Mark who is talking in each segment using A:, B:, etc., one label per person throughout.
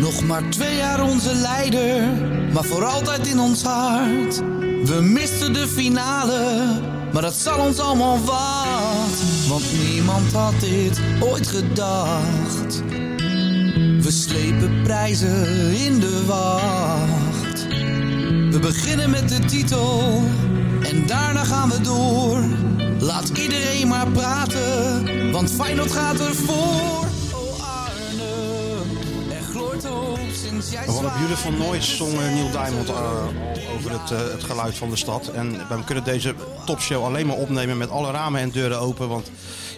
A: Nog maar twee jaar onze leider, maar voor altijd in ons hart. We misten de finale, maar dat zal ons allemaal wat. Want niemand had dit ooit gedacht. We slepen prijzen in de wacht. We beginnen met de titel en daarna gaan we door. Laat iedereen maar praten, want Feyenoord gaat ervoor. Oh Arnhem, er gloort hoop sinds jij
B: What a
A: zwaait.
B: beautiful noise zong eh, Neil Diamond eh, over het, eh, het geluid van de stad. En we kunnen deze topshow alleen maar opnemen met alle ramen en deuren open. Want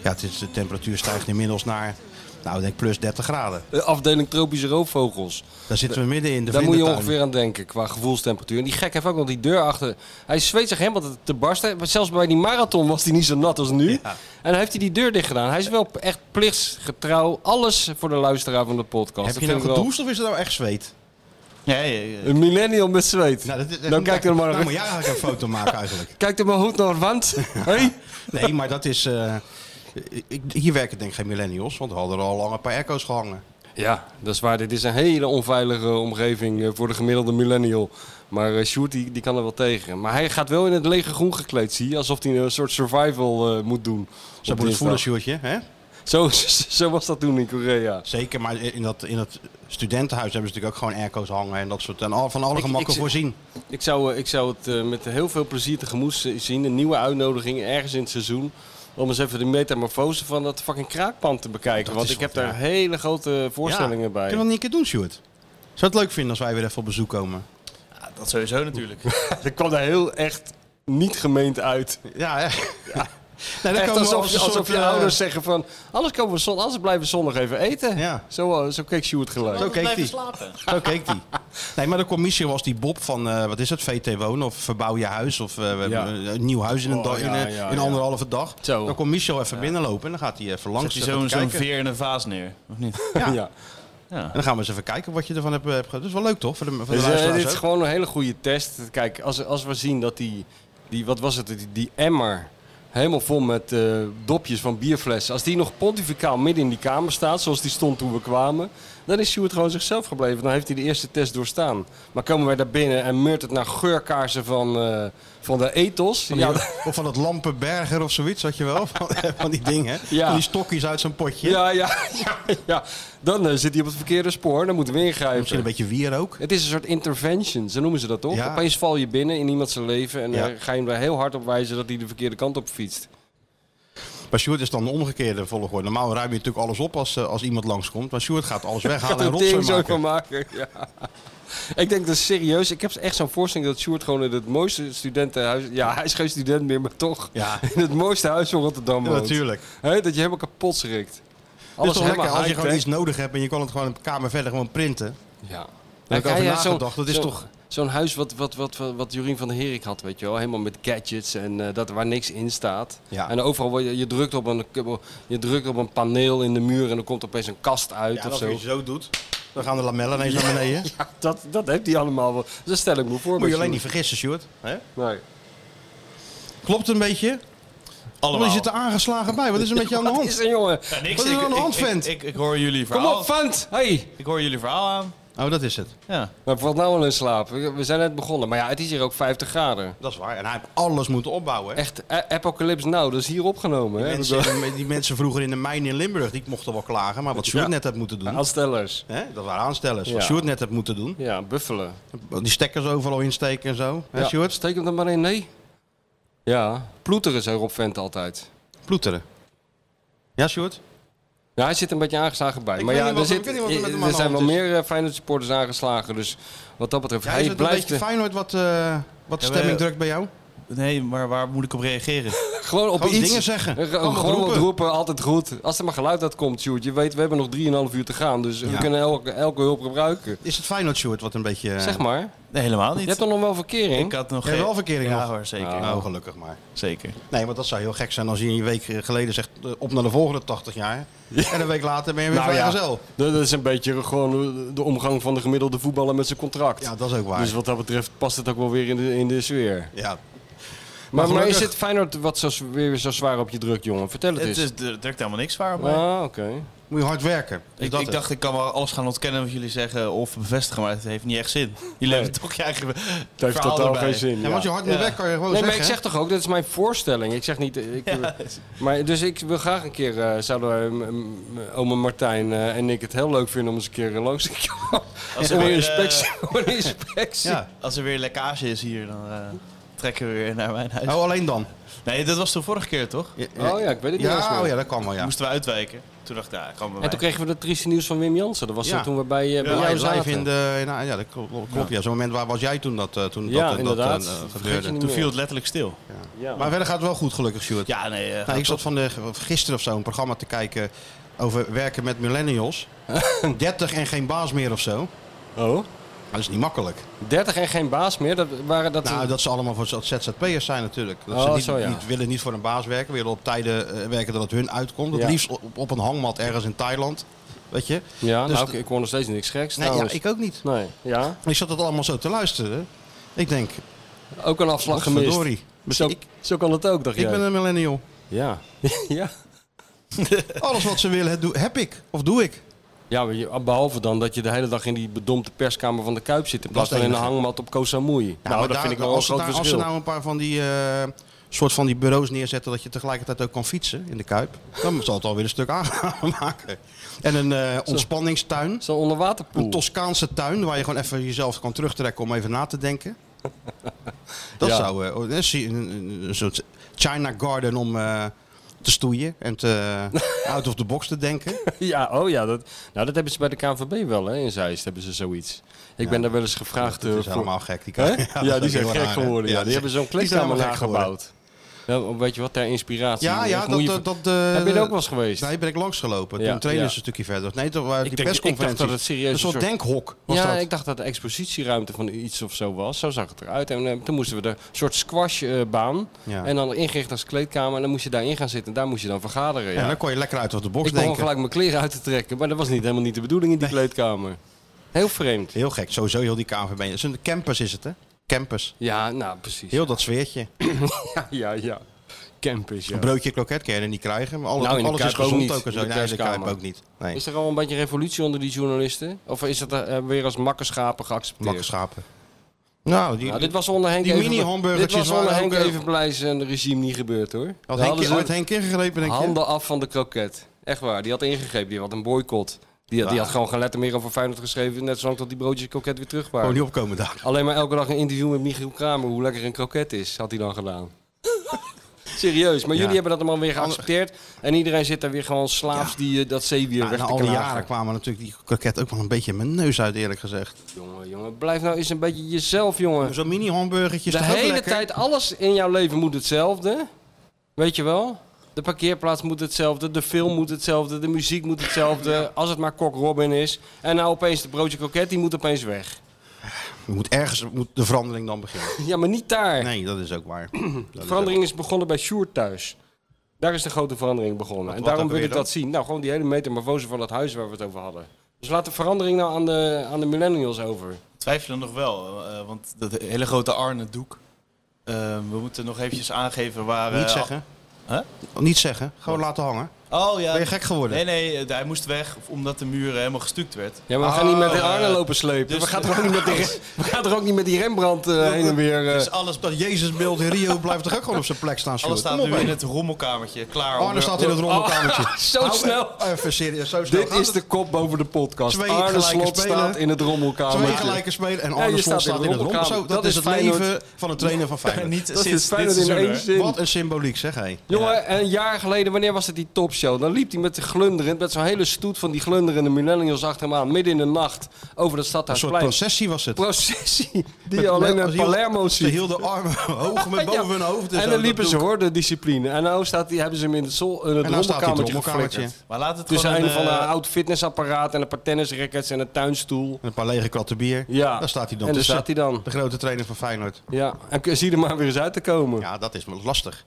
B: ja, het is, de temperatuur stijgt inmiddels naar nou, ik denk plus 30 graden.
C: De afdeling tropische roofvogels.
B: Daar zitten we midden in de
C: Daar moet je
B: vlindertuin.
C: ongeveer aan denken qua gevoelstemperatuur. En die gek heeft ook nog die deur achter. Hij zweet zich helemaal te, te barsten. Maar Zelfs bij die marathon was hij niet zo nat als nu. En dan heeft hij die deur dicht gedaan. Hij is wel echt plichtsgetrouw. Alles voor de luisteraar van de podcast.
B: Heb
C: Dat
B: je
C: vind
B: nou
C: ik wel
B: gedoest of is het nou echt zweet?
D: Ja, ja, ja.
C: Een millennial met zweet.
B: Nou, dat is-
C: dan kijk er maar
B: Nou,
C: naar.
B: moet jij eigenlijk een foto maken eigenlijk.
C: Kijk er maar goed naar, want... Hey?
B: Nee, maar dat is... eh, ik, hier werken denk ik geen millennials, want we hadden er al lang een paar echo's gehangen.
C: Ja, dat is waar. Dit is een hele onveilige omgeving eh, voor de gemiddelde millennial. Maar eh, Sjoerd, die, die kan er wel tegen. Maar hij gaat wel in het lege groen gekleed, zie je. Alsof hij een soort survival eh, moet doen.
B: Zo
C: op
B: moet het
C: dinsdag.
B: voelen, Sjoerdje. Hè?
C: Zo, zo was dat toen in Korea.
B: Zeker, maar in dat, in dat studentenhuis hebben ze natuurlijk ook gewoon airco's hangen en dat soort. En al, van alle
C: Ik-
B: gemakken
C: ik-
B: voorzien.
C: Ik zou, eh, ik zou het eh, met heel veel plezier tegemoet z- zien. Een nieuwe uitnodiging ergens in het seizoen. Om eens even de metamorfose van dat fucking kraakpand te bekijken.
B: Dat
C: Want
B: is
C: ik heb
B: wat,
C: daar
B: ja.
C: hele grote eh, voorstellingen
B: Ja,
C: bij.
B: Kunnen we dat niet een keer doen, Sjoerd? Zou je het leuk vinden als wij weer even op bezoek komen?
D: dat sowieso natuurlijk.
C: Dat kwam daar heel echt niet gemeend uit.
B: Ja, ja. Nee,
C: Echt
B: komen we
C: alsof,
B: als een
C: alsof
B: soort,
C: je
B: eh,
C: ouders zeggen van... Anders, komen we zon, anders blijven we zondag even eten.
B: Ja.
C: Zo, eh, zo keek Sjoerd gelijk.
B: Zo keek
D: Blijven
B: die.
D: slapen.
B: Zo keek die. Nee, maar de commissie was die Bob van, eh, wat is het, VT Wonen of Verbouw je huis of eh, we hebben
C: Ja.
B: een een nieuw huis in een,
C: Oh,
B: dag, in,
C: ja,
B: een-
C: ja,
B: in
C: ja.
B: anderhalve dag.
C: Zo.
B: Dan komt Michel even binnenlopen en dan gaat hij even
D: Zet
B: langs.
D: hij
B: eh,
D: zo'n
B: gaat
D: zo'n
B: kijken.
D: veer in een vaas neer, of niet?
C: Ja.
B: En dan gaan we eens even kijken wat je ervan hebt eh, hebt gehad. Dat is wel leuk toch? Voor de, voor de
C: Dus, eh,
B: luisteraars
C: dit is
B: ook.
C: gewoon een hele goede test. Kijk, als, als we zien dat die, die... Wat was het? Die, die emmer helemaal vol met eh, dopjes van bierflessen. Als die nog pontificaal midden in die kamer staat... zoals die stond toen we kwamen... dan is Sjoerd gewoon zichzelf gebleven. Dan heeft hij de eerste test doorstaan. Maar komen wij daar binnen en meurt het naar geurkaarsen van, eh, van de ethos...
B: Van die- Of van dat Lampenberger of zoiets, had je wel? Van, eh, van die dingen.
C: Ja.
B: Van die stokjes uit zo'n potje.
C: Ja, ja, ja, ja. Dan eh, zit hij op het verkeerde spoor. Dan moeten we ingrijpen.
B: Misschien een beetje wier ook.
C: Het is een soort intervention, zo noemen ze dat toch?
B: Ja.
C: Opeens val je binnen in iemand zijn leven en
B: Ja.
C: eh, ga je hem daar heel hard op wijzen dat hij de verkeerde kant op fietst.
B: Maar Sjoerd is dan de omgekeerde volgorde. Normaal ruim je natuurlijk alles op als, eh, als iemand langskomt. Maar Sjoerd gaat alles weghalen en
C: Gaat er tering
B: rotzooi
C: zo
B: maken.
C: van maken. Ja. Ik denk dat serieus, ik heb echt zo'n voorstelling dat Sjoerd gewoon in het mooiste studentenhuis... Ja, hij is geen student meer, maar toch.
B: Ja.
C: In het mooiste huis van Rotterdam
B: Ja,
C: woont.
B: natuurlijk.
C: Hè, dat je helemaal kapot schrikt.
B: Het is
C: Alles
B: toch lekker
C: helemaal
B: als je gewoon
C: high-tech.
B: iets nodig hebt en je kan het gewoon een kamer verder gewoon printen.
C: Ja.
B: Daar heb ik
C: Kijk,
B: over
C: ja, zo'n-
B: nagedacht. Dat is
C: zo'n-
B: toch-
C: Zo'n huis wat, wat, wat, wat, wat Jorien van der Herik had, weet je wel. Helemaal met gadgets en eh, dat, waar niks in staat.
B: Ja.
C: En overal, word je, je, drukt op een, je drukt op een paneel in de muur en er komt opeens een kast uit
B: Ja,
C: of
B: als
C: zo.
B: je zo doet, dan gaan de lamellen ineens naar beneden.
C: Ja, dat, dat heeft hij allemaal wel. Dus dat stel ik me voor.
B: Moet je
C: bij
B: alleen niet
C: Sjoerd.
B: vergissen, Sjoerd. Hè?
C: Nee.
B: Klopt een beetje?
D: Allemaal.
B: Dan zit er aangeslagen bij. Wat is er met je aan de
C: Wat
B: hand?
C: is er, jongen?
D: Ja, niks.
B: Wat is er
D: Ik-
B: aan de
D: ik-
B: hand,
D: ik-
B: vent?
D: Ik, ik, hoor jullie
C: Kom
D: verhaal.
C: op, vent! Hey!
D: Ik hoor jullie verhaal aan.
B: Oh, dat is het.
D: Ja.
C: Maar valt nou al in slaap. We zijn net begonnen. Maar ja, het is hier ook 50 graden.
B: Dat is waar. En hij heeft alles moeten opbouwen. Hè?
C: Echt, eh, Apocalypse Nou, dat is hier opgenomen. Hè?
B: Mensen, die mensen vroeger in de mijn in Limburg, die mochten wel klagen. Maar wat Sjoerd net had moeten doen,
C: Aanstellers.
B: hè? dat waren aanstellers.
C: Ja.
B: Wat Sjoerd net had moeten doen,
C: Ja, buffelen.
B: die stekkers overal insteken en zo. Hè,
C: Ja,
B: Sjoerd?
C: Steek hem er maar in, nee. Ja, ploeteren zei Rob Vent altijd.
B: Ploeteren. Ja, Sjoerd?
C: Ja, hij zit een beetje aangeslagen bij.
B: Ik
C: maar
B: weet
C: ja,
B: niet
C: er,
B: wat- ik
C: zit,
B: weet niet wat er met hem aan
C: er
B: de
C: zijn wel
B: hand is.
C: meer eh, Feyenoord supporters aangeslagen. Dus wat dat betreft,
B: Ja, is
C: hij
B: het een
C: blijft
B: beetje
C: eh,
B: Feyenoord wat, eh, wat
D: Ja,
B: stemming
D: wij-
B: drukt bij jou?
D: Nee, maar waar moet ik op reageren?
C: gewoon op
B: Gewoon
C: iets...
B: dingen zeggen.
C: Eh,
B: Gewoon
C: Gewoon
B: wat
C: wat roepen.
B: roepen.
C: altijd goed. Als er maar geluid uit komt, Sjoerd. Je weet, we hebben nog 3,5 uur te gaan. Dus we
B: Ja.
C: kunnen elke, elke hulp gebruiken.
B: Is het Feyenoord, Sjoerd, wat een beetje... eh,
C: Zeg maar.
D: Nee, helemaal
C: Je
D: niet.
C: hebt toch nog wel verkering?
D: Ik had nog
B: Heb je wel verkering
D: Ja
B: nog?
D: hoor, zeker.
C: Ja.
B: Oh, gelukkig maar.
D: Zeker.
B: Nee, want dat zou heel gek zijn als je een week geleden zegt eh, op naar de volgende 80 jaar. En een week later ben je weer
C: Nou ja.
B: vrijgezel.
C: Dat is een beetje gewoon de omgang van de gemiddelde voetballer met zijn contract.
B: Ja, dat is ook waar.
C: dus wat dat betreft past het ook wel weer in de, in de sfeer.
B: ja.
C: Maar, maar
B: gelukkig-
C: is het Feyenoord wat zo, weer zo zwaar op je druk, jongen? Vertel het,
D: Het
C: eens.
D: is, er drukt helemaal niks waar op mij.
C: Ah, oké.
B: Moet je hard werken. Is
D: Ik,
B: dat
D: ik
B: het?
D: dacht, ik kan wel alles gaan ontkennen wat jullie zeggen of bevestigen, maar het heeft niet echt zin. Jullie hebben toch je eigen
C: Het heeft
D: verhaal
C: totaal
D: erbij.
C: geen zin.
B: Ja,
C: ja.
B: want je hard moet
D: Ja.
B: werken kan je gewoon
C: Nee, maar
B: zeggen.
C: ik zeg toch ook, dat is mijn voorstelling. Ik zeg niet... eh, Ik, maar, dus ik wil graag een keer... eh, zouden wij, mm, mm, ome Martijn eh, en ik het heel leuk vinden om eens een keer eh, langs te komen.
D: Als er
C: Om een
D: weer,
C: inspectie. om een inspectie.
B: eh, Ja.
D: Als er weer lekkage is hier, dan eh, trekken we weer naar mijn huis.
B: Oh, alleen dan.
D: Nee, dat was de vorige keer toch?
C: Oh ja, ik weet het niet eens meer.
B: Ja, oh, ja, dat kan wel, ja.
D: Moesten we uitwijken. Toen dacht ik, ja, kan bij
C: En
D: mij.
C: toen kregen we dat trieste nieuws van Wim Jansen. Dat was
B: Ja.
C: dat toen we bij, eh, bij
B: Ja,
C: jou
B: live
C: zaten.
B: in de... Nou, ja, dat kl- klopt. Ja. Zo'n moment waar was jij toen dat, eh, toen
C: Ja,
B: dat, eh, dat eh,
C: inderdaad.
B: eh,
C: Vergeet je
B: gebeurde?
C: niet.
D: Toen viel het letterlijk stil.
C: Ja.
B: Maar verder gaat het wel goed, gelukkig, Sjoerd.
D: Ja, nee. eh, gaat
B: Nou, ik zat
D: toch.
B: van de, gisteren of zo een programma te kijken over werken met millennials. 30 en geen baas meer of zo. Nou,
C: Oh?
B: dat is niet makkelijk.
C: 30 en geen baas meer. Dat waren dat...
B: Nou, dat ze allemaal voor z- ZZP'ers zijn natuurlijk. Dat ze
C: Oh,
B: niet,
C: zo, ja.
B: niet, willen niet voor een baas werken, willen op tijden eh, werken dat het hun uitkomt. Het
C: Ja.
B: liefst op, op een hangmat ergens in Thailand. Weet je?
C: ja,
B: dus
C: nou,
B: d-
C: ik, ik hoor nog steeds niks geks
B: Nee, ja,
C: trouwens.
B: ik ook niet.
C: Nee, ja.
B: Ik zat dat allemaal zo te luisteren. Ik denk,
C: Ook een afslag gemist.
B: verdorie.
C: Zo,
B: Ik-
C: zo kan het ook, dacht
B: Ik
C: jij.
B: ben een millennial.
C: Ja. ja.
B: Alles wat ze willen, het doe- heb ik. Of doe
C: Nou,
B: ik.
C: Ja, maar je- behalve dan dat je de hele dag in die bedompte perskamer van de Kuip zit. In
B: Dat
C: plaats
B: is
C: van in de
B: enige.
C: hangmat op Koh Samui.
B: Ja,
C: nou,
B: maar
C: dat
B: daar-
C: vind ik wel een
B: als ze
C: groot
B: daar-
C: verschil.
B: Als ze nou een paar van die eh, soort van die bureaus neerzetten dat je tegelijkertijd ook kan fietsen in de Kuip, dan zal het alweer een stuk aanmaken. En een eh, ontspanningstuin,
C: Zo'n onderwaterpoel.
B: een Toscaanse tuin waar je gewoon even jezelf kan terugtrekken om even na te denken. Dat
C: Ja.
B: zou eh, oh, eh, zie- een, een- een soort China Garden om eh, te stoeien en te out of the box te denken.
C: Ja, oh ja. Dat, nou, dat hebben ze bij de KNVB wel, hè. In Zeist hebben ze zoiets. Ik ben daar wel eens gevraagd
B: Dat
C: eh,
B: is
C: voor-
B: helemaal gek. Die,
C: Hè?
B: Kuip.
C: Ja,
B: dat
C: die
B: is
C: zijn
B: heel
C: gek
B: raar, hè?
C: geworden. Ja, die
B: die
C: hebben zo'n
B: zijn
C: kleedkamer
B: helemaal gek geworden.
C: nagebouwd. Nou, weet je wat, ter inspiratie.
B: Ja, ja,
C: Echt
B: dat,
C: moeie-
B: dat, dat, eh,
C: Heb je er ook wel eens geweest?
B: Nee, ben ik langs gelopen.
C: Ja,
B: Toen trainen
C: ja.
B: ze een stukje verder. Nee, toen waren
C: Ik
B: die
C: denk- ik dacht
B: persconferenties.
C: dat het serieus
B: Een soort,
C: een soort-
B: denkhok was
C: ja,
B: dat.
C: ik dacht dat de expositieruimte van iets of zo was. Zo zag het eruit. En eh, toen moesten we de soort squashbaan.
B: Ja.
C: En dan ingericht als kleedkamer. En dan moest je daarin gaan zitten. En daar moest je dan vergaderen.
B: Ja,
C: Ja.
B: dan kon je lekker uit op de box
C: ik begon
B: denken.
C: gelijk mijn kleren uit te trekken. Maar dat was niet, helemaal niet de bedoeling in die kleedkamer. Heel vreemd.
B: Heel gek, sowieso heel die KNVB. Het is een campus is het, hè? Campus.
C: Ja, nou precies.
B: Heel dat sfeertje.
C: Ja, ja, ja. Campus, ja.
B: Een broodje kroket kun je er niet krijgen. Maar alles,
C: Nou, in de
B: alles is
C: Kuip ook
B: gezond
C: niet.
B: ook en zo.
C: In de
B: Nee, de Kuip
C: perskamer.
B: ook niet. Nee,
C: Is er al een beetje revolutie onder die journalisten? Of is dat eh, weer als makkerschapen geaccepteerd?
B: makkerschapen. Nou, die,
C: Nou, dit was onder Henk
B: Die
C: Even-
B: mini-hamburgertjes
C: Dit was onder
B: waren
C: Henk
B: ook- eh,
C: Evenblijs en regime niet gebeurd hoor.
B: had
C: Daar
B: Henk,
C: hadden ze
B: ooit Henk ingegrepen, denk je?
C: handen af van de kroket. Echt waar, die had ingegrepen, die had een boycott. Die, had- die had gewoon geen letter meer over Feyenoord geschreven, net zolang tot die broodjes kroket weer terug waren.
B: Gewoon niet opkomen daar.
C: Alleen maar elke dag een interview met Michiel Kramer, hoe lekker een kroket is, had hij dan gedaan. Serieus, maar jullie hebben dat allemaal weer geaccepteerd. En iedereen zit daar weer gewoon slaafs die, eh, dat zeewier
B: Ja,
C: weg
B: na
C: te
B: Nou, al die
C: knagen.
B: jaren kwamen natuurlijk die kroket ook wel een beetje in mijn neus uit, eerlijk gezegd.
C: Jongen, jongen, blijf nou eens een beetje jezelf, jongen.
B: Zo'n mini-hamburgertje is
C: De
B: toch ook
C: hele
B: lekker?
C: tijd, alles in jouw leven moet hetzelfde. Weet je wel? De parkeerplaats moet hetzelfde, de film moet hetzelfde, de muziek moet hetzelfde. Als het maar Kok Robin is. En nou opeens de broodje kroket, die moet opeens weg.
B: Je Moet ergens moet de verandering dan beginnen.
C: Ja, maar niet daar.
B: Nee, dat is ook waar.
C: de verandering is begonnen bij Sjoerd thuis. Daar is de grote verandering begonnen. en
B: wat
C: daarom
B: ook
C: wil
B: weer
C: ik dat zien. Nou, gewoon die hele metamorfose van dat huis waar we het over hadden. Dus laat de verandering nou aan de, aan de millennials over.
D: Twijfelen nog wel, eh, want dat hele grote Arne Doek. Ehm, eh, we moeten nog eventjes aangeven waar... eh,
B: Niet zeggen.
D: Huh?
B: Niet zeggen. Gewoon laten hangen.
D: Oh ja.
B: Ben je gek geworden?
D: Nee, nee, eh, hij moest weg omdat de muur eh, helemaal gestuukt werd.
C: Ja, maar we gaan niet met de
D: Oh,
C: armen
D: eh,
C: lopen slepen.
D: dus-
C: we, gaan toch ook niet met die, Re- we gaan toch ook niet met die Rembrandt eh, heen en weer... eh,
B: Dus alles dat Jezusbeeld in Rio blijft toch ook gewoon op zijn plek staan?
D: Alles
B: Sjoerd?
D: staat
B: Kom op,
D: nu
B: hè.
D: in het rommelkamertje, klaar. om
B: Arne
D: weer-
B: Oh, staat in het rommelkamertje.
C: zo
B: Nou,
C: snel.
B: eh, Even serieus, zo snel.
C: Dit
B: gaat
C: is de kop boven de podcast.
B: Twee
C: Arne
B: gelijke
C: Slot
B: spelen.
C: staat in het
B: het.
C: rommelkamertje.
B: Twee gelijke spelen en
C: Ja,
B: Arne
C: je staat
B: Slot staat,
C: in de
B: in het rommel.
C: rommelkamer.
B: Zo,
C: Dat
B: dat, is
C: is
B: het
C: Feyenoord.
B: leven van een trainer van Feyenoord.
D: Niet
C: Dat
D: sinds
C: is Feyenoord
D: dit
C: in
D: seizoen,
C: één
D: hoor.
C: zin.
B: eh, Wat een symboliek, zeg hé.
C: Jongen, een jaar geleden, wanneer was dat die topshow? Dan liep hij met de glunderend, met zo'n hele stoet van die glunderende millennials achter hem aan, midden in de nacht, over dat
B: Een soort
C: stadhuisplein.
B: processie was het.
C: processie die
B: Met-
C: je alleen
B: met-
C: in
B: ze hiel-
C: Palermo
B: Ze
C: ziet.
B: hielden armen hoog met boven
C: Ja.
B: hun hoofd.
C: En
B: zo,
C: dan
B: dat
C: liepen ze
B: doe ik.
C: hoor, de discipline. En nou staat, die, hebben ze hem in het, zol, in het
B: En nou staat hij in het
C: rommelkamertje
B: rommelkamertje.
C: geflikkerd.
B: En
D: Maar laat het
C: Tussen
D: gewoon
C: een
D: een,
C: van een
D: eh,
C: oud fitnessapparaat en een paar tennisrackets en een tuinstoel.
B: een paar lege kratten bier.
C: Ja.
B: Daar staat hij dan
C: en daar
B: tussen.
C: staat hij dan.
B: De grote trainer van Feyenoord.
C: Ja. En k- zie er maar weer eens uit te komen.
B: Ja, dat is lastig.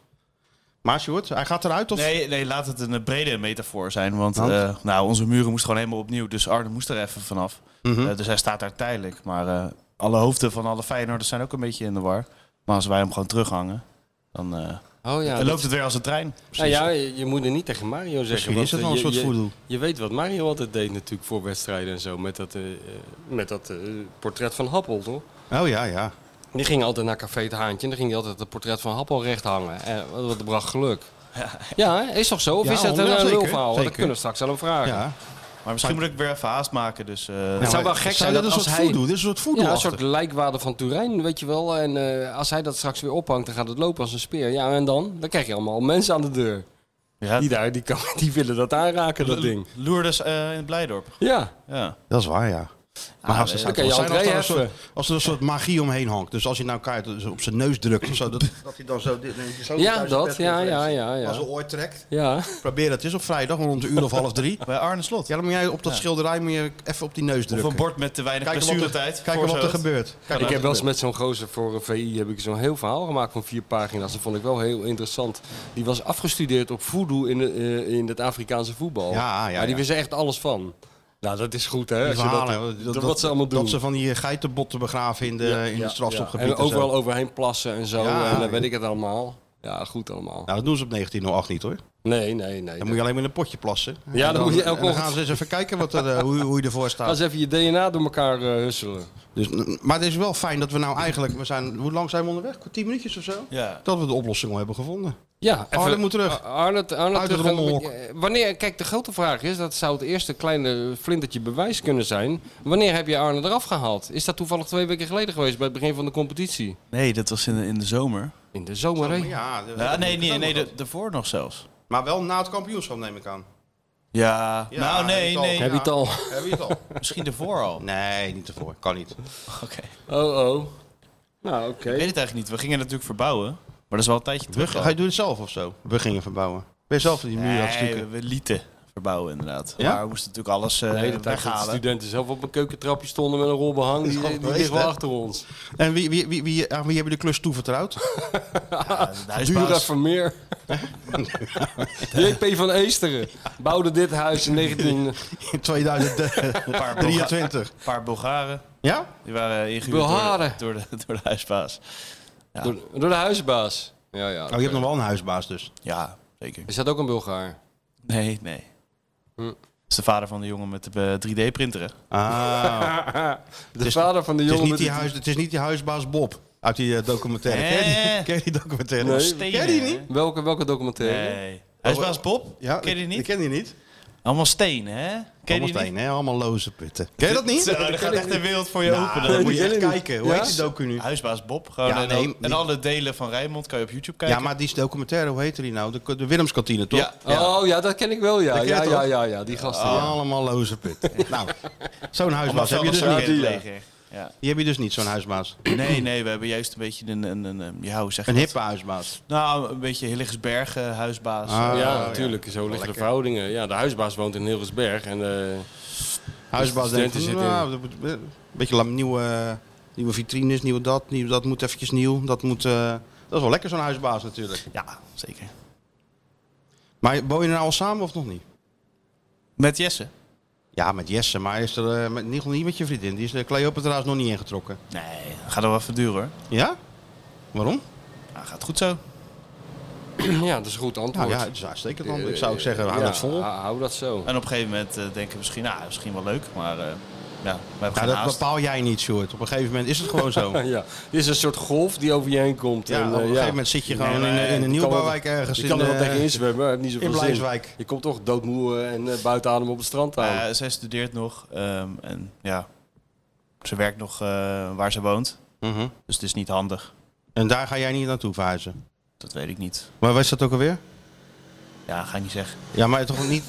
B: Maar Sjoerd, hij gaat eruit of?
D: Nee, nee, laat het een eh, brede metafoor zijn. Want
B: Want?
D: eh, nou, onze muren moesten gewoon helemaal opnieuw. Dus Arne moest er even vanaf.
B: Mhm.
D: Eh, dus hij staat daar tijdelijk. Maar eh, alle hoofden van alle Feyenoorders zijn ook een beetje in de war. Maar als wij hem gewoon terughangen, dan, eh,
C: Oh ja.
D: dan
C: dat-
D: loopt het weer als een trein.
C: Nou ja, je, je moet er niet tegen Mario zeggen.
B: Misschien
C: want,
B: is het
C: eh,
B: wel een
C: je-
B: soort
C: je,
B: voodoo.
C: Je weet wat Mario altijd deed natuurlijk voor wedstrijden en zo. Met dat, eh, eh, met dat eh, portret van Happel, toch?
B: Oh ja, ja.
C: Die ging altijd naar Café het Haantje en dan ging hij altijd het portret van Happel recht hangen. En wat bracht geluk. Ja, hè? is toch zo? Of
B: Ja,
C: is dat een
B: honderd-
C: eh,
B: ja, zeker,
C: lulverhaal? Dat
B: zeker.
C: kunnen we straks aan hem vragen. Ja,
B: ja.
D: Maar misschien moet ik weer even haast maken. Dus, eh,
C: Het zou wel
B: maar
C: gek zijn
B: dit
C: dat
B: een
C: als
B: soort
C: hij-
B: voodoo? Dit is een soort voodoo
C: een soort lijkwade van Turijn, weet je wel. En eh, als hij dat straks weer ophangt, dan gaat het lopen als een speer. Ja, en dan? Dan krijg je allemaal mensen aan de deur.
D: ja,
C: Die daar, die, kan, die willen dat aanraken, dat ding.
D: Lourdes eh, in Blijdorp.
C: Ja,
D: Ja.
B: Dat is waar, ja. Maar als,
C: dan
B: het
C: kan je
B: zijn als,
C: André
B: er een
C: heffen.
B: soort, als er een soort magie omheen hangt. Dus als je nou kaart op zijn neus drukt of zo. Dat, dat hij dan zo... dit- zo
C: Ja,
B: thuis
C: dat.
B: de
C: Ja, ja, ja,
B: Als een
C: ja.
B: oor trekt.
C: Ja,
B: Probeer dat eens op vrijdag rond een uur of half drie.
D: Bij Arne Slot.
B: Ja, dan moet jij op dat schilderij moet je even op die neus
D: Of
B: drukken.
D: een bord met te weinig
B: Kijken wat er-
D: blessuretijd.
B: Kijken wat er
D: voorzoot.
B: gebeurt. Kijken
C: ik
B: wat
C: heb
B: er
C: wel eens
B: gebeurt.
C: met zo'n gozer voor een VI heb ik zo'n heel verhaal gemaakt van vier pagina's. Dat vond ik wel heel interessant. Die was afgestudeerd op voodoo in, de, eh, in het Afrikaanse voetbal.
B: Ja, ja,
C: maar die
B: ja.
C: wist er echt alles van. Nou, dat is goed hè.
B: Die
C: als je
B: verhalen,
C: dat,
B: hoor.
C: dat- wat ze allemaal doen.
B: Dat ze van die eh, geitenbotten begraven in de,
C: Ja,
B: in
C: ja,
B: het strafstopgebied.
C: En
B: en zo.
C: overal overheen plassen en zo.
B: Ja,
C: en dan
B: ja.
C: weet ik het allemaal. Ja, goed allemaal.
B: Nou, dat doen ze op 1908 niet hoor.
C: Nee, nee, nee.
B: Dan moet je alleen maar in een potje plassen. En
C: dan moet je elke
B: en dan gaan
C: ochtend-
B: ze eens even kijken wat er, eh, hoe, hoe je ervoor
C: Ga eens
B: staat.
C: even je DNA door elkaar eh, husselen.
B: Dus, n- maar het is wel fijn dat we nou eigenlijk... We zijn, hoe lang zijn we onderweg? 10 minuutjes of zo?
D: Ja. Oh,
B: Dat we de oplossing al hebben gevonden.
C: Ja, even-
B: Arne oh, moet terug.
C: Ar- Arne, Arne
B: Uit het
C: terug.
B: rommelhok.
C: Eh, Wanneer, kijk, de grote vraag is, dat zou het eerste kleine flintertje bewijs kunnen zijn. Wanneer heb je Arne eraf gehaald? Is dat toevallig twee weken geleden geweest, bij het begin van de competitie?
D: Nee, dat was in de, in de zomer.
C: In de zomer, hè?
B: Ja,
D: Ja, nee, nee, nee, de- daarvoor nog zelfs.
B: Maar wel na het kampioenschap neem ik aan.
D: Ja,
B: Ja,
D: nou nee,
B: het al.
D: nee.
C: Heb je het al?
B: Heb je het al?
D: Misschien daarvoor al.
B: Nee, niet ervoor. Kan niet.
D: Oké.
C: Oh, oh. Nou, oké.
D: Ik weet het eigenlijk niet. We gingen natuurlijk verbouwen. Maar dat is wel een tijdje
B: We,
D: terug. al.
B: ga je doet het zelf of zo? We gingen verbouwen. Ben je zelf die muur aan
D: Nee,
B: het
D: we,
B: stukken?
D: we lieten verbouwen inderdaad.
B: Ja?
D: Maar we moesten natuurlijk alles eh,
C: De hele tijd dat de
D: weghalen.
C: studenten zelf op een keukentrapje stonden met een rol behang. Die,
B: is al
C: die
B: geweest,
C: ligt wel
B: hè?
C: achter ons.
B: En wie, wie, wie, wie, aan wie hebben de klus toevertrouwd?
D: Ja, de huisbaas.
C: Dura Vermeer. JP van Eesteren bouwde dit huis in 19...
B: In
D: Een
B: 2023.
D: paar, Bulga- een paar Bulgaren.
B: Ja?
D: Die waren ingehuurd door de,
C: Bulgaren.
D: door, de, door de huisbaas.
C: Door, door de huisbaas. Ja, ja.
B: Oh, je hebt nog wel een huisbaas dus.
D: Ja, zeker.
C: Is dat ook een Bulgaar?
D: Nee, nee.
C: Hm.
D: Dat is de vader van de jongen met de eh, 3D-printer.
B: Ah.
C: De
B: is-
C: vader van de
B: Het is,
C: jongen
B: Dus niet
C: met
B: die
C: de-
B: huis, het is niet die huisbaas Bob uit die eh, documentaire.
D: Eh.
B: Ken je die, ken je die documentaire?
C: Nee.
B: Ken je die niet?
C: Welke, welke documentaire?
D: Nee. Huisbaas Bob?
B: Ja,
D: ken je die
B: ik- Ik
D: niet?
B: ken die niet.
D: Allemaal stenen, hè? Ken je
B: Allemaal
D: die niet?
B: steen, hè? Allemaal loze putten. Ken je dat niet? Nou,
D: Zo, er gaat echt de wereld voor je open.
B: dan
D: Dan.
B: moet je
C: ken
B: echt
C: ik niet.
B: kijken. Hoe
C: Ja?
B: heet die docu nu?
D: Huisbaas Bob. Gewoon
B: Ja,
D: en,
B: nee,
D: al- en
B: die-
D: alle delen van Rijnmond kan je op YouTube kijken.
B: Ja, maar die documentaire, hoe heette die nou? De, de Willemskantine, toch?
D: Ja.
C: Oh ja, dat ken ik wel, ja.
B: Dat ken je
C: Ja,
B: toch? Oh,
C: ja, ja, ja, die gasten. ja.
B: Allemaal loze putten. nou, zo'n
D: Allemaal
B: huisbaas heb je dus
D: vuilniszakken
B: niet.
D: in
C: ja.
D: het leger. Ja.
B: Die heb je dus niet, zo'n huisbaas.
D: Nee, nee, we hebben juist een beetje een, een, een, een- ja, hoe zeg je
B: Een
D: dat?
B: hippe huisbaas.
D: Nou, een beetje Hilligersberg eh, huisbaas.
B: Ah.
C: ja,
B: ja.
C: natuurlijk. Zo liggen de
B: lekker.
C: verhoudingen. Ja, de huisbaas woont in Hilgersberg. En, eh,
B: Huisbaas
C: de
B: denkt, van,
C: studenten
B: nou, dat moet- eh, een beetje lam- nieuwe, nieuwe vitrines, nieuw dat, nieuw dat moet eventjes nieuw. Dat, moet, eh, dat is wel lekker, zo'n huisbaas natuurlijk.
D: Ja, zeker.
B: Maar woon je nou al samen of nog niet?
D: Met Jesse?
B: Ja, met Jesse, maar is er, eh, met, niet, niet met je vriendin. Die is de Cleopatra's nog niet ingetrokken.
D: Nee, gaat er wel even duren hoor.
B: Ja? Waarom?
D: Nou, gaat goed zo.
C: Ja, dat is een goed antwoord.
B: Nou ja, het is uitstekend dan. Ik zou ook zeggen, hou
C: Ja,
B: het vol.
C: hou- Hou dat zo.
D: En op een gegeven moment eh, denken we misschien, nou, misschien wel leuk, maar eh, ja, we hebben
B: Ja,
D: geen
B: dat
D: haast.
B: bepaal jij niet, Sjoerd. Op een gegeven moment is het gewoon zo.
C: Ja, dit is een soort golf die over je heen komt.
B: Ja,
C: en,
B: op
C: eh,
B: een gegeven moment zit je gewoon
C: Nee,
B: in,
C: maar
B: eh, in een
C: je kan wel-
B: nieuwbouwwijk ergens.
C: Je kan
B: in,
C: er wel
B: eh,
C: tegen inzwemmen, maar niet zoveel
B: in
C: zin.
B: Blijswijk.
C: Je komt toch doodmoe eh, en eh, buiten adem op het strand aan.
D: Eh, zij studeert nog ehm, en ja, ze werkt nog eh, waar ze woont.
B: Mhm.
D: Dus het is niet handig.
B: En daar ga jij niet naartoe verhuizen.
D: Dat weet ik niet.
B: Maar was dat ook alweer?
D: Ja, ga ik niet zeggen.
B: Ja, maar toch niet...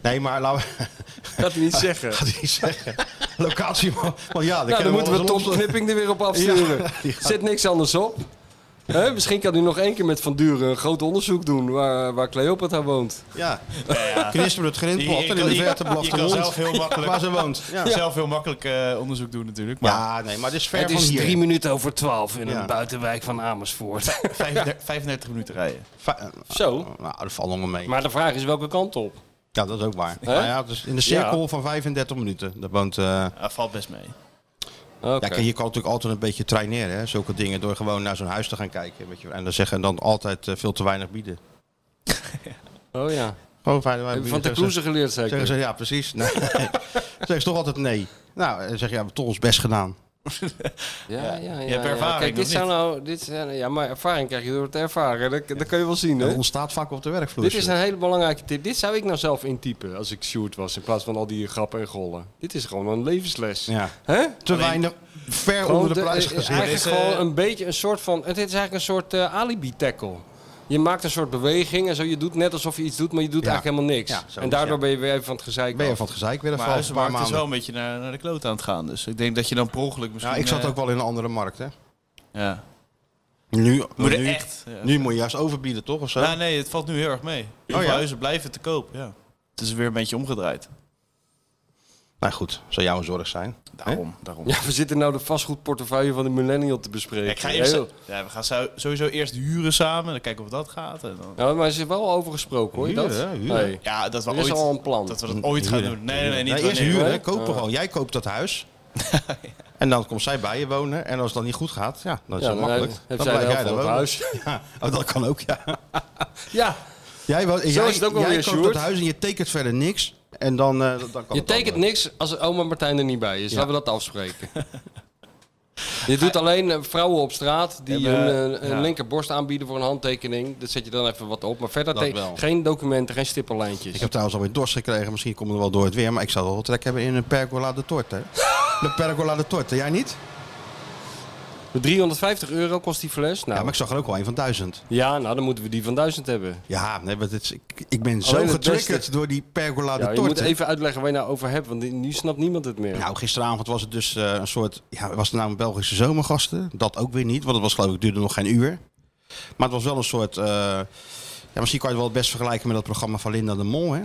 B: Nee, maar laten we
C: Gaat hij niet zeggen.
B: gaat hij zeggen. Locatie. Want ja,
C: Nou, dan
B: kunnen
C: moeten we
B: wel
C: Tom
B: eens los-
C: Knipping er weer op afsturen. Zet niks anders op. Hè, misschien kan hij nog één keer met Van Duren een groot onderzoek doen waar, waar Cleopatra woont.
B: Ja. Knisper het grindpad en in de verte blaft
D: je
B: de
D: kan
B: hond
D: zelf heel makkelijk,
B: waar ze woont. Ja.
D: zelf heel makkelijk eh, onderzoek doen natuurlijk. Maar
B: Ja, nee, maar dit is ver
C: Het
B: van
C: is
B: hier.
C: drie minuten over twaalf in
B: Ja.
C: een buitenwijk van Amersfoort.
D: 35, 35 minuten rijden.
B: Va-
C: Zo.
B: Nou, dat valt nog wel mee.
C: Maar de vraag is welke kant op?
B: Ja, dat is ook waar.
C: Hè?
B: Nou ja, het is in de cirkel van 35 minuten. Daar woont... eh,
D: Dat valt best mee.
C: Oké.
B: Ja, kijk, je kan natuurlijk altijd een beetje traineren, hè, zulke dingen, door gewoon naar zo'n huis te gaan kijken. Weet je, en dan zeggen en dan altijd eh, veel te weinig bieden.
C: Oh ja.
B: Gewoon veilig weinig bieden.
C: Van de
B: Zeggen ze-
C: Kloeze geleerd
B: Zeggen
C: zeker.
B: ze, ja, precies. Nee. zeggen ze toch altijd nee. Nou, dan zeg je, ja, we hebben toch ons best gedaan.
C: Ja, ja, ja.
D: hebt ervaring,
C: Kijk,
D: of
C: dit zou
D: niet?
C: nou, dit, zijn- ja, maar ervaring krijg je door het ervaren. Dat, dat kun je wel zien,
B: Dat
C: hè?
B: ontstaat vaak op de werkvloer.
C: Dit is een hele belangrijke tip. Dit zou ik nou zelf intypen als ik Sjoerd was, in plaats van al die grappen en gollen. Dit is gewoon een levensles.
B: ja.
C: Hè?
B: Te
D: Alleen-
B: weinig, ver
C: Gewoon
B: onder de prijs
C: eh,
B: gezien.
C: Eigenlijk
D: Dit is, eh,
C: gewoon een beetje een soort van. Het is eigenlijk een soort eh, alibi-tackle. Je maakt een soort beweging en zo. Je doet net alsof je iets doet, maar je doet
B: Ja.
C: eigenlijk helemaal niks.
B: Ja, zo
C: en
B: is,
C: daardoor
B: ja.
C: ben je weer even van het gezeik.
B: ben je
C: af.
B: van het gezeik
D: Maar
B: weer even een paar
D: huizenmarkt is wel
B: maanden.
D: een beetje naar, naar de kloot aan het gaan. Dus ik denk dat je dan per ongeluk misschien...
B: Nou, ik zat
D: eh,
B: ook wel in een andere markt, hè.
D: Ja.
B: Nu,
D: Moet er
B: nu,
D: echt... Ja.
B: nu moet je juist overbieden, toch? Of zo?
D: Nou, nee, het valt nu heel erg mee. Heel
B: Oh,
D: veel
B: ja?
D: huizen blijven te koop, ja. Het is weer een beetje omgedraaid.
B: Nou goed, zou jouw zorg zijn.
D: Daarom, daarom.
C: Ja, we zitten nou de vastgoedportefeuille van de millennial te bespreken.
D: Ja, ik ga eerst,
C: Heel-
D: ja, we gaan zo- sowieso eerst huren samen. Dan kijken of dat gaat. En dan,
C: Nou, maar er is wel over gesproken, hoor je dat?
B: Huren, hè, huren.
C: Nee.
D: ja, dat we
C: Er is
D: ooit,
C: al een plan.
D: dat, we dat ooit gaan doen. Nee, nee, nee. Niet
B: Nee, eerst
D: wanneer.
B: huren,
C: hè?
B: hè? kopen gewoon. Jij koopt dat huis. En dan komt zij bij je wonen. En als dat niet goed gaat, ja, dan is
C: Ja,
B: dat
C: dan
B: makkelijk.
C: heeft-
B: Dan
C: heeft zij de
B: blijf
C: helft
B: jij
C: van het
B: daar wonen.
C: huis.
B: Ja, oh, dat kan ook, ja.
C: Ja,
B: Jij, wo- jij,
C: is het ook wel
B: jij
C: weer,
B: koopt
C: Sjoerd.
B: dat huis en je tekent verder niks. En dan, eh, dan kan
C: je
B: het wel.
C: tekent niks als oma Martijn er niet bij is. Laten we dat afspreken. je doet alleen eh, vrouwen op straat die
D: Hebben-
C: hun eh, hun
D: ja.
C: linkerborst aanbieden voor een handtekening. Dat zet je dan even wat op. Maar verder
B: Dat
C: te-
B: wel.
C: geen documenten, geen stippellijntjes.
B: Ik heb trouwens alweer dorst gekregen. Misschien komt het wel door het weer. Maar ik zou wel wat trek hebben in een pergola de torte. hè. De pergola de torte. Jij niet?
C: Voor 350 euro kost die fles. Nou,
B: Ja,
C: ja,
B: maar ik zag er ook wel een van duizend.
C: nou dan moeten we die van 1000 hebben.
B: Ja, nee, maar dit is, ik, ik ben zo
C: Alleen het
B: getriggerd
C: beste.
B: door die pergola
C: Ja,
B: de
C: je moet
B: torte.
C: even uitleggen waar je nou over hebt, want nu snapt niemand het meer.
B: Nou, gisteravond was het dus eh, een soort. Ja, was het nou een Belgische zomergasten? Dat ook weer niet, want het was geloof ik duurde nog geen uur. Maar het was wel een soort. eh, ja, misschien kan je het wel het best vergelijken met dat programma van Linda de Mol, hè?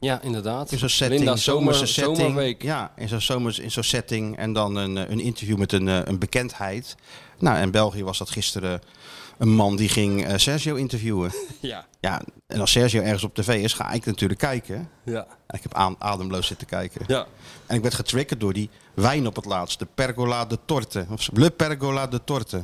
C: ja, inderdaad.
B: In zo'n setting,
C: Linda,
B: zomerse
C: zomer-
B: setting.
C: zomerweek.
B: Ja, in zo'n zomers, in zo'n setting en dan een, eh, een interview met een, eh, een bekendheid. Nou, in België was dat gisteren een man die ging eh, Sergio interviewen.
C: Ja.
B: Ja, en als Sergio ergens op tv is, ga ik natuurlijk kijken.
C: Ja.
B: En ik heb aan, ademloos zitten kijken.
C: ja.
B: En ik werd getriggerd door die wijn op het laatst. De Pergola de Torte. Of Le Pergola de Torte.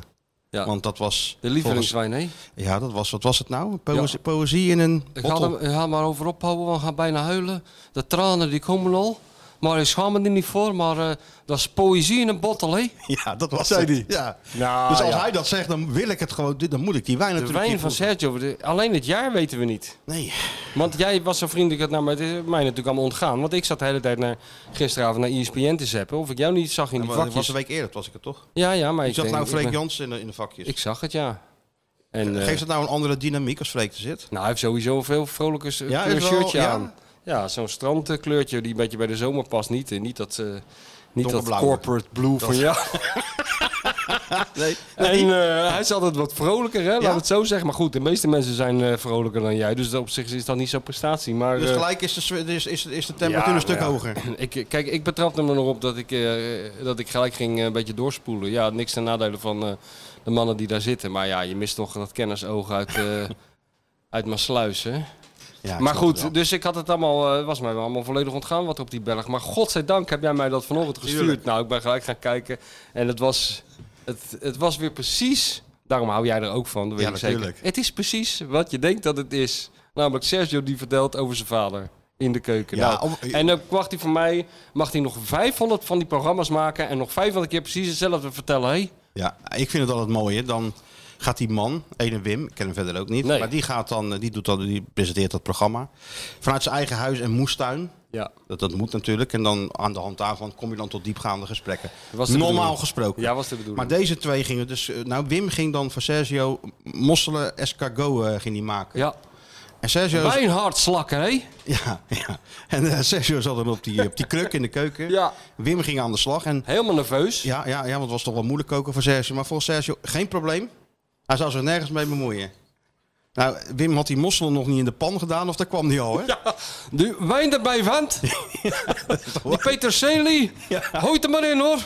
C: Ja.
B: Want dat was...
C: De lievelingswijn, hè?
B: volgens- ja, dat was... Wat was het nou? Poëzie, poëzie in een
C: Ik ga,
B: bottle.
C: hem, ik ga hem maar over ophouden, want ik ga bijna huilen. De tranen die komen al. Maar ik schaam me er niet voor, maar eh, dat is poëzie in een bottle, hè?
B: Ja, dat was
C: Zei
B: het.
C: die?
B: Ja.
C: Nou,
B: dus als
C: ja.
B: hij dat zegt, dan wil ik het gewoon... Dan moet ik die wijn
C: De
B: natuurlijk...
C: wijn
B: niet
C: van
B: proeven.
C: Sergio, de- alleen het jaar weten we niet.
B: Nee.
C: Want jij was zo vriendelijk het naar mij, het is mij natuurlijk allemaal ontgaan. Want ik zat de hele tijd naar, gisteravond naar E ESPN te zappen. Of ik jou niet zag in die
B: Maar dat was
C: vakjes.
B: een week eerder, dat was ik het toch?
C: Ja, ja, maar
B: Ik
C: ik
B: zat
C: denk-
B: nou
C: ik
B: Freek
C: ben-
B: Jans in de, in de vakjes.
C: Ik zag het, ja. En, eh,
B: Geeft het nou een andere dynamiek als Freek er zit?
C: nou, hij heeft sowieso een veel vrolijker s-
B: Ja,
C: kleur
B: is wel-
C: shirtje
B: ja.
C: aan. Ja, zo'n strandkleurtje die een beetje bij de zomer past. Niet, eh, niet dat, eh, niet dat
B: Donkerblauwe.
C: corporate blue van jou.
B: Nee.
C: En eh, hij is altijd wat vrolijker, hè? laat het zo zeggen. Maar goed, de meeste mensen zijn eh, vrolijker dan jij. Dus op zich is dat niet zo'n prestatie. Maar,
B: Dus
C: eh,
B: gelijk is de, swe- is, is, is de temperatuur
C: ja,
B: een stuk
C: ja.
B: hoger.
C: Ik, eh, kijk, ik betrapte hem er nog op dat ik, eh, dat ik gelijk ging eh, een beetje doorspoelen. Ja, niks ten nadele van eh, de mannen die daar zitten. Maar ja, je mist toch dat kennisoog uit, eh uit Maasluis, hè?
B: Ja, ik
C: maar
B: snap het
C: goed, dus ik had het allemaal, eh, was mij wel allemaal volledig ontgaan wat er op die Belg. Maar godzijdank heb jij mij dat vanochtend gestuurd. Nou, ik ben gelijk gaan kijken en het was, het, het was weer precies Daarom hou jij er ook van, dat weet
B: Ja,
C: ik zeker.
B: natuurlijk.
C: Het is precies wat je denkt dat het is. Namelijk Sergio die vertelt over zijn vader in de keuken.
B: Ja,
C: Nou,
B: om-
C: en dan mag hij van mij mag hij nog 500 van die programma's maken... en nog 500 keer precies hetzelfde vertellen. Hé,
B: Ja, ik vind het altijd mooier. Dan gaat die man, ene Wim, ik ken hem verder ook niet,
C: Nee.
B: maar die, gaat dan, eh, die, doet dan, die presenteert dat programma vanuit zijn eigen huis en moestuin.
C: ja.
B: Dat, dat moet natuurlijk. En dan aan de hand daarvan kom je dan tot diepgaande gesprekken.
C: was de
B: Normaal
C: bedoeling.
B: gesproken.
C: Ja, was de bedoeling.
B: Maar deze twee gingen dus... eh, Nou, Wim ging dan voor Sergio mosselen escargot eh, ging die maken.
C: ja.
B: En Sergio...
C: Bij een hard slakken, hé?
B: Ja, ja. En eh, Sergio zat dan op die, op die kruk in de keuken.
C: Ja.
B: Wim ging aan de slag. En
C: Helemaal nerveus.
B: ja, ja, ja, want het was toch wel moeilijk koken voor Sergio. Maar volgens Sergio, geen probleem. Hij zou zich nergens mee bemoeien. Nou, Wim had die mossel nog niet in de pan gedaan, of daar kwam die al, hè?
C: De wijn erbij, vent. die Peterselie. Hoort er maar in, hoor.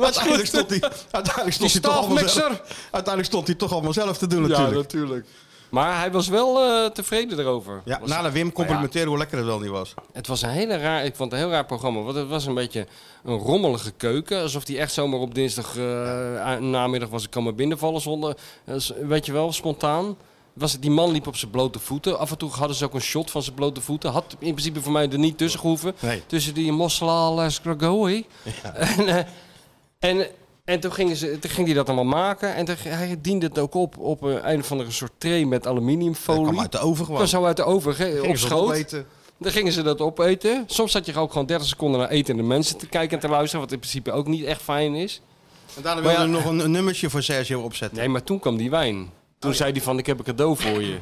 B: uiteindelijk stond hij, uiteindelijk stond
C: Die
B: hij toch allemaal
C: staafmixer.
B: zelf, uiteindelijk stond hij toch allemaal zelf te doen natuurlijk.
C: natuurlijk. Maar hij was wel eh, tevreden erover.
B: Ja,
C: Was- Nou
B: na de Wim
C: Maar
B: complimenteren hoe lekker het wel niet was.
C: ja, het was een hele raar, ik vond het een heel raar programma. Want het was een beetje een rommelige keuken. Alsof hij echt zomaar op dinsdag eh, a- namiddag was. Ik kan maar binnenvallen zonder, eh, s- weet je wel, spontaan. Was het, die man liep op zijn blote voeten. Af en toe hadden ze ook een shot van zijn blote voeten. Had in principe voor mij er niet tussen gehoeven.
B: Nee.
C: Tussen die mosselaal en Scragoi. En, eh, en, en toen, gingen ze, toen ging hij dat allemaal maken. En toen, hij diende het ook op op een, een of andere soort tray met
B: Hij
C: aluminiumfolie.
B: kwam uit de oven gewoon.
C: Dan zo uit de oven ge-
B: Gingen
C: op
B: ze
C: schoot.
B: opeten.
C: Dan gingen ze dat opeten. Soms zat je ook gewoon 30 seconden naar eten en de mensen te kijken en te luisteren. Wat in principe ook niet echt fijn is.
B: En daarna
C: Maar
B: wilde
C: ja- eh,
B: hij nog een, een nummertje voor Sergio opzetten.
C: Nee, maar toen kwam die wijn. Toen zei hij van, ik heb een cadeau voor je.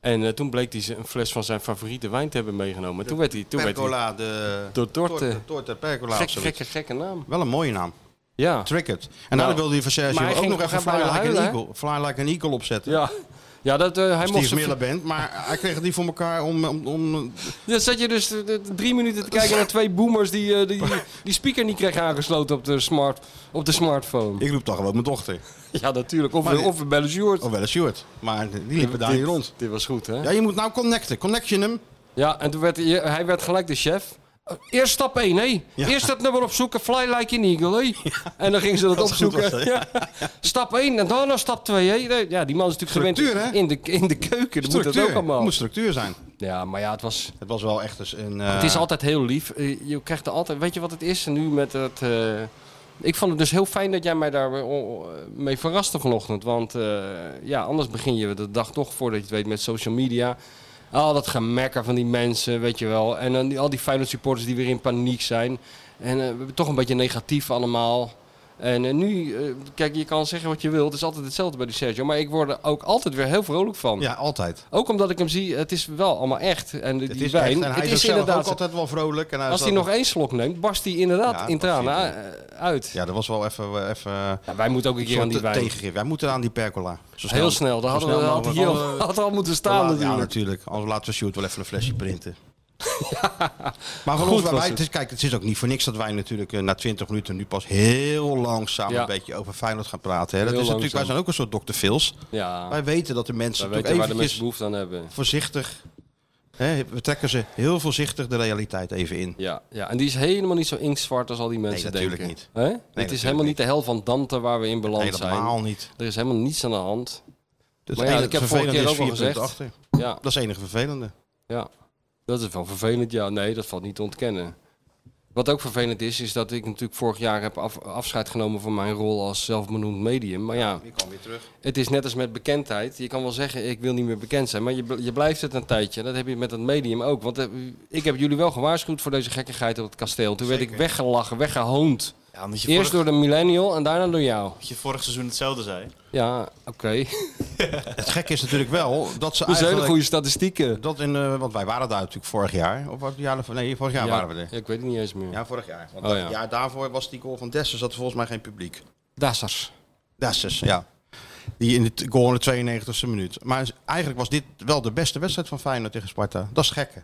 C: En eh, toen bleek hij ze- een fles van zijn favoriete wijn te hebben meegenomen. Toen werd hij... Toen werd hij
B: percola, de...
C: Door Torte.
B: Torte, torte, percola
C: gek,
B: of zoiets.
C: gekke, gekke naam.
B: Wel een mooie naam.
C: Ja.
B: Triggered. En daarna wilde hij voor Sergio
C: maar hij
B: ook
C: ging-
B: nog even
C: hij
B: Fly
C: ging
B: Like,
C: bijna
B: an
C: huilen, hè?
B: eagle, fly like an Eagle opzetten.
C: Ja. Ja, dat, eh, hij mocht...
B: Steve
C: zijn-
B: Miller Band, maar hij kreeg het niet voor elkaar om... om, om
C: Dan zat je dus eh, eh, drie minuten te kijken naar twee boomers die eh, die, die speaker niet kregen aangesloten op de, smart, op de smartphone.
B: ik roep toch gewoon mijn dochter.
C: Ja, natuurlijk. Of,
B: Maar-
C: of we bellen Sjoerd.
B: Of wel een Stuart. Maar die liepen daar niet
C: Dit-
B: rond.
C: Dit was goed, hè?
B: Ja, je moet nou connecten. Connection hem.
C: Ja, en toen werd hij, hij werd gelijk de chef. Eh, Eerst stap 1, hé.
B: Ja.
C: Eerst dat nummer opzoeken, fly like an eagle, hé. En dan gingen ze dat,
B: Dat is goed,
C: opzoeken.
B: was
C: Ja. Stap 1 en daarna stap 2, hé. Nee, Ja, die man is natuurlijk
B: Structuur,
C: gewend
B: hè?
C: in de, in de keuken. Dat moet dat ook
B: Structuur. Het
C: allemaal.
B: moet structuur zijn.
C: Ja, maar ja, het was...
B: Het was wel echt eens een...
C: Het is altijd heel lief. Eh, Je krijgt er altijd... Weet je wat het is? En nu met het... eh, Ik vond het dus heel fijn dat jij mij daar eh, o- mee verraste vanochtend. Want eh, ja, anders begin je de dag toch voordat je het weet met social media. Al dat gemekker van die mensen, weet je wel. En dan die, al die Feyenoord supporters die weer in paniek zijn. En eh, toch een beetje negatief allemaal. En eh, nu, eh, kijk, je kan zeggen wat je wilt. Het is altijd hetzelfde bij die Sergio. Maar ik word er ook altijd weer heel vrolijk van.
B: Ja, altijd.
C: Ook omdat ik hem zie, het is wel allemaal echt. En die
B: Het is
C: wijn,
B: echt. En hij
C: het
B: is,
C: is
B: ook, zelf ook
C: inderdaad
B: altijd wel vrolijk. En hij
C: als
B: is
C: hij
B: wel-
C: nog één slok neemt, barst hij inderdaad
B: Ja,
C: in
B: dat
C: tranen
B: zie
C: eh, uit.
B: Ja, dat was wel even... eh, even
C: Ja, wij moeten ook een
B: een
C: keer aan
B: soort
C: die
B: te-
C: wijn.
B: tegengif. Wij moeten aan die percola. Zo
C: Heel snel, daar
B: zo
C: hadden we had
B: mogelijk.
C: hier
B: Alle-
C: al, had er al moeten staan
B: Ja,
C: natuurlijk.
B: natuurlijk. Anders laten we Sjoerd wel even een flesje printen. Maar
C: Goed
B: goed,
C: was
B: wij,
C: het.
B: het is, kijk, het is ook niet voor niks dat wij natuurlijk eh, na 20 minuten nu pas heel langzaam
C: Ja.
B: een beetje over Feyenoord gaan praten. Hè. Dat
C: Heel
B: is natuurlijk, wij
C: langzaam.
B: zijn ook een soort Dr. Phils.
C: Ja, wij
B: Wij weten dat de mensen toch
C: weten waar de
B: eventjes
C: mensen behoefte aan hebben.
B: voorzichtig, hè, we trekken ze heel voorzichtig de realiteit even in.
C: Ja, ja, en die is helemaal niet zo inktzwart als al die mensen
B: natuurlijk
C: denken.
B: niet.
C: Hè? het is
B: natuurlijk
C: helemaal niet
B: niet.
C: de hel van Dante waar we in beland zijn.
B: Helemaal niet.
C: Er is helemaal niets aan de hand.
B: Het
C: Maar ja,
B: enige
C: ik heb vorige
B: vervelende
C: keer
B: is
C: ook al
B: vier punten
C: gezegd.
B: achter.
C: Ja,
B: Dat is het enige vervelende.
C: ja, dat is wel vervelend. Ja, nee, dat valt niet te ontkennen. Wat ook vervelend is, is dat ik natuurlijk vorig jaar heb af- afscheid genomen van mijn rol als zelfbenoemd medium. Maar ja,
B: Ik kwam weer terug.
C: Het is net als met bekendheid. Je kan wel zeggen, ik wil niet meer bekend zijn. Maar je, bl- je blijft het een tijdje. Dat heb je met het medium ook. Want eh, ik heb jullie wel gewaarschuwd voor deze gekkigheid op het kasteel. Toen werd ik
B: Zeker.
C: weggelachen, weggehoond.
D: Ja, omdat je,
C: Eerst
D: vorig,
C: door de millennial en daarna door jou.
D: dat je vorig seizoen hetzelfde zei.
C: Ja, oké.
B: Het gekke is natuurlijk wel dat ze
C: Dat zijn hele
B: Ah, eigenlijk...
C: goede statistieken.
B: Dat in, eh, want wij waren daar natuurlijk vorig jaar. Of was het jaar, nee, vorig jaar waren we er.
C: ik weet het niet eens meer.
B: Ja, vorig jaar. Want
C: Oh,
B: dat
C: ja.
B: jaar daarvoor was die goal van Dessers, dat volgens mij geen publiek.
C: Dassers.
B: Dessers, ja. Die in de t- goal in de 92e minuut. Maar eigenlijk was dit wel de beste wedstrijd van Feyenoord tegen Sparta. Dat is gekke.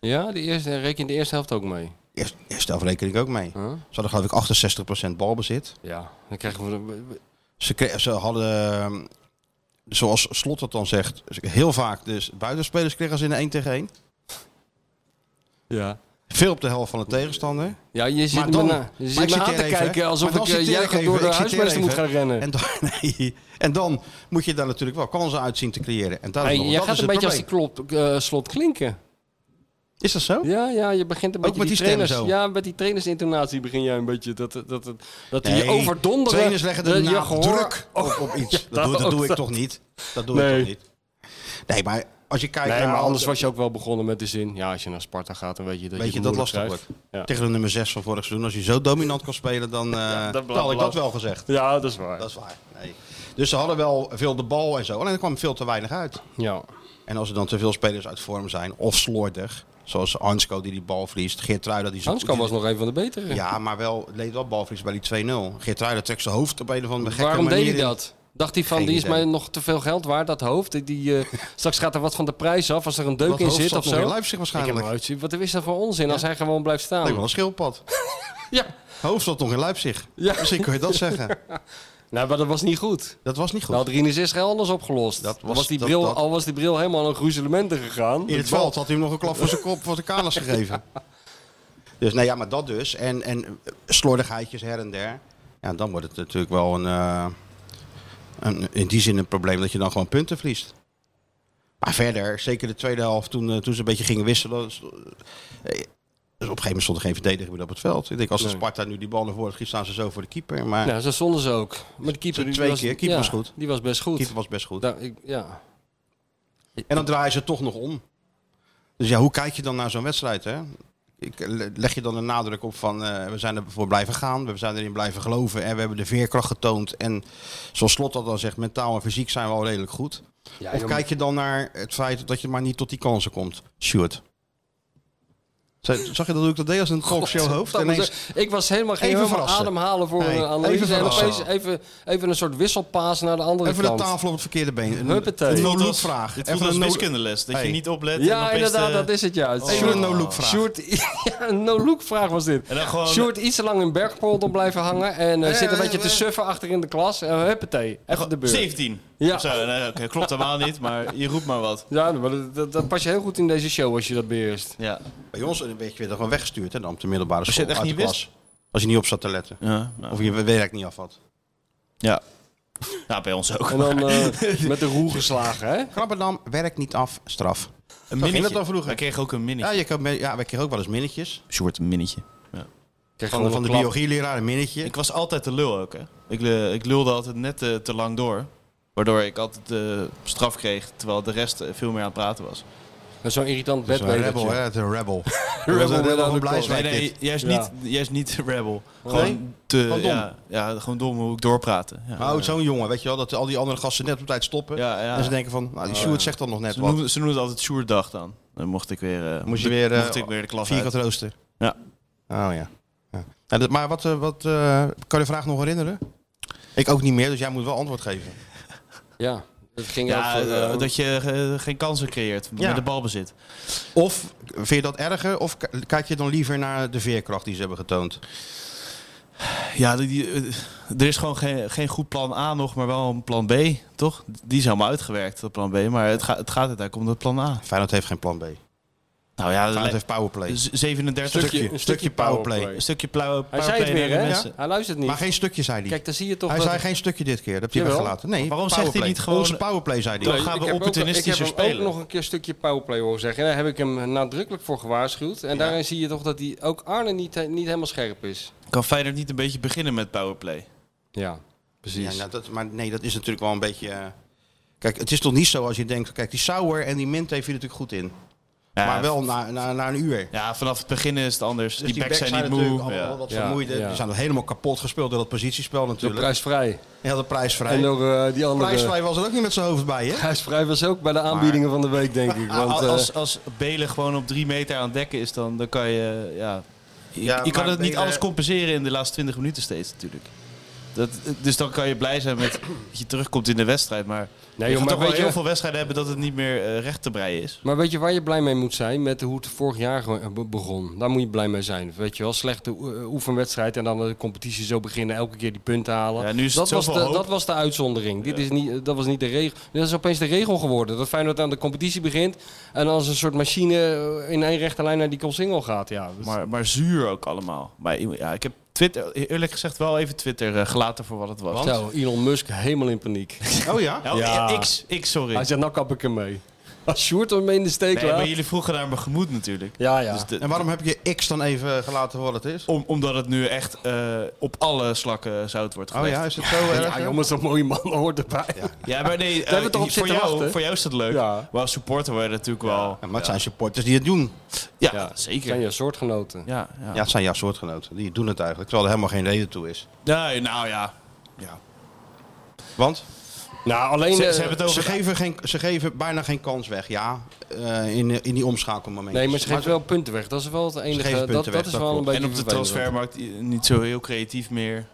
C: Ja, de eerste, reken je de eerste helft ook mee.
B: Eerst, eerste helft reken ik ook mee.
C: Huh?
B: Ze hadden geloof ik 68% balbezit.
C: Ja, dan krijgen we... de-
B: Ze, kre- ze hadden, ehm, zoals Slot dat dan zegt, heel vaak dus buitenspelers kregen ze in de 1 tegen 1.
C: Ja.
B: Veel op de helft van de tegenstander.
C: Ja, je zit
B: Maar
C: me,
B: dan,
C: na- je
B: maar
C: zit
B: ik
C: me
B: citeer
C: aan te
B: even, hè.
C: kijken alsof
B: Maar dan
C: ik, eh,
B: citeer
C: jij
B: ik
C: gaat
B: even,
C: door de
B: ik citeer
C: huismeester moet
B: even.
C: gaan rennen.
B: En dan, nee. en dan moet je daar natuurlijk wel kansen uit zien te creëren. En dat is,
C: Hey,
B: nog-
C: jij
B: dat
C: gaat
B: is
C: een
B: het
C: beetje als die
B: probleem.
C: klop, eh, slot klinken.
B: Is dat zo?
C: Ja, ja, je begint een
B: Ook
C: beetje
B: met die stem
C: trainers.
B: zo.
C: Ja, met die trainersintonatie begin jij een beetje dat dat dat, dat, dat die je
B: Nee,
C: overdonderen.
B: Trainers leggen de
C: dat je
B: nadruk
C: gehoor-
B: op, op iets. dat, doe, dat doe ik toch niet? Dat doe
C: Nee.
B: ik toch niet? Nee, maar als je kijkt
C: Nee,
B: naar...
C: maar anders was je ook wel begonnen met de zin. Ja, als je naar Sparta gaat, dan weet je dat
B: Weet je,
C: je
B: dat
C: het
B: lastig
C: moeilijk
B: wordt.
C: krijgt. Ja.
B: Tegen de nummer 6 van vorig seizoen. Als je zo dominant kan spelen, dan, eh,
C: dat
B: dan had ik dat
C: blijft-
B: wel gezegd.
C: Ja, dat is waar.
B: Dat is waar. Nee. Dus ze hadden wel veel de bal en zo. Alleen er kwam veel te weinig uit.
C: Ja.
B: En als er dan te veel spelers uit vorm zijn, of slordig, zoals Ansko die die bal verliest, Geertruida die zo
C: Hanskan was nog een van de betere.
B: Ja, maar wel, leed wel balverlies bij die 2-0. Geertruida trekt zijn hoofd op een of andere gekke
C: Waarom
B: manier
C: deed hij
B: in.
C: dat? Dacht hij van,
B: Geen
C: die is
B: idee.
C: mij nog te veel geld waard, dat hoofd. Die, eh, straks gaat er wat van de prijs af als er een deuk
B: Dat
C: in
B: hoofd
C: zit
B: zat
C: of
B: nog in
C: zo.
B: Leipzig
C: Ik heb
B: waarschijnlijk.
C: hem
B: Ik
C: uitzien. Wat is dat voor onzin als hij gewoon blijft
B: denk wel
C: staan?
B: een schildpad.
C: Ja.
B: Hoofd zat nog in Leipzig.
C: Ja.
B: Misschien kun je dat zeggen.
C: Nou, maar dat was niet goed.
B: Dat was niet goed.
C: Dan had Rinus Israël anders opgelost.
B: Dat
C: Dan
B: was-
C: was die
B: dat-
C: bril,
B: dat-
C: Al was die bril helemaal aan gruzelementen gegaan.
B: In het veld had hij hem nog een klap voor zijn kop, voor zijn kanus gegeven. Dus nee, ja, maar dat dus. En, en eh, slordigheidjes her en der. Ja, dan wordt het natuurlijk wel een, eh, een, in die zin een probleem dat je dan gewoon punten verliest. Maar verder, zeker de tweede helft, toen, eh, toen ze een beetje gingen wisselen. Dus, eh, dus op een gegeven moment stond er geen verdediger meer op het veld. Ik denk, als de
C: Nee.
B: Sparta nu die bal naar voren schiet, staan ze zo voor de keeper. Maar
C: Nou, zo stonden ze ook. Maar de keeper die
B: Twee
C: was,
B: keer. Keeper
C: ja,
B: was goed.
C: Die was best goed.
B: de keeper was best goed.
C: Nou, ik, ja.
B: En dan draaien ze toch nog om. Dus ja, hoe kijk je dan naar zo'n wedstrijd? Hè? Ik, eh, le- leg je dan de nadruk op van eh, we zijn ervoor blijven gaan, we zijn erin blijven geloven en we hebben de veerkracht getoond. En zoals Slot dat dan zegt, mentaal en fysiek zijn we al redelijk goed.
C: Ja,
B: of
C: joh,
B: kijk je dan naar het feit dat je maar niet tot die kansen komt? Stuart. Zag je dat hoe ik dat deed als een talkshow hoofd?
C: dat was-
B: Ineens,
C: ik was helemaal geen
B: Even
C: helemaal
B: verrassen.
C: ademhalen voor
B: Nee,
C: een analyse.
B: even
C: en opeens
B: verrassen.
C: even, even een soort wisselpaas naar de andere
B: even de
C: kant.
B: tafel op het verkeerde been. eh, Een,
C: Huppatee.
B: een
C: Dit
D: voelt als-
B: no-look-vraag.
D: Dit
B: Even
D: voelt als
B: een no-
D: wiskundeles. Dat je
B: Hey.
D: niet oplet. en
C: Ja,
D: opeens,
C: inderdaad,
D: eh,
C: dat is het ja.
B: Even een no-look-vraag.
C: Sjoerd, ja, een no-look vraag was dit.
D: En dan gewoon-
C: Sjoerd iets te lang in Bergpolder blijven hangen en eh, zit een beetje te suffen achter in de klas. En huppatee, even de beurt.
D: 17.
C: Ja.
D: Of zo. Nee, oké, klopt helemaal niet, maar je roept maar wat.
C: Ja, maar dat, dat, dat pas je heel goed in deze show als je dat beheerst.
D: Ja.
B: Bij ons eh, werd je weer gewoon weggestuurd hè, dan op de middelbare school.
D: je het echt
B: uit de
D: niet wist?
B: klas. Als je niet op zat te letten.
D: Ja, nou.
B: Of je werk niet af had.
D: ja. Nou, bij ons ook.
C: En dan eh, met de roe geslagen, hè?
B: Krabbendam, werk niet af, straf.
D: Een
B: ging
D: minnetje.
B: het dan vroegen.
D: We kregen ook een
B: Ja,
D: minnetje.
B: je kan, ja, wij kregen ook wel eens minnetjes.
D: Een soort minnetje.
C: Krijg
B: Van, van de
C: klap.
B: biologieleraar een minnetje.
D: Ik was altijd de lul ook, hè. Ik, eh, ik lulde altijd net eh, te lang door. Waardoor ik altijd eh, straf kreeg, terwijl de rest eh, veel meer aan het praten was.
C: Zo'n irritant
B: Dat is een
C: bedwetertje.
B: rebel, hè? Het is een rebel.
C: Rebel
B: Dat is een
C: without a
B: rebel van
D: Nee,
B: Blijswijk.
D: nee,
B: dit.
D: juist
C: Ja.
D: niet, juist niet rebel. Gewoon te...
B: Gewoon dom.
D: Ja, ja, gewoon dom hoe ik doorpraten. Ja,
B: Maar ook zo'n jongen, weet je wel, dat al die andere gasten net op tijd stoppen.
D: Ja, ja. Oh,
B: En ze denken van, nou, die Sjoerd zegt dan nog net
D: Ze
B: wat.
D: noemden, ze noemden het altijd Sjoerddag dan. Dan mocht ik weer, eh,
B: Moest je weer, eh,
D: mocht ik weer de klas uit.
B: Vierkant rooster.
D: Ja.
B: Oh ja. ja. En dat- maar wat, eh, wat eh, kan je de vraag nog herinneren? Ik ook niet meer, dus jij moet wel antwoord geven.
C: Ja, dat ging
D: Ja,
C: over...
D: eh,
C: eh,
D: dat je eh, geen kansen creëert
B: Ja.
D: met de balbezit.
B: Of vind je dat erger? Of k- kijk je dan liever naar de veerkracht die ze hebben getoond?
D: Ja, die, die, eh, er is gewoon geen, geen goed plan A nog, maar wel een plan B, toch? Die is helemaal uitgewerkt, dat plan B. Maar het, gaat het gaat uiteindelijk om dat plan A.
B: Feyenoord heeft geen plan B.
D: Nou ja,
B: Feyenoord
D: Ah. le-
B: heeft powerplay.
D: z- 37
B: stukje-
C: een
B: stukje powerplay.
D: Een stukje plauwe
C: Hij zei het weer, hè?
D: Mensen.
C: Hij luistert
B: Maar
C: niet.
B: geen stukje, zei hij.
C: Kijk, dan zie je toch...
B: hij
C: dat-
B: zei geen stukje dit keer, dat heb je
C: Jawel.
B: weggelaten. Nee,
D: Waarom zegt hij
B: powerplay.
D: niet gewoon-
B: Onze powerplay, zei
D: Dan
B: hij.
C: Nee,
D: gaan we
C: ik heb ook-
D: opportunistischer
C: Ik heb hem
D: spelen.
C: ook nog een keer een stukje powerplay horen zeggen. En daar heb ik hem nadrukkelijk voor gewaarschuwd. En daarin zie je toch dat die, ook Arne niet, niet helemaal scherp is.
D: Kan Feyenoord niet een beetje beginnen met powerplay?
C: Ja,
B: Ja,
C: precies.
B: nou, dat, maar nee, dat is natuurlijk wel een beetje... eh, Kijk, het is toch niet zo als je denkt... Kijk, die Sauer en die Mint heeft hier natuurlijk goed in.
D: Ja,
B: maar wel na, na, na een uur.
D: Ja, vanaf het begin is het anders.
B: Dus
D: die, backs zijn, niet
B: natuurlijk
D: moe.
B: allemaal
D: ja.
B: wat
C: Ja,
B: vermoeide.
C: ja.
B: Die zijn helemaal kapot gespeeld door dat positiespel
C: Door
B: natuurlijk.
C: prijsvrij.
B: Ja, de prijsvrij.
C: En door eh, die andere...
B: prijsvrij was er ook niet met zijn hoofd bij, hè?
C: Prijsvrij was ook bij de aanbiedingen van de week, denk ik. Want,
D: Als-
C: eh,
D: als, als Belen gewoon op drie meter aan het dekken is, dan, dan kan je... Ja, je
B: Ja,
D: je kan
B: maar
D: het niet
B: Belen-
D: alles compenseren in de laatste 20 minuten steeds natuurlijk. Dat, dus dan kan je blij zijn met dat je terugkomt in de wedstrijd. Maar
C: Nee,
D: je
C: joh,
D: gaat
C: maar
D: toch wel
C: weet je-
D: heel veel wedstrijden hebben dat het niet meer eh, recht te breien is.
C: Maar weet je waar je blij mee moet zijn? Met hoe het vorig jaar ge- be- begon. Daar moet je blij mee zijn. Weet je wel, slechte oe- eh, oefenwedstrijd en dan de competitie zo beginnen. Elke keer die punten halen.
D: Ja, nu is
C: dat,
D: het
C: was de,
D: zoveel hoop.
C: dat was de uitzondering. Dit is niet, eh, dat was niet de regel. Dat is opeens de regel geworden. Dat Feyenoord aan de competitie begint. En als een soort machine eh, in één rechte lijn naar die single gaat. Ja, dat-
D: Maar, maar zuur ook allemaal. Maar ja, ik heb Twitter, e- eerlijk gezegd, wel even Twitter eh, gelaten voor wat het was.
C: Zo, Elon Musk helemaal in paniek.
B: Oh ja?
D: Oh,
C: Ja.
D: eh, X, X, sorry.
C: Hij zegt, nou kap ik hem mee. Als Sjoerd hem mee in de steek
D: Nee,
C: laat.
D: maar jullie vroegen naar mijn gemoed natuurlijk.
C: Ja, ja.
D: Dus de-
B: En waarom heb je X dan even gelaten voor wat het is?
D: om, omdat het nu echt eh, op alle slakken zout wordt
B: Oh
D: gelegd.
B: ja, is het zo erg?
C: ja, jongens, zo'n mooie man hoort erbij.
D: Ja, maar nee, eh,
C: hebben we toch op
D: voor,
C: zitten
D: jou,
C: wachten?
D: voor jou is dat leuk.
C: Ja.
D: Maar als supporter word je natuurlijk wel...
B: Ja, maar het zijn supporters die het doen.
D: Ja,
C: Ja,
D: zeker.
C: Zijn je soortgenoten.
D: Ja, ja.
B: Ja, het zijn jouw soortgenoten. Die doen het eigenlijk, terwijl er helemaal geen reden toe is.
D: Nee, nou ja. ja.
B: Want
C: Nou, alleen...
D: Ze-
C: eh,
D: ze hebben het
B: Eh, ze
D: over...
B: geven, geen, ze geven bijna geen kans weg, ja, eh, in, in die omschakelmomenten.
C: Nee, maar ze geeft wel punten weg. Dat is wel het enige.
B: geven
C: Dat, dat
B: punten
C: is
B: weg, dat
C: wel een
B: klopt.
C: beetje
D: En op de
C: vervelend.
D: transfermarkt eh, niet zo heel creatief meer.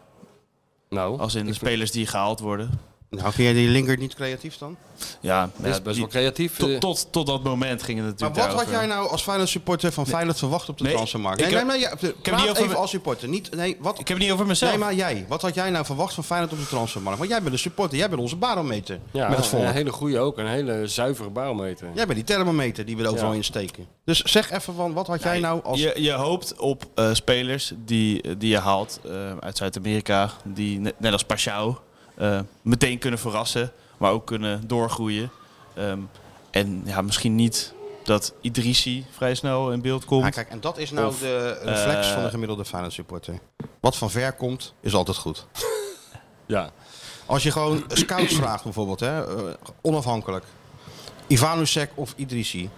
C: Nou,
D: Als in de
C: ik-
D: spelers die gehaald worden.
B: Nou, vind jij die linker niet creatief dan?
D: Ja,
C: dat is best wel
D: die-
C: creatief.
D: tot,
C: eh.
D: tot, tot dat moment ging het
B: Maar
D: natuurlijk
B: wat had
D: daarover.
B: jij nou als Feyenoord supporter van Feyenoord verwacht op de
D: Nee,
B: transfermarkt?
D: ik
B: Nee, nee,
D: heb-
B: nee, ja, praat
D: niet over
B: even
D: me-
B: als supporter. Niet, nee, wat,
D: Ik heb het niet over mezelf.
B: nee, maar jij. Wat had jij nou verwacht van Feyenoord op de transfermarkt? Want jij bent een supporter, jij bent onze barometer
C: ja,
B: met het volk.
C: een hele goede ook. Een hele zuivere barometer.
B: Jij bent die thermometer die we er overal
C: Ja.
B: in steken. Dus zeg even van, wat had jij nou als...
D: je, je hoopt op eh, spelers die, die je haalt eh, uit Zuid-Amerika. Die ne- net als Pashao eh, meteen kunnen verrassen. Maar ook kunnen doorgroeien. Ehm, en ja, misschien niet dat Idrissi vrij snel in beeld komt.
B: Ah, kijk, en dat is nou
D: Of,
B: de reflex
D: eh,
B: van de gemiddelde Feyenoord supporter. Wat van ver komt, is altijd goed.
C: Ja.
B: Als je gewoon scouts vraagt bijvoorbeeld, hè, eh, onafhankelijk. Ivanusek of Idrissi. Dan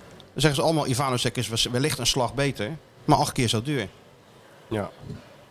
B: zeggen ze allemaal, Ivanusek is wellicht een slag beter, maar acht keer zo duur.
C: ja.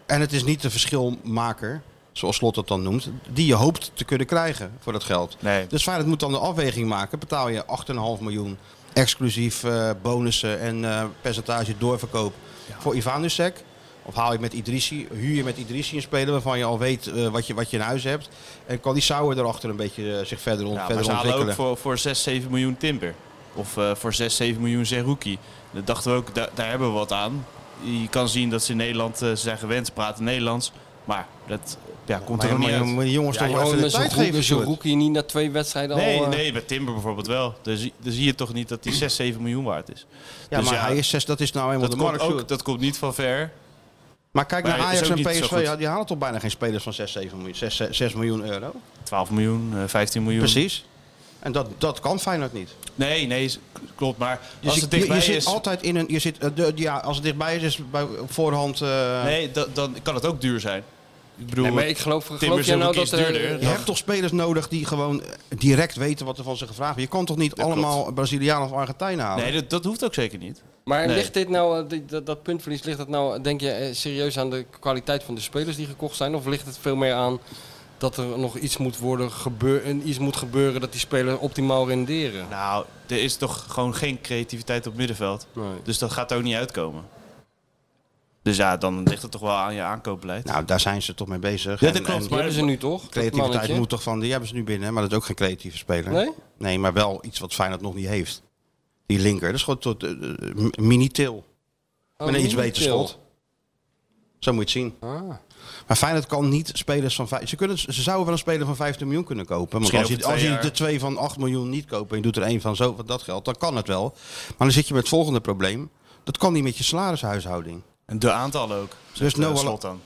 B: En het is niet de verschilmaker, zoals Slot dat dan noemt, die je hoopt te kunnen krijgen voor dat geld.
D: Nee.
B: Dus Feyenoord moet dan de afweging maken. Betaal je 8,5 miljoen exclusief eh, bonussen en eh, percentage doorverkoop voor Ivanusek? Of haal je met Idrissi, huur je met Idrissi een speler waarvan je al weet eh, wat, je, wat je in huis hebt. En kan die Sauer erachter een beetje eh, zich verder, ont-
D: Ja, maar
B: verder
D: ze halen ook
B: ontwikkelen.
D: voor, voor 6, 7 miljoen Timber. Of eh, voor 6, 7 miljoen Zerouki. Dat dachten we ook, da- daar hebben we wat aan. Je kan zien dat ze in Nederland, eh, ze zijn gewend, ze praten Nederlands. Maar dat ja, komt
B: Maar
D: er
B: ja,
D: ook niet
B: maar
D: uit.
B: je moet die jongens
C: Ja,
B: toch wel
C: joh,
B: even de
C: met zo'n
B: tijd
C: rookie,
B: geven.
C: zo'n
B: Sjoerd.
C: rookie niet na twee wedstrijden
D: Nee,
C: al... eh,
D: nee, bij Timber bijvoorbeeld wel. Dan zie, dan zie je toch niet dat die 6, 7 miljoen waard is.
B: Ja,
D: Dus
B: maar
D: ja,
B: hij is zes, dat is nou eenmaal
D: Dat
B: de
D: komt,
B: markt.
D: ook,
B: Sjoerd.
D: dat komt niet van ver.
B: Maar kijk
D: Maar
B: naar
D: hij is
B: Ajax en
D: ook niet zo
B: PSV,
D: goed.
B: ja, die halen toch bijna geen spelers van 6, 7 miljoen, 6, 6 miljoen euro?
D: 12 miljoen, eh, 15 miljoen.
B: Precies. En dat, dat kan Feyenoord niet.
D: Nee, nee, is- klopt. Maar
B: Je,
D: als
B: zit,
D: het
B: je- je
D: dichtbij
B: zit
D: is...
B: altijd in een. Je zit, eh, de- ja, als het dichtbij is, is het bij, op voorhand. eh,
D: Nee, da- dan kan het ook duur zijn. Ik bedoel,
C: Nee, maar ik geloof, geloof
D: Timber
C: jij nou
D: Zerouki
C: dat...
D: is
C: eh,
D: duurder.
B: Je hebt toch spelers nodig die gewoon eh, direct weten wat er van ze gevraagd wordt. Je kan toch niet allemaal Brazilianen of Argentijnen halen?
D: nee, dat, dat hoeft ook zeker niet.
C: Maar
D: Nee.
C: ligt dit nou, eh, dit- dat, dat puntverlies, ligt dat nou, denk je, eh, serieus aan de kwaliteit van de spelers die gekocht zijn? Of ligt het veel meer aan dat er nog iets moet, worden gebeur, en iets moet gebeuren dat die spelers optimaal renderen?
D: Nou, er is toch gewoon geen creativiteit op middenveld.
C: Nee.
D: Dus dat gaat er ook niet uitkomen. Dus ja, dan ligt het toch wel aan je aankoopbeleid.
B: Nou, daar zijn ze toch mee bezig.
D: Ja, dat
B: En-
D: klopt,
B: en
D: maar-
C: Die hebben ze nu toch? dat
B: creativiteit
C: mannetje?
B: moet toch van. Die hebben ze nu binnen, maar dat is ook geen creatieve speler.
C: Nee?
B: Nee, maar wel iets wat Feyenoord nog niet heeft. Die linker, dat is gewoon tot eh, eh, mini-til.
C: Oh,
B: Met een iets
C: niet
B: beter
C: chill.
B: schot. Zo moet je het zien.
C: Ah.
B: Maar Feyenoord kan niet spelers van... vij- Ze, kunnen, ze zouden wel een speler van 15 miljoen kunnen kopen. Maar
D: Misschien
B: als je,
D: over twee
B: als je
D: jaar.
B: de twee van 8 miljoen niet koopt en je doet er één van zo van dat geld, dan kan het wel. Maar dan zit je met het volgende probleem. Dat kan niet met je salarishuishouding.
D: En de aantallen ook. Dus
B: Noah
D: no
B: La-
D: slot dan.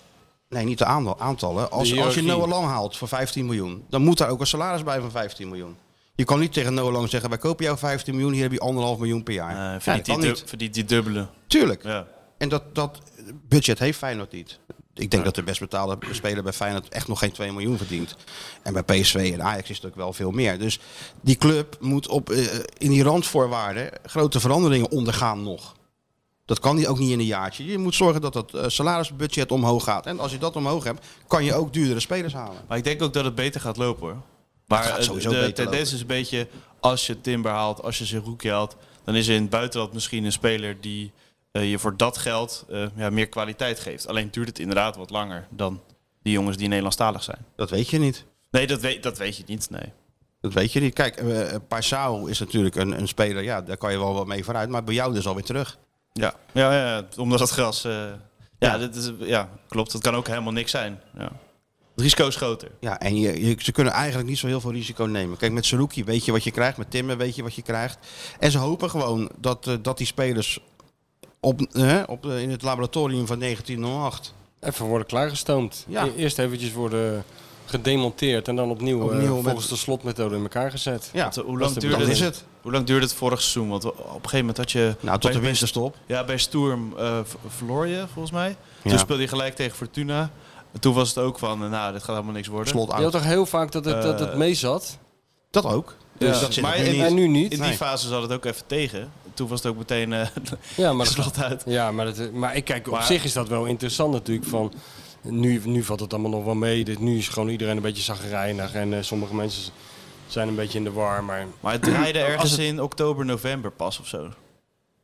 B: Nee, niet de aanda- aantallen. Als, als je
C: hiërarchie.
B: Noah Lang haalt voor 15 miljoen, dan moet daar ook een salaris bij van 15 miljoen. Je kan niet tegen Noah Lang zeggen, wij kopen jou 15 miljoen, hier heb je anderhalf miljoen per jaar.
D: Eh,
B: Nee,
D: verdient,
B: dat kan
D: die
B: niet.
D: dub- verdient die dubbele.
B: Tuurlijk.
D: Ja.
B: En dat, dat budget heeft Feyenoord niet. Ik denk dat de best betaalde speler bij Feyenoord echt nog geen 2 miljoen verdient. En bij PSV en Ajax is het ook wel veel meer. Dus die club moet op, eh, in die randvoorwaarden grote veranderingen ondergaan nog. Dat kan niet- ook niet in een jaartje. Je moet zorgen dat dat eh, salarisbudget omhoog gaat. En als je dat omhoog hebt, kan je ook duurdere spelers halen.
D: Maar ik denk ook dat het beter gaat lopen hoor. Maar
B: gaat
D: eh,
B: sowieso
D: de
B: beter
D: tendens
B: lopen.
D: is een beetje, als je Timber haalt, als je Zerouki haalt, dan is er in het buitenland misschien een speler die eh, je voor dat geld eh, ja, meer kwaliteit geeft. Alleen duurt het inderdaad wat langer dan Die jongens die Nederlandstalig zijn.
B: Dat weet je niet.
D: Nee, dat weet, dat weet je niet. Nee.
B: Dat weet je niet. Kijk, eh eh, Paisao is natuurlijk een, een speler, ja, daar kan je wel wat mee vooruit. Maar bij jou dus alweer terug.
D: Ja, ja, ja, ja, omdat dat gras. eh, ja, Dit is, ja, klopt. Dat kan ook helemaal niks zijn. Ja. Het risico is groter.
B: Ja, en je, je- ze kunnen eigenlijk niet zo heel veel risico nemen. Kijk, met Saruki weet je wat je krijgt. Met Timmer weet je wat je krijgt. En ze hopen gewoon dat, eh, dat die spelers op, eh, op, de- in het laboratorium van 1908
C: Even worden klaargestoomd.
B: Ja.
C: E- Eerst eventjes worden gedemonteerd en dan opnieuw, eh,
B: Opnieuw met-
C: volgens de slotmethode in elkaar gezet.
B: Ja,
D: Want, eh, hoe
B: dat
D: lang
B: is de
D: duurde
B: bedoeling.
D: het?
B: Dat is het.
D: Hoe lang duurde het vorig seizoen? Want op een gegeven moment had je.
B: Nou, tot
D: bij-
B: de winterstop.
D: Ja, bij Sturm eh, v- verloor je volgens mij.
B: Ja.
D: Toen speelde je gelijk tegen Fortuna. En toen was het ook van, eh, nou, dit gaat helemaal niks worden.
B: Slot
C: Je had
B: uit.
C: toch heel vaak dat het, dat het
D: Eh,
C: mee zat?
B: Dat ook. Dus dat zit
D: maar
B: er nu
D: in-
B: niet.
C: En nu
D: In
C: niet.
D: die
B: Nee.
D: fase zat het ook even tegen. Toen was het ook meteen eh
C: Ja, maar, dat,
D: slot uit.
C: ja, maar, dat, eh, maar ik kijk, op
D: Maar-
C: zich is dat wel interessant natuurlijk. Van, nu, nu valt het allemaal nog wel mee. Dit, nu is gewoon iedereen een beetje zagrijnig. En eh, sommige mensen zijn een beetje in de war. Maar
D: Maar het draaide ergens
C: het-
D: in oktober, november pas of zo.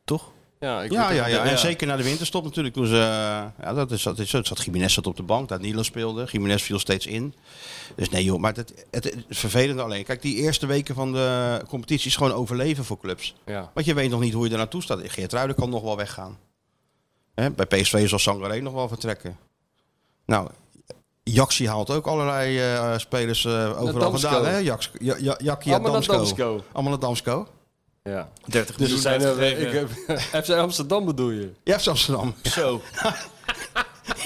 D: Toch?
C: ja, ik
B: Ja,
C: weet-
B: ja, ja,
D: Ja.
B: en zeker na de winterstop natuurlijk. Toen ze, eh, ja, dat is, dat is, dat zat Jiménez zat op de bank, dat Nilo speelde. Jiménez viel steeds in. Dus nee joh, maar het, het, het vervelende alleen. Kijk, die eerste weken van de competitie is gewoon overleven voor clubs.
C: ja.
B: Want je weet nog niet hoe je er naartoe staat. Geert Ruijden kan nog wel weggaan. Hè, bij PSV zal Sangaré nog wel vertrekken. Nou, Jaxi haalt ook allerlei eh, spelers eh, overal
C: Damsko.
B: vandaan. Hè? Jaks, ja, ja, Jakkie en
C: Allemaal naar
B: Damsko.
C: Damsko.
B: Allemaal naar Damsko.
C: Ja.
D: 30
C: Dus
D: miljoen
C: er zijn er,
D: uitgegeven.
C: ik heb, FC Amsterdam bedoel je?
B: Ja, FC Amsterdam.
D: Zo.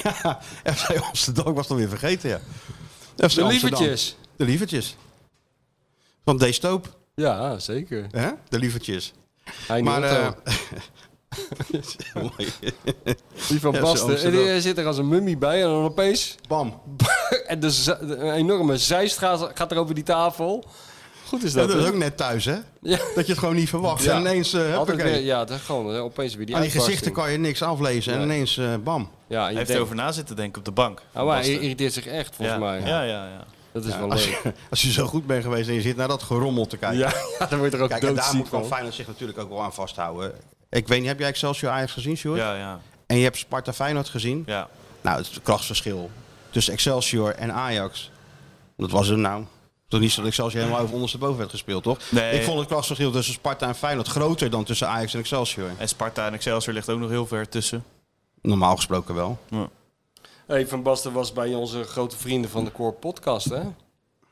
B: Ja, FC Amsterdam, ik was het alweer vergeten, ja. FC
C: De
B: Amsterdam.
C: lievertjes.
B: De lievertjes. Van D. Stoop,
C: Ja, zeker.
B: hè? De lievertjes.
C: Hij
B: Maar,
C: maar,
B: eh,
C: die van
B: ja, zo
C: Basten. En die
B: Amsterdam.
C: eh, zit er als een mummie bij en dan opeens...
B: bam.
C: En de, za- de- een enorme zijst gaat, gaat er over die tafel. Goed is
B: Dat,
C: dat,
B: is
C: hè?
B: ook net thuis, hè?
C: Ja.
B: Dat je het gewoon niet verwacht.
C: Ja.
B: En ineens, eh
C: Altijd
B: huppakee.
C: weer, ja, dat gewoon eh, opeens weer die
B: Aan die
C: uitbarsting.
B: gezichten kan je niks aflezen. En
C: Nee.
B: ineens, eh, bam.
C: Ja, je
D: Hij heeft
C: denkt-
D: erover na zitten denken op de bank.
B: Oh,
C: Ah, maar hij
D: Basten.
C: irriteert zich echt, volgens
D: ja.
C: mij.
D: Ja, ja, ja.
C: Dat is wel
B: Als
C: leuk.
B: je, als je zo goed bent geweest en je zit naar dat gerommel te kijken.
C: Ja, dan wordt er ook
B: Kijk, en daar
C: doodziek
B: moet wel
C: van.
B: Feyenoord zich natuurlijk ook wel aan vasthouden. Ik weet niet, heb jij Excelsior Ajax gezien, Sjoerd?
D: Ja, ja,
B: En je hebt Sparta Feyenoord gezien?
D: ja.
B: Nou, het krachtsverschil tussen Excelsior en Ajax. Dat was het nou. Toch niet zo dat Excelsior helemaal over ondersteboven werd gespeeld, toch?
D: Nee.
B: Ik vond het krachtsverschil tussen Sparta en Feyenoord groter dan tussen Ajax en Excelsior.
D: En Sparta en Excelsior ligt ook nog heel ver tussen.
B: Normaal gesproken wel.
C: Hey, van Basten was bij onze grote vrienden van de Core podcast, hè?
D: Ja,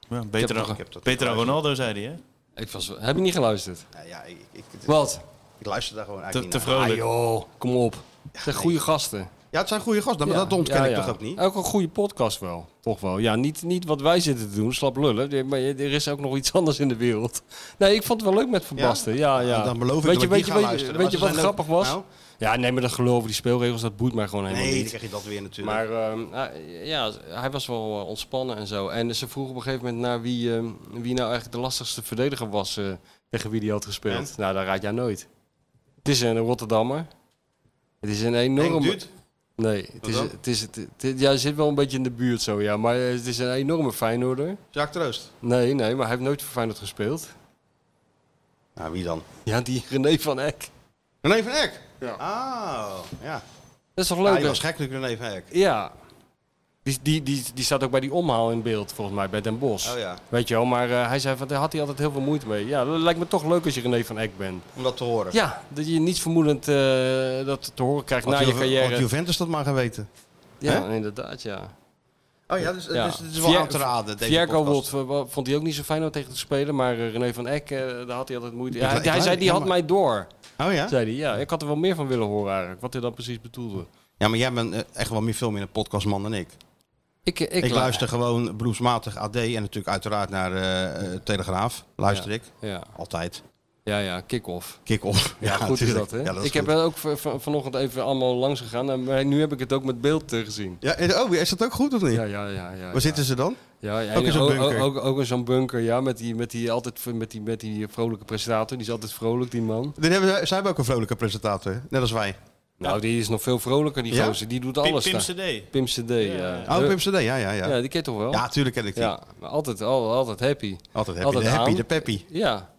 C: heb
D: beter dan,
C: nog- ik
B: heb dat
D: beter dan
B: geluisterd.
D: Ronaldo, zei hij, hè?
C: Ik was, heb je niet geluisterd?
B: Ja, ja ik, ik, ik,
C: Wat?
B: ik luister daar gewoon
D: Te,
B: eigenlijk
D: te
B: niet naar. Ah,
C: Ah
D: vrolijk.
C: joh, kom op. Het zijn goede gasten.
B: Ja, het zijn goede gasten, maar dat ontken
C: ja,
B: ik
C: ja.
B: toch ook niet?
C: Ook een goede podcast wel, toch wel. Ja, niet, niet wat wij zitten te doen, slap lullen. Nee, Maar er is ook nog iets anders in de wereld. Nee, ik vond het wel leuk met Van
B: Ja?
C: Basten. Ja, ja.
B: Nou, dan beloof ik
C: weet
B: dat
C: je,
B: ik
C: weet
B: niet
C: je,
B: ga
C: weet je,
B: luisteren,
C: weet je
B: maar
C: wat
B: ze zijn
C: grappig
B: ook-
C: was?
B: Nou?
C: Ja, nee, maar dat geloven die speelregels, dat boeit mij gewoon helemaal
B: Nee, dan
C: niet.
B: krijg je dat weer natuurlijk.
C: Maar ehm, ah, ja, hij was wel eh, ontspannen en zo. En ze vroeg op een gegeven moment naar wie, ehm, wie nou eigenlijk de lastigste verdediger was eh, tegen wie die had gespeeld. Nou, daar raad jij nooit. Het is een Rotterdammer. Het is een
B: Henk
C: enorme...
B: Duut?
C: Nee, het is,
B: dan?
C: het is, het, het- ja, hij zit wel een beetje in de buurt zo, ja. Maar eh, het is een enorme Feyenoorder.
B: Jacques Troost.
C: Nee, nee, maar hij heeft nooit voor Feyenoord gespeeld.
B: Nou, wie dan?
C: Ja, die René van Eck.
B: René van Eck.
C: Ja.
B: Oh, ja.
C: Dat is toch
B: ja
C: leuk?
B: hij
C: hè?
B: was gek natuurlijk, René van Eck.
C: Ja. Die, die, die, die staat ook bij die omhaal in beeld, volgens mij, bij Den Bosch.
B: Oh ja,
C: Weet je wel, maar eh, hij zei van, daar had hij altijd heel veel moeite mee. Ja, dat lijkt me toch leuk als je René van Eck bent.
B: om dat te horen.
C: Ja, dat je niet vermoedend eh, dat te horen krijgt
B: Had
C: na je
B: Juve- Had
C: carrière.
B: Juventus dat maar geweten.
C: Ja, inderdaad, ja.
B: Oh ja, dus,
C: ja.
B: dus het is wel
C: Vier-
B: aan te raden. Deze
C: Fierko
B: podcast.
C: Wolf, eh, vond hij ook niet zo fijn om tegen te spelen, maar eh, René van Eck, eh, daar had hij altijd moeite. Ja,
B: Ik-
C: hij
B: ik-
C: hij
B: ik-
C: zei, die
B: ja,
C: had
B: maar-
C: mij door,
B: Oh ja?
C: zei hij. Ja, ik had er wel meer van willen horen eigenlijk, wat hij dan precies bedoelde.
B: Ja, maar jij bent eh, echt wel meer veel meer een podcastman dan ik.
C: Ik, eh, ik,
B: Ik, luister gewoon beroepsmatig AD en natuurlijk uiteraard naar eh, eh, Telegraaf. Luister
C: Ja.
B: ik.
C: Ja,
B: Altijd.
C: ja, ja kick-off.
B: Kick-off.
C: Ja, goed is
B: natuurlijk.
C: dat, hè?
B: Ja, dat
C: ik
B: goed.
C: heb er ook van- van- vanochtend even allemaal langs gegaan. En maar nu heb ik het ook met beeld eh, gezien.
B: Ja, en- oh, is dat ook goed of niet?
C: Ja, ja, ja. ja
B: Waar
C: ja.
B: zitten ze dan?
C: Ja, ja,
B: Ook in
C: en
B: zo'n
C: ook-
B: bunker.
C: Ook, ook, ook in zo'n bunker, ja. Met die, met, die, altijd, v- met, die, met die vrolijke presentator. Die is altijd vrolijk, die man.
B: Dit hebben, zij hebben ook een vrolijke presentator, net als wij. Oh,
C: Nou, die is nog veel vrolijker, die
B: Ja?
C: gozer. Die doet
D: Pim,
C: alles.
D: Pim
C: daar.
D: CD.
C: Pim CD, ja.
B: Oh, Pim CD, ja, ja, ja.
C: Ja,
B: Ja,
C: die kent toch wel?
B: tuurlijk ken ik die.
C: Ja, maar altijd, al- altijd happy.
B: Altijd happy.
C: Altijd
B: de happy,
C: aan.
B: de peppy.
C: Ja.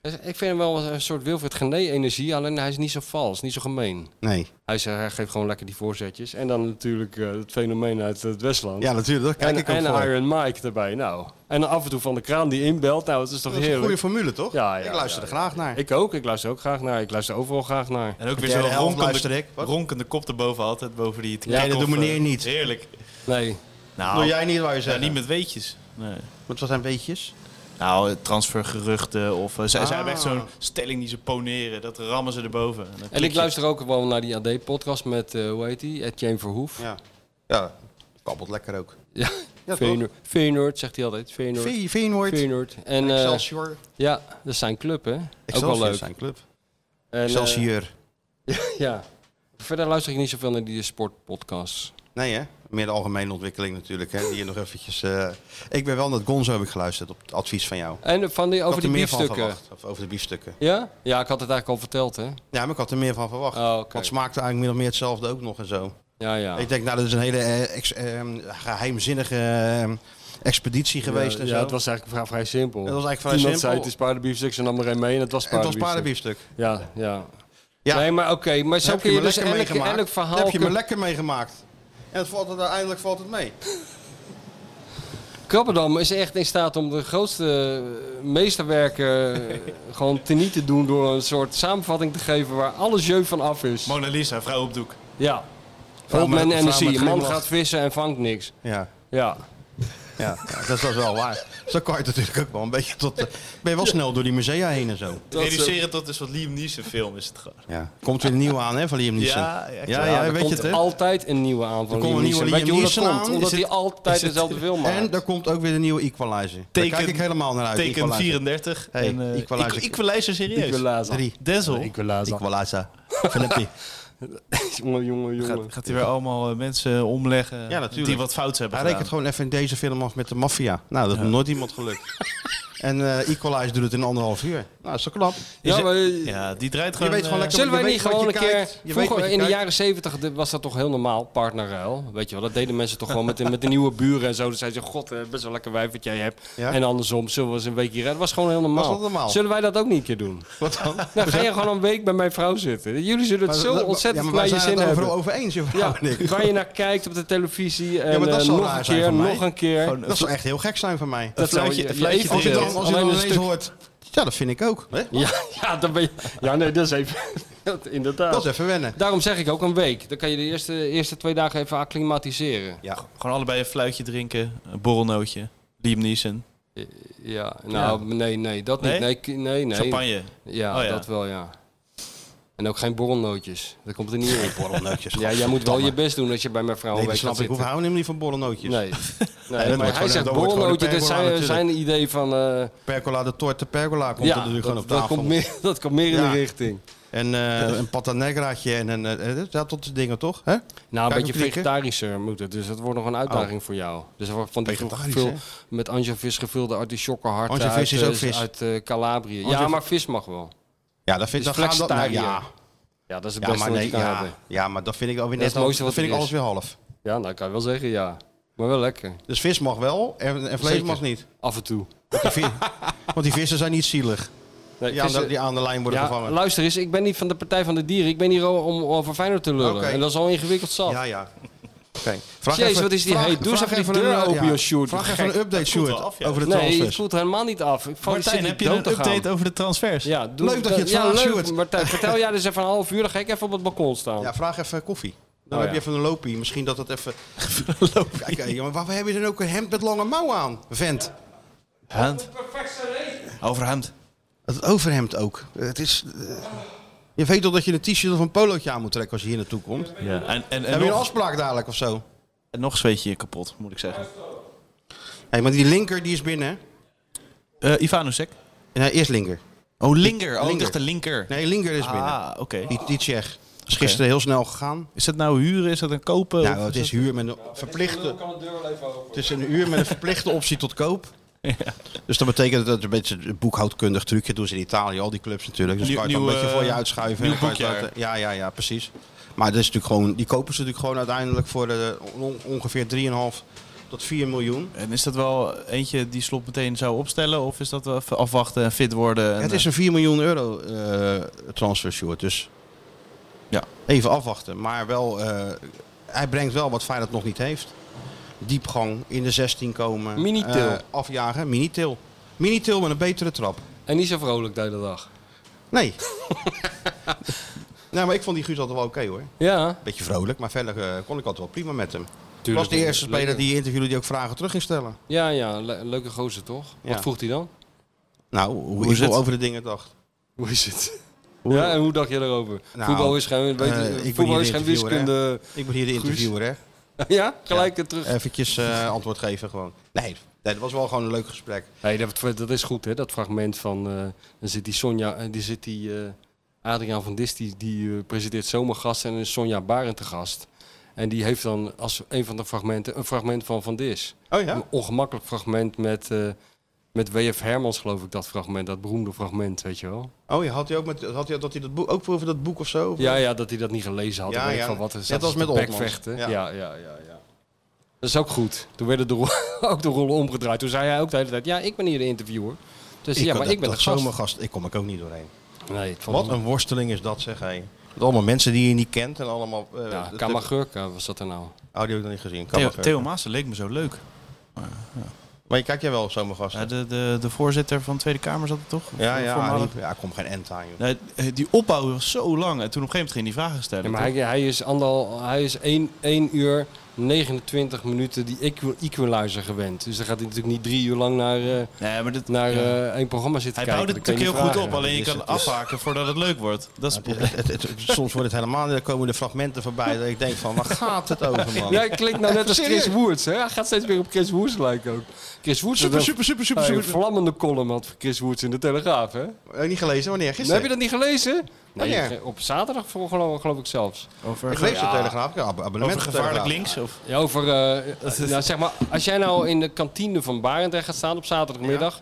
C: Dus Ik vind hem wel een soort Wilfred Gené-energie, alleen hij is niet zo vals, niet zo gemeen.
B: Nee.
C: Hij, is- hij geeft gewoon lekker die voorzetjes. En dan natuurlijk eh, het fenomeen uit het Westland.
B: Ja, natuurlijk. Daar
C: en
B: Kijk ik ook
C: en
B: voor.
C: Iron Mike erbij, nou. En af en toe van de kraan die inbelt, nou, het is toch
B: Dat is een
C: heerlijk.
B: goede formule, toch?
C: Ja, ja,
B: ik luister
C: ja,
B: er graag naar.
C: Ik ook, ik luister ook graag naar. Ik luister overal graag naar.
D: En ook weer
B: Derde
D: zo'n
B: helft luister
D: ronkende,
B: ik. Wat?
D: ronkende kop erboven altijd, boven die eh,
C: Ja,
B: dat doet meneer niet.
D: Heerlijk.
C: Nee,
D: Nou,
B: Doe jij niet waar je
D: ja,
B: zegt?
D: niet met weetjes. Nee.
B: Wat zijn weetjes?
D: Nou, eh, transfergeruchten of... eh, zij, zij
B: Ah.
D: hebben echt zo'n stelling die ze poneren. Dat rammen ze erboven. En, dan
C: En
D: klik
C: ik
D: je.
C: luister ook gewoon naar die AD-podcast met, eh hoe heet die? Etienne Verhoef.
B: Ja. Ja, babbelt lekker ook.
C: Ja,
B: toch?
C: Feyenoord, Feyenoord zegt hij altijd. Feyenoord.
B: Ve- Feyenoord,
C: Feyenoord. En eh,
B: Excelsior.
C: ja, dat is zijn club, hè? ook wel
B: Excelsior
C: leuk.
B: zijn club.
C: En, eh,
B: Excelsior.
C: ja. Verder luister ik niet zoveel naar die sportpodcasts.
B: Nee hè? Meer de algemene ontwikkeling natuurlijk. Hè? Die je nog eventjes... eh, Ik ben wel naar het Gonzo heb ik geluisterd op het advies van jou.
C: En eh, van die,
B: Ik
C: over
B: had er
C: die
B: meer van
C: biefstukken.
B: verwacht. Of over de biefstukken.
C: Ja? Ja, ik had het eigenlijk al verteld, hè?
B: Ja, maar ik had er meer van verwacht.
C: Oh, oké. Ah.
B: Want het smaakte eigenlijk min of meer hetzelfde ook nog en zo.
C: Ja, ja.
B: Ik denk, nou, dat is een hele eh, ex- ehm, geheimzinnige ehm, expeditie geweest
C: ja,
B: en
C: ja,
B: zo.
C: het was eigenlijk vrij, vrij simpel.
B: Het was eigenlijk vrij
C: Iemand
B: simpel.
C: zei, het is paardenbiefstuk, ze nam er een mee en het was
B: en het was
C: paardenbiefstuk.
B: paardenbiefstuk.
C: Ja, ja.
B: Ja.
C: Nee, maar oké. maar zo
B: Heb
C: kun je
B: me
C: dus
B: lekker
C: elk,
B: meegemaakt.
C: elk verhaal...
B: Heb je me
C: kun-
B: lekker meegemaakt. En het valt het, uiteindelijk valt het mee.
C: Krabbendam is echt in staat om de grootste eh, meesterwerken eh, gewoon teniet te doen door een soort samenvatting te geven waar alles jeu van af is.
D: Mona Lisa, vrouw op doek.
C: Ja.
B: Vrouw met-
C: Oldman
B: vrouw met
C: energie. Man
B: glimlach.
C: gaat vissen en vangt niks.
B: Ja,
C: Ja.
B: ja, ja, dat is dat is wel waar. Zo kan je het natuurlijk ook wel een beetje tot... eh, ben je wel snel door die musea heen en zo.
C: Dat, eh,
D: Reduceren tot dus wat Liam Neeson film is het gewoon.
B: Ja. Komt weer een nieuwe aan, hè, van Liam Neeson.
D: Ja, echt
B: ja,
D: waar.
C: er
B: ja, weet je
C: komt
B: het, hè?
C: altijd een nieuwe aanval.
B: Er komt een nieuwe
C: Weet je
B: Liam
C: hoe dat
B: Neeson
C: komt?
B: aan.
C: Omdat
B: Is
C: hij
B: het-
C: altijd
B: is het-
C: dezelfde film
B: En
C: maakt.
B: er komt ook weer een nieuwe Equalizer. Daar kijk
D: Teken-
B: ik helemaal naar uit.
D: Teken
B: Equalizer.
D: 34.
B: Hey,
D: en, eh,
B: Equalizer.
D: Equ- Equalizer serieus.
C: Equalizer.
B: Drie.
D: Denzel.
C: Equalizer.
B: Equalizer. Flippy.
C: Jongen, jongen, jongen.
D: Gaat, gaat hij weer allemaal eh, mensen omleggen
B: Ja, natuurlijk.
D: die wat fouts hebben
B: Hij
D: gedaan.
B: rekent gewoon even in deze film af met de maffia. Nou, dat is nooit iemand gelukt. en eh Equalizer doet het in anderhalf uur. Nou, dat is zo knap.
C: Ja,
D: Is-
C: maar,
D: Ja, die draait
B: Je
D: gewoon...
B: weet gewoon
D: eh,
B: lekker
C: Zullen wij
B: Je
C: niet
B: weet wat
C: gewoon
B: je
C: een keer...
B: kijkt, je weet wat
C: Vroeger,
B: je
C: in de
B: kijkt.
C: jaren zeventig was dat toch heel normaal, partnerruil. Weet je wel, dat deden mensen toch gewoon met, de- met de nieuwe buren en zo. Dan zeiden ze, god, eh, best wel lekker wijf wat jij hebt.
B: Ja.
C: En andersom, zullen we eens een weekje rijden? Dat was gewoon heel normaal.
B: Was dat normaal?
C: Zullen wij dat ook niet een keer doen?
B: Wat dan?
C: Dan Nou, ga je gewoon een week bij mijn vrouw zitten. Jullie zullen het
B: Maar
C: zo
B: dat-
C: ontzettend
B: ja,
C: naar
B: maar wij
C: je
B: zijn
C: zin
B: het
C: hebben.
B: overal over eens, juffrouw
C: Ja,
B: en ik.
C: waar je naar kijkt op de televisie. En,
B: maar dat
C: eh,
B: zal
C: nog
B: raar
C: een
B: zijn
C: keer,
B: van mij.
C: nog een keer.
B: Dat zou echt heel gek zijn van mij.
C: Dat zou
D: fluitje-
C: je-
D: dat
C: je
D: fluitje
C: even
B: Als je
D: dat-
B: dan,
C: deelt.
B: als je dan
C: Alleen een
B: ineens
C: stuk-
B: hoort... Ja, dat vind ik ook. Hè?
C: Ja, ja, dan ben je... Ja, nee, dat is even... dat- Inderdaad.
B: Dat is even wennen.
C: Daarom zeg ik ook een week. Dan kan je de eerste, eerste twee dagen even acclimatiseren.
B: Ja.
D: Gewoon allebei een fluitje drinken, een borrelnootje, Liam Neeson,
C: Ja, nou, nee, nee, dat niet.
D: Nee?
C: Nee, ki- nee, nee.
D: champagne.
C: Ja,
D: Oh, ja.
C: dat wel, ja. En ook geen borrelnootjes. Dat komt er niet in.
B: Borrelnootjes.
C: Ja, jij moet wel je best doen als je bij mijn vrouw
B: Nee,
C: een
B: dat
C: week
B: snap
C: gaat
B: ik. Hoef
C: zitten.
B: houden hem niet van borrelnootjes.
C: Nee, nee
B: wordt
C: maar hij
B: gewoon-
C: zegt
B: dat wordt gewoon
C: borrelnootjes. Dat
B: een pergola
C: zijn, zijn
B: natuurlijk.
C: idee van... eh,
B: Percola de torte percola komt er
C: ja,
B: natuurlijk gewoon
C: dat,
B: op
C: dat
B: tafel.
C: komt meer, dat komt meer in
B: Ja.
C: de richting.
B: En eh, een patanegraatje en een... eh, eh, dat tot de dingen, toch? Hè?
C: Nou,
B: Kan
C: een
B: ik
C: beetje
B: hem klikken?
C: vegetarischer moet het. Dus dat wordt nog een uitdaging voor jou. Dus er wordt van die
B: Oh. Vegetarisch,
C: gevul-
B: hè?
C: met anchovis gevulde artisjokkenharten
B: Anchovis
C: uit,
B: is
C: eh,
B: ook vis.
C: uit eh, Calabrië. Ja,
B: Anchovis-
C: maar vis mag wel.
B: Ja, dat vind
C: Dus
B: ik... dan gaan we- nou,
C: flexitariër.
B: ja,
C: Ja, dat is het
B: Ja,
C: beste
B: maar
C: wat
B: nee,
C: je kan
B: ja,
C: hebben.
B: ja, maar dat vind ik alweer
C: Dat is
B: net
C: het mooiste
B: al- dat
C: wat
B: vind
C: er
B: ik alles
C: is.
B: weer half.
C: Ja, nou kan je wel zeggen, ja. Maar wel lekker.
B: Dus vis mag wel en, en vlees
C: Zeker.
B: mag niet.
C: Af en toe.
B: Want die, vi- want die vissen zijn niet zielig.
C: Nee,
B: Die aan, de,
C: vissen-
B: die aan de lijn worden
C: ja,
B: gevangen.
C: luister eens, ik ben niet van de Partij van de Dieren. Ik ben hier om, om over Feyenoord te lullen.
B: Oké.
C: En dat is al ingewikkeld zat.
B: Ja, ja. Oké. Vraag
C: Jezus, wat is die heet. Doe eens even die deur open, joh, Sjoerd.
B: Vraag
C: Gek.
B: even een update,
D: voelt wel
B: Sjoerd,
D: af, ja.
B: over de
C: nee, het
B: transfers.
C: voelt helemaal niet af. Ik val
D: Martijn, heb je een update over de transfers?
C: Ja, doe,
B: Leuk dat je het
C: ja,
B: vraagt,
C: leuk,
B: Sjoerd.
C: Martijn, vertel jij dus even een half uur. Dan ga ik even op het balkon staan.
B: Ja, vraag even koffie. Dan
C: Oh,
B: heb
C: ja.
B: je even een loopie. Misschien dat dat even... Kijk, hé, jongen, waarom heb je dan ook een hemd met lange mouwen aan? Vent.
D: Hand. Overhand.
B: Het overhemd ook. Het is... eh, je weet toch dat je een t-shirt of een polootje aan moet trekken als je hier naartoe komt?
D: Ja. En, en, en,
B: Heb je een
D: nog,
B: afspraak dadelijk of zo?
D: en nog zweet je je kapot, moet ik zeggen.
B: Hé, maar die linker die is binnen. hè?
D: Eh Ivanusek.
B: Nee, eerst linker.
D: Oh, linker. Oh,
B: Linker.
D: ik dacht de linker.
B: Nee, linker is binnen.
D: Ah, oké.
B: Die, die Tsjech. Is gisteren heel snel gegaan.
D: Is dat nou huren? Is dat een kopen?
B: Nou, het is huur met een verplichte... Het is een uur met een verplichte optie tot koop. Dus dat betekent dat het een beetje een boekhoudkundig trucje doen ze in Italië, al die clubs natuurlijk. Dus
D: Nieuw-
B: kan je het
D: nieuw,
B: een beetje voor je
D: eh,
B: uitschuiven.
D: nieuw
B: en dan kan je het
D: boekjaar.
B: laten- ja, ja, ja, precies. Maar dat is natuurlijk gewoon, die kopen ze natuurlijk gewoon uiteindelijk voor eh, on- eh, ongeveer 3,5 tot 4 miljoen.
D: En is dat wel eentje die slot meteen zou opstellen? Of is dat wel even afwachten en fit worden? En,
B: het is een 4 miljoen euro eh transfer, Sjoerd. Dus
D: eh,
B: ja, even afwachten. Maar wel, eh, hij brengt wel wat Feyenoord nog niet heeft. Diepgang, in de 16 komen.
C: Minitil.
B: eh, afjagen, minitil. Minitil met een betere trap.
C: En niet zo vrolijk de hele dag.
B: Nee. nou, maar ik vond die Guus altijd wel oké hoor.
C: Ja,
B: Beetje vrolijk, maar verder eh, kon ik altijd wel prima met hem. Het
C: Tuurlijk,
B: was de eerste
C: lekker.
B: speler die je interviewde die ook vragen terug ging stellen.
C: ja, ja. le- leuke gozer toch?
B: Ja.
C: Wat vroeg hij dan?
B: Nou, hoe,
D: is
B: ik wel
D: het?
B: over de dingen dacht.
C: Hoe is het? Ja, en hoe dacht je daarover?
B: Nou,
C: voetbal is geen, weet je,
B: eh, ik ben
C: voetbal
B: hier
C: is geen
B: de interviewer,
C: wiskunde.
B: Ik ben hier de interviewer, hè.
C: ja, gelijk het terug.
B: Eventjes eh, antwoord geven gewoon. Nee, nee, dat was wel gewoon een leuk gesprek.
C: Hey, dat, dat is goed, hè? Dat fragment van. eh, dan zit die Sonja. en die zit die. eh, Adriaan van Dis, die, die eh, presenteert zomergasten. En dan is Sonja Barend te gast. En die heeft dan als een van de fragmenten. een fragment van Van Dis.
B: Oh
C: Een
B: ja?
C: ongemakkelijk fragment met. eh, met W.F. Hermans, geloof ik, dat fragment. Dat beroemde fragment, weet je wel.
B: Oh ja, had hij ook, met, had hij, dat hij dat boek, ook over dat boek of zo? Of-
C: Ja, ja, dat hij dat niet gelezen had.
B: Ja,
C: Ja,
B: ja.
C: Van wat er
B: Net
C: zat
B: als
C: te
B: met Oltmans.
C: bekvechten.
B: Ja.
C: Ja. Ja, ja, ja, Dat is ook goed. Toen werden de rol- ook de rollen omgedraaid. Toen zei hij ook de hele tijd, ja, ik ben hier de interviewer. Dus ja,
B: kan-
C: maar
B: dat-
C: ik ben de
B: dat
C: gast.
B: zomergast. Ik kom er ook niet doorheen.
C: Nee, ik vond
B: Wat een worsteling is dat, zeg hij. Met allemaal mensen die je niet kent en allemaal... eh,
C: Ja,
B: dat-
C: Kamagurka was dat er nou.
B: Oh, die heb ik nog niet gezien.
D: Theo,
B: Kammerveld.
D: Theo Maassen leek me zo leuk.
B: Maar je kijkt jij wel op zomergasten?
D: Ja, de, de, de voorzitter van de Tweede Kamer zat er toch?
B: Ja, ja,
D: Voormalig.
B: Arie. ja, kom geen end aan, joh.
D: Nee, eh, die opbouw was zo lang. En toen op een gegeven moment ging die vragen stellen.
C: Ja, maar
D: toch?
C: hij, hij is, anderhal, hij is 1, 1 uur 29 minuten die equi- equalizer gewend. Dus dan gaat hij natuurlijk niet drie uur lang naar, eh,
D: nee, maar dit,
C: naar eh, één programma zitten
D: hij
C: kijken.
D: bouwt het
C: Dat kun je
D: natuurlijk heel
C: niet
D: goed op.
C: vragen.
D: Alleen je
B: Is
D: kan
B: het-
D: afhaken voordat het leuk wordt. Dat is het probleem.
B: Het- het- het- het- soms wordt het helemaal niet. Dan komen de fragmenten voorbij. Dat ik denk van, waar gaat het over, man?
C: Jij klinkt nou net als Chris Woerts. Hè? Hij gaat steeds weer op Chris Woerts lijken ook. Chris Woerts had een-
D: super,
C: hij een vlammende column had voor Chris Woerts in de Telegraaf. Hè?
B: Heb je niet gelezen? Wanneer?
C: Nou, heb je
B: Gisteren?
C: dat niet gelezen?
B: Wanneer?
C: ge- op zaterdag voor- geloof, geloof ik zelfs.
B: Ik
D: Over,
B: lees de Telegraaf. Ja, ab- abonnement
D: over
B: op de
D: gevaarlijk
B: Telegraaf.
D: links? Of?
C: Ja, over, eh, nou, zeg maar, als jij nou in de kantine van Barendrecht gaat staan op zaterdagmiddag...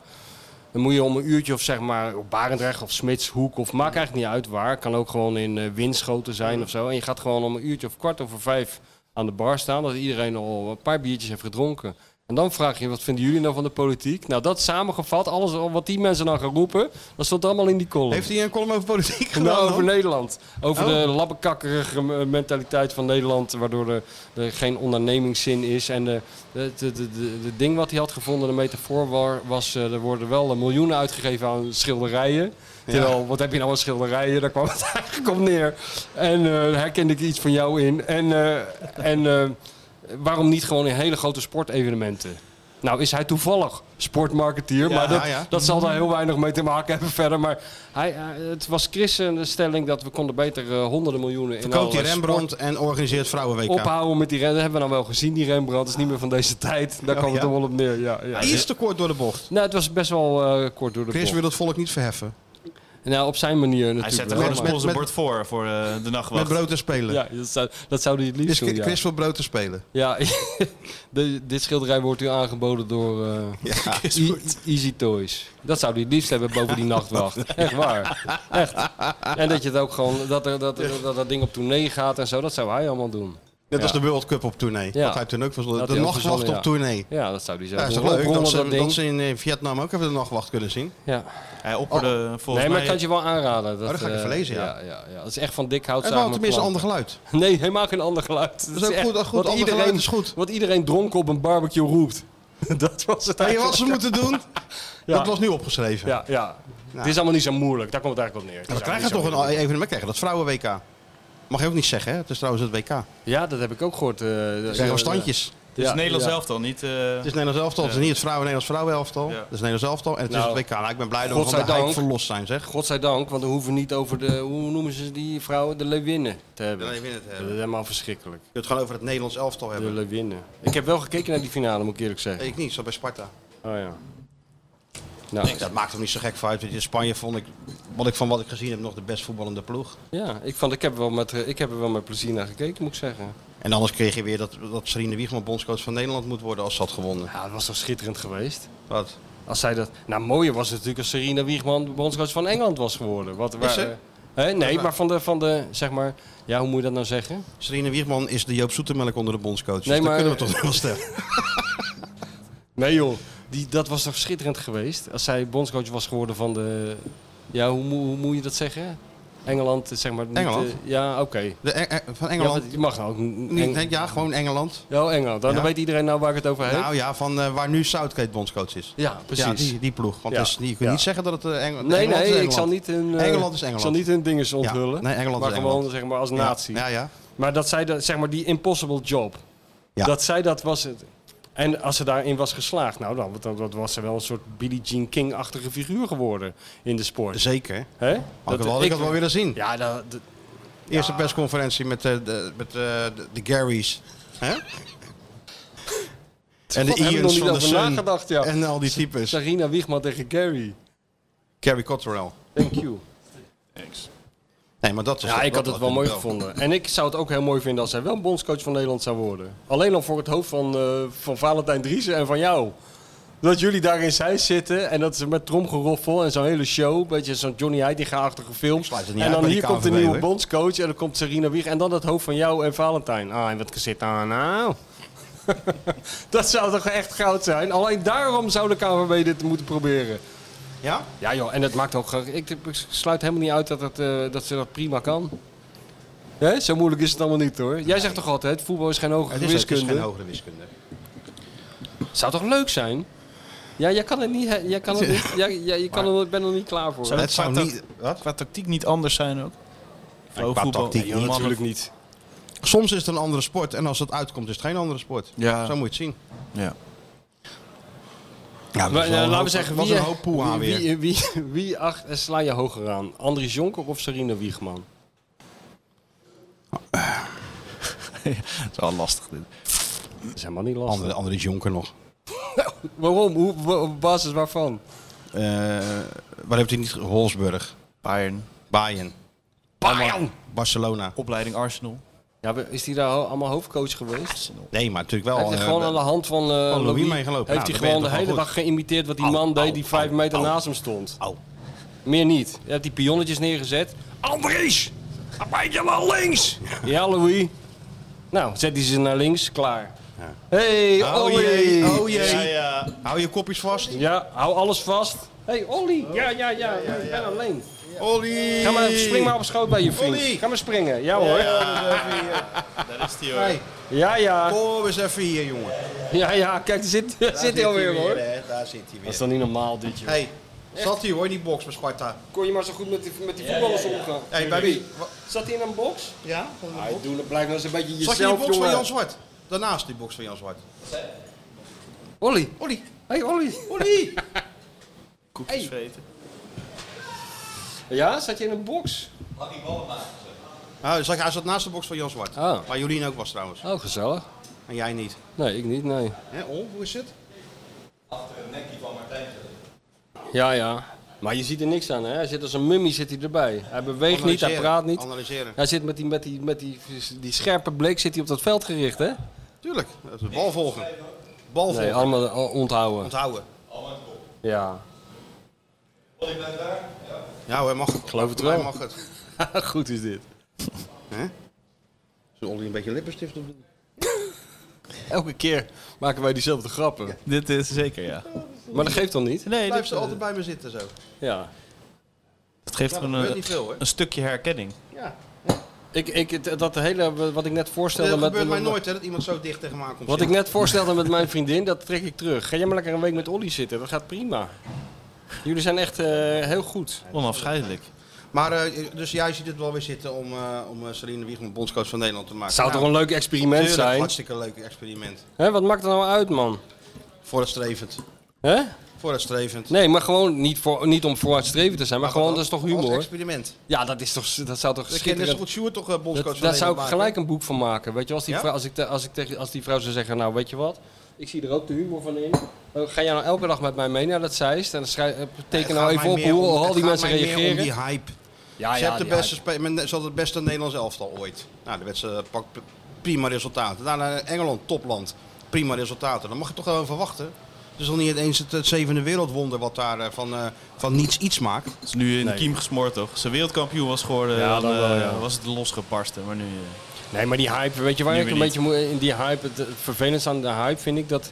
C: dan moet je om een uurtje of zeg maar op Barendrecht of Smitshoek... of maakt eigenlijk niet uit waar. Kan ook gewoon in eh, Winschoten zijn of zo. En je gaat gewoon om een uurtje of kwart over vijf aan de bar staan... dat iedereen al een paar biertjes heeft gedronken. En dan vraag je, wat vinden jullie nou van de politiek? Nou, dat samengevat, alles wat die mensen dan gaan roepen... dat stond allemaal in die column.
B: Heeft hij een column over politiek gedaan?
C: Nou,
B: dan?
C: over Nederland. Over de labbekakkerige eh, mentaliteit van Nederland, waardoor er, er geen ondernemingszin is. En eh, het de, de, de, de ding wat hij had gevonden, de metafoor wa- was, eh, er worden wel eh, miljoenen uitgegeven aan schilderijen. Terwijl, wat heb je nou aan schilderijen? Daar kwam het eigenlijk op neer. En eh, daar herkende ik iets van jou in. En, eh, en eh, waarom niet gewoon in hele grote sportevenementen? Nou is hij toevallig sportmarketeer, maar dat,
B: ja, ja.
C: dat zal daar heel weinig mee te maken hebben verder. Maar hij, eh, het was Chris een stelling dat we konden beter eh, honderden miljoenen in
B: Verkoopt die
C: allerlei
B: Rembrandt en organiseert Vrouwen-WK.
C: sport ophouden met die Rembrandt. Dat hebben we dan wel gezien, die Rembrandt. is niet meer van deze tijd. Daar
B: Oh,
C: kwam
B: ja.
C: het toch wel op neer. Ja, ja.
B: Hij is te kort door de bocht.
C: Nou, het was best wel eh, kort door de
B: Chris
C: bocht.
B: wil het volk niet verheffen.
C: Nou, op zijn manier natuurlijk
D: Hij zet er
C: wel,
D: gewoon een
C: maar-
B: met-
D: sponsorbord voor, voor eh, de
B: Met
D: nachtwacht.
B: brood en spelen.
C: Ja, dat zou, dat zou hij het
B: Dus
C: liefst doen,
B: Chris,
C: ja.
B: Chris wil brood en spelen.
C: Ja, de, dit schilderij wordt u aangeboden door eh, E- Easy Toys. Dat zou hij het liefst hebben boven die nachtwacht. Echt waar. Echt. En dat je het ook gewoon, dat, er, dat, er- dat dat ding op tournee gaat en zo, dat zou hij allemaal doen.
B: Net als
C: Ja.
B: de World Cup op tournee.
C: Ja.
B: Dat hij toen ook verzonnen.
C: Dat
B: De
C: hij ook
B: nachtwacht
C: verzonnen,
B: op
C: ja.
B: tournee.
C: Ja, dat zou hij zelf
B: Ja, is toch
C: doen.
B: leuk
C: Oprollen
B: dat ze,
C: ding.
B: dat ze in eh, Vietnam ook even de nachtwacht kunnen zien.
C: Ja.
D: Hij
B: Oh.
D: opperde volgens
C: Nee, maar ik
D: mij...
C: kan het je wel aanraden. Dat,
B: dat ga ik
C: eh,
B: even lezen, ja.
C: Ja, ja, ja. Dat is echt van dik hout
B: Het
C: samen
B: was tenminste een
C: planten.
B: ander geluid.
C: Nee, helemaal geen ander geluid. Dat
B: is ook
C: echt
B: goed, dat goed
C: wat
B: ander
C: iedereen-
B: geluid is goed.
C: Wat iedereen dronken op een barbecue roept. dat was het
B: Weet je
C: eigenlijk.
B: wat ze moeten doen?
C: Ja.
B: Dat was nu opgeschreven.
C: Ja, ja. Het is allemaal niet zo moeilijk. Daar komt het eigenlijk op neer.
B: We
C: Het is
B: krijgen
C: eigenlijk
B: toch
C: niet zo
B: een evenement krijgen, dat vrouwen-WK. Mag je ook niet zeggen, hè? Het is trouwens het WK. Er
C: moeilijk. Ja, dat heb ik ook gehoord. eh er
B: zijn gewoon standjes.
D: Dus Nederland
C: ja.
D: zelf dan niet... eh,
B: Het is Nederlands elftal, het is niet het vrouwen Nederlands vrouwenelftal.
D: Ja.
B: Het is Nederlands elftal en het
C: Nou,
B: is het WK. Nou, ik ben blij dat we van de
C: godzijdank.
B: hype verlost zijn, zeg.
C: Godzijdank, want dan hoeven we niet over de, hoe noemen ze die vrouwen, de lewinnen te hebben.
B: De lewinnen te hebben.
C: Dat is helemaal verschrikkelijk.
B: Je het gewoon over het Nederlands elftal
C: De
B: hebben.
C: lewinnen. Ik heb wel gekeken naar die finale, moet ik eerlijk zeggen.
B: Ik niet, zo bij Sparta.
C: Oh ja. Nou,
B: Dat maakt hem niet zo gek voor uit. want In Spanje vond ik, wat ik van wat ik gezien heb, nog de best voetballende ploeg.
C: ja, ik, vond, ik, heb er wel met, eh, ik heb er wel met plezier naar gekeken, moet ik zeggen.
B: En anders kreeg je weer dat, dat Serena Wiegman bondscoach van Nederland moet worden als ze had gewonnen.
C: Ja, dat was toch schitterend geweest.
B: Wat?
C: Als zij dat... Nou, mooier was het natuurlijk als Serena Wiegman de bondscoach van Engeland was geworden. Wat, waar,
B: ze?
C: eh, hè? nee,
B: waar?
C: maar van de, van de, zeg maar... Ja, hoe moet je dat nou zeggen?
B: Serena Wiegman is de Joop Zoetemelk onder de bondscoach.
C: Nee,
B: dus
C: maar-
B: dat kunnen we toch wel stellen.
C: Nee joh, die, dat was toch schitterend geweest. Als zij bondscoach was geworden van de... Ja, hoe, moe- hoe moet je dat zeggen? Engeland, zeg maar. Niet,
B: Engeland?
C: eh, ja, oké.
B: De Eng- eh, van
C: Ja,
B: Engeland.
C: want je mag nou ook... n-
B: Niet-
C: Eng-
B: ja, gewoon Engeland.
C: ja, Engeland. Nou,
B: Ja.
C: Dan weet iedereen nou waar ik het over heb.
B: Nou ja, van eh, waar nu Southgate bondscoach is.
C: ja, precies.
B: Ja, die, die ploeg. Want
C: Ja.
B: dat is niet- je kunt
C: Ja.
B: niet zeggen dat het eh, Eng- Engeland
C: Nee,
B: is
C: nee, ik
B: Engeland.
C: zal niet hun, eh,
B: Engeland is
C: Ik zal
B: Engeland.
C: niet hun dinges onthullen.
B: nee, Engeland
C: maar
B: is
C: gewoon
B: Engeland.
C: zeg maar als
B: Ja,
C: natie.
B: Ja, ja.
C: Maar dat zij dat, zeg maar die impossible job.
B: Ja.
C: Dat zij dat was het. En als ze daarin was geslaagd, nou dan, dan, dan was ze wel een soort Billie Jean King-achtige figuur geworden in de sport.
B: Zeker.
C: Hè?
B: Dat, ik had ik dat Dus- wel willen zien.
C: Ja, dat, dat-
B: Eerste persconferentie met, eh, de, met eh, de, de Garys. Hè? En de
C: God, heb ik nog
B: Ians
C: niet
B: van de
C: over
B: Sun.
C: nagedacht, ja.
B: En al die types.
C: Sarina Wiegman tegen Gary.
B: Gary Cotterell.
C: Thank you.
B: Nee, maar dat is
C: Ja, ik had
B: dat-
C: het wel mooi gevonden. En ik zou het ook heel mooi vinden als hij wel bondscoach van Nederland zou worden. Alleen al voor het hoofd van, eh, van Valentijn Driessen en van jou. Dat jullie daar in zij zitten en dat ze met tromgeroffel en zo'n hele show, een beetje zo'n Johnny Heitinga-achtige film.
B: sluit het niet
C: En
B: uit
C: dan
B: bij
C: hier
B: die
C: komt de
B: KNVB,
C: nieuwe
B: hoor.
C: bondscoach en dan komt Serena Wieg en dan het hoofd van jou en Valentijn. Ah, en wat zit daar nou? dat zou toch echt goud zijn? Alleen daarom zou de KNVB dit moeten proberen.
B: Ja?
C: Ja joh, en het maakt ook... ge- Ik, ik sluit helemaal niet uit dat, het, eh, dat ze dat prima kan. Hè? Zo moeilijk is het allemaal niet hoor. Jij zegt toch altijd, voetbal is geen hogere
B: Het is, het is
C: wiskunde.
B: geen hogere wiskunde.
C: Zou toch leuk zijn? Ja, jij kan het niet. hè? Jij kan het niet. Jij, jij, je kan er, ik ben er niet klaar voor.
D: Zou
B: Het
D: dat qua,
B: zou
D: tac-
B: niet- wat?
D: qua tactiek niet anders zijn ook? Vrouw
B: qua tactiek
D: nee,
B: niet,
D: mannen-
C: niet.
B: Soms is het een andere sport en als het uitkomt is het geen andere sport.
D: Ja.
B: Zo moet je het zien.
D: Ja.
B: Ja,
C: Maar, eh, laten we zeggen,
B: was
C: wie,
B: een hoop poe aan
C: wie,
B: weer.
C: wie, wie, wie acht, eh, sla je hoger aan? Andries Jonker of Serena Wiegman?
D: Dat is wel lastig dit.
C: Dat is helemaal niet lastig.
B: Andere, andere is Jonker nog.
C: Waarom? Hoe, wa- op basis waarvan?
B: Eh, waar heeft hij niet? ge- Holsburg,
D: Bayern,
B: Bayern,
C: Bam!
B: Barcelona.
D: opleiding Arsenal.
C: Ja, is die daar al- allemaal hoofdcoach geweest?
B: Nee, maar natuurlijk
C: Hij
B: wel.
C: heeft er
B: eh,
C: gewoon aan de hand van, eh
B: Louis
C: Louis
B: meegelopen.
C: Heeft
B: Nou,
C: hij
B: dan ben je
C: gewoon
B: toch
C: de
B: wel
C: hele
B: goed.
C: dag geïmiteerd wat die man deed die vijf meter naast hem stond.
B: Au.
C: Meer niet. Hij heeft die pionnetjes neergezet. Andries! Een beetje naar links! Ja, Louis. Nou, zet hij ze naar links. Klaar. Hé, hey,
B: Oh
C: Olly!
B: jee, oh jee. Hou je kopjes vast.
C: Ja, hou alles vast. Hé, hey, Olly! Ja, ja, ja. Ik ben alleen.
B: Olly.
C: Ga maar, spring maar op schoot bij je vriend.
B: Olly.
C: Ga maar springen. Ja hoor.
D: Daar is die
B: Hey,
C: Ja, ja.
B: kom eens even hier, jongen. Daar
C: Ja, ja. Kijk, daar zit, daar zit hij alweer hoor.
B: hè, Daar zit hij
C: Dat is
B: weer.
C: dan niet normaal dit joh.
B: Hey, zat hij hoor, in die box bij Sparta.
C: Kon je maar zo goed met die, met die voetballers omgaan.
B: Hey, bij wie? Wa-
C: Zat hij in een box?
B: Ja?
C: Hij doet het blijkbaar eens een beetje
B: Zat je in die
C: jezelf,
B: box van
C: jongen.
B: Jan Zwart? Daarnaast die box van Jan Zwart.
C: Olly.
B: Olly.
C: Hey, Olly.
B: Olly.
D: koekjes vreten.
C: Ja, zat je in een box?
B: Ah, zag je, hij zat naast de box van Jan Zwart.
C: Ah.
B: Waar Jolien ook was trouwens.
C: Oh, gezellig.
B: En jij niet.
C: Nee, ik niet, nee.
B: Hè, Ol, hoe is het?
C: Ja, ja. Maar je ziet er niks aan, hè? Hij zit als een mummie zit hij erbij. Hij beweegt niet, hij
B: Analyseren,
C: praat niet.
B: Analyseren.
C: Hij zit met die, met die, met die, die scherpe blik zit hij op dat veld gericht, hè?
B: Tuurlijk. Dat is Bal volgen. Bal volgen.
C: Nee, allemaal al- onthouden.
B: Onthouden.
C: Ja.
B: Ja hoor, mag het.
C: geloof het
B: Hij
C: wel.
B: Mag het. Zullen
C: Goed is dit.
B: we Olly een beetje lippenstift op doen?
C: Elke keer maken wij diezelfde grappen.
D: Dit is zeker, ja.
C: Maar dat geeft dan niet?
D: Nee,
B: Blijf
D: dat,
B: ze altijd bij me zitten zo.
C: Ja.
D: dat geeft
B: Ja, dat
D: gewoon
B: gebeurt
D: een, eh,
B: niet veel, hoor.
D: een stukje herkenning.
B: Ja.
C: Ik, ik, dat hele, wat ik net
B: Dat
C: voorstelde... met-
B: gebeurt mij
C: met-
B: nooit hè, dat iemand zo dicht tegen me aankomt.
C: Wat ik net voorstelde met mijn vriendin, dat trek ik terug. Ga jij maar lekker een week met Olly zitten, dat gaat prima. Jullie zijn echt eh, heel goed.
D: Onafscheidelijk.
B: Maar eh, dus jij ziet het wel weer zitten om, eh om eh, Celine Wiegman bondscoach van Nederland te maken.
C: Zou
B: Nou,
C: toch een leuk experiment
B: tuurlijk,
C: zijn?
B: Hartstikke leuk experiment.
C: Hè, wat maakt er nou uit, man?
B: Vooruitstrevend.
C: Hè?
B: Vooruitstrevend.
C: Nee, maar gewoon niet, voor, niet om vooruitstrevend te zijn, maar gewoon, dat is toch
B: Als
C: humor?
B: experiment.
C: Ja, dat, is toch, dat zou toch
B: Dat kan net zo
C: schitterend...
B: goed Sjoerd toch eh, bondscoach
C: Dat,
B: van
C: daar zou
B: Nederland
C: ik
B: maken?
C: gelijk een boek van maken. Weet je, als die,
B: Ja?
C: vrouw, als, ik, te- als, ik, tegen- als die vrouw zou zeggen, nou weet je wat, ik zie er ook de humor van in. Eh, Ga jij nou elke dag met mij mee naar dat zeist? En dan schrijf, eh,
B: Het
C: teken
B: gaat
C: nou even
B: mij
C: op
B: meer
C: hoe
B: om-
C: al
B: het
C: die
B: gaat
C: mensen
B: mij meer om
C: reageren.
B: die hype.
C: Ah, Ja,
B: ze
C: ja,
B: had de
C: die
B: beste spe- men- ze had het beste Nederlands elftal ooit. Nou, de wedstrijd pakt p- prima resultaten. Daarna Engeland, topland. Prima resultaten. Dan mag je toch wel verwachten. Het is nog niet eens het, het zevende wereldwonder wat daar eh, van, eh, van niets iets maakt.
D: Het is nu in de kiem gesmoord, toch? Als ze wereldkampioen was geworden,
C: Ja,
D: dan,
C: dan wel,
D: eh,
C: ja.
D: was het losgebarsten. Maar nu... eh,
C: Nee, maar die hype, weet je waar
D: Nu
C: ik een
D: weer niet.
C: beetje moe- in die hype, het, het vervelendste aan de hype vind ik dat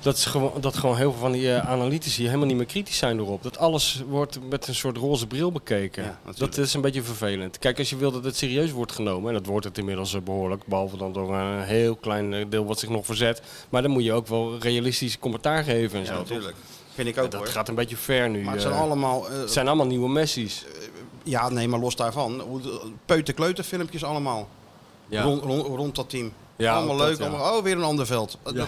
C: Dat, is gewoon, dat gewoon heel veel van die eh, analytici helemaal niet meer kritisch zijn erop. Dat alles wordt met een soort roze bril bekeken.
B: Ja, natuurlijk.
C: dat is een beetje vervelend. Kijk, als je wil dat het serieus wordt genomen, en dat wordt het inmiddels eh, behoorlijk, behalve dan door een heel klein eh, deel wat zich nog verzet. Maar dan moet je ook wel realistisch commentaar geven en zo. toch?
B: Vind ik ook
C: Dat
B: hoor.
C: gaat een beetje ver nu.
B: Maar het
C: eh.
B: zijn allemaal... eh,
C: Het zijn allemaal nieuwe Messi's.
B: ja, nee, maar los daarvan. Hoe de- Peuter-kleuter filmpjes allemaal. Rond, rond, rond dat team.
C: Ja,
B: allemaal
C: ook dat,
B: leuk.
C: ja.
B: allemaal- oh, weer een ander veld. Ja, dat,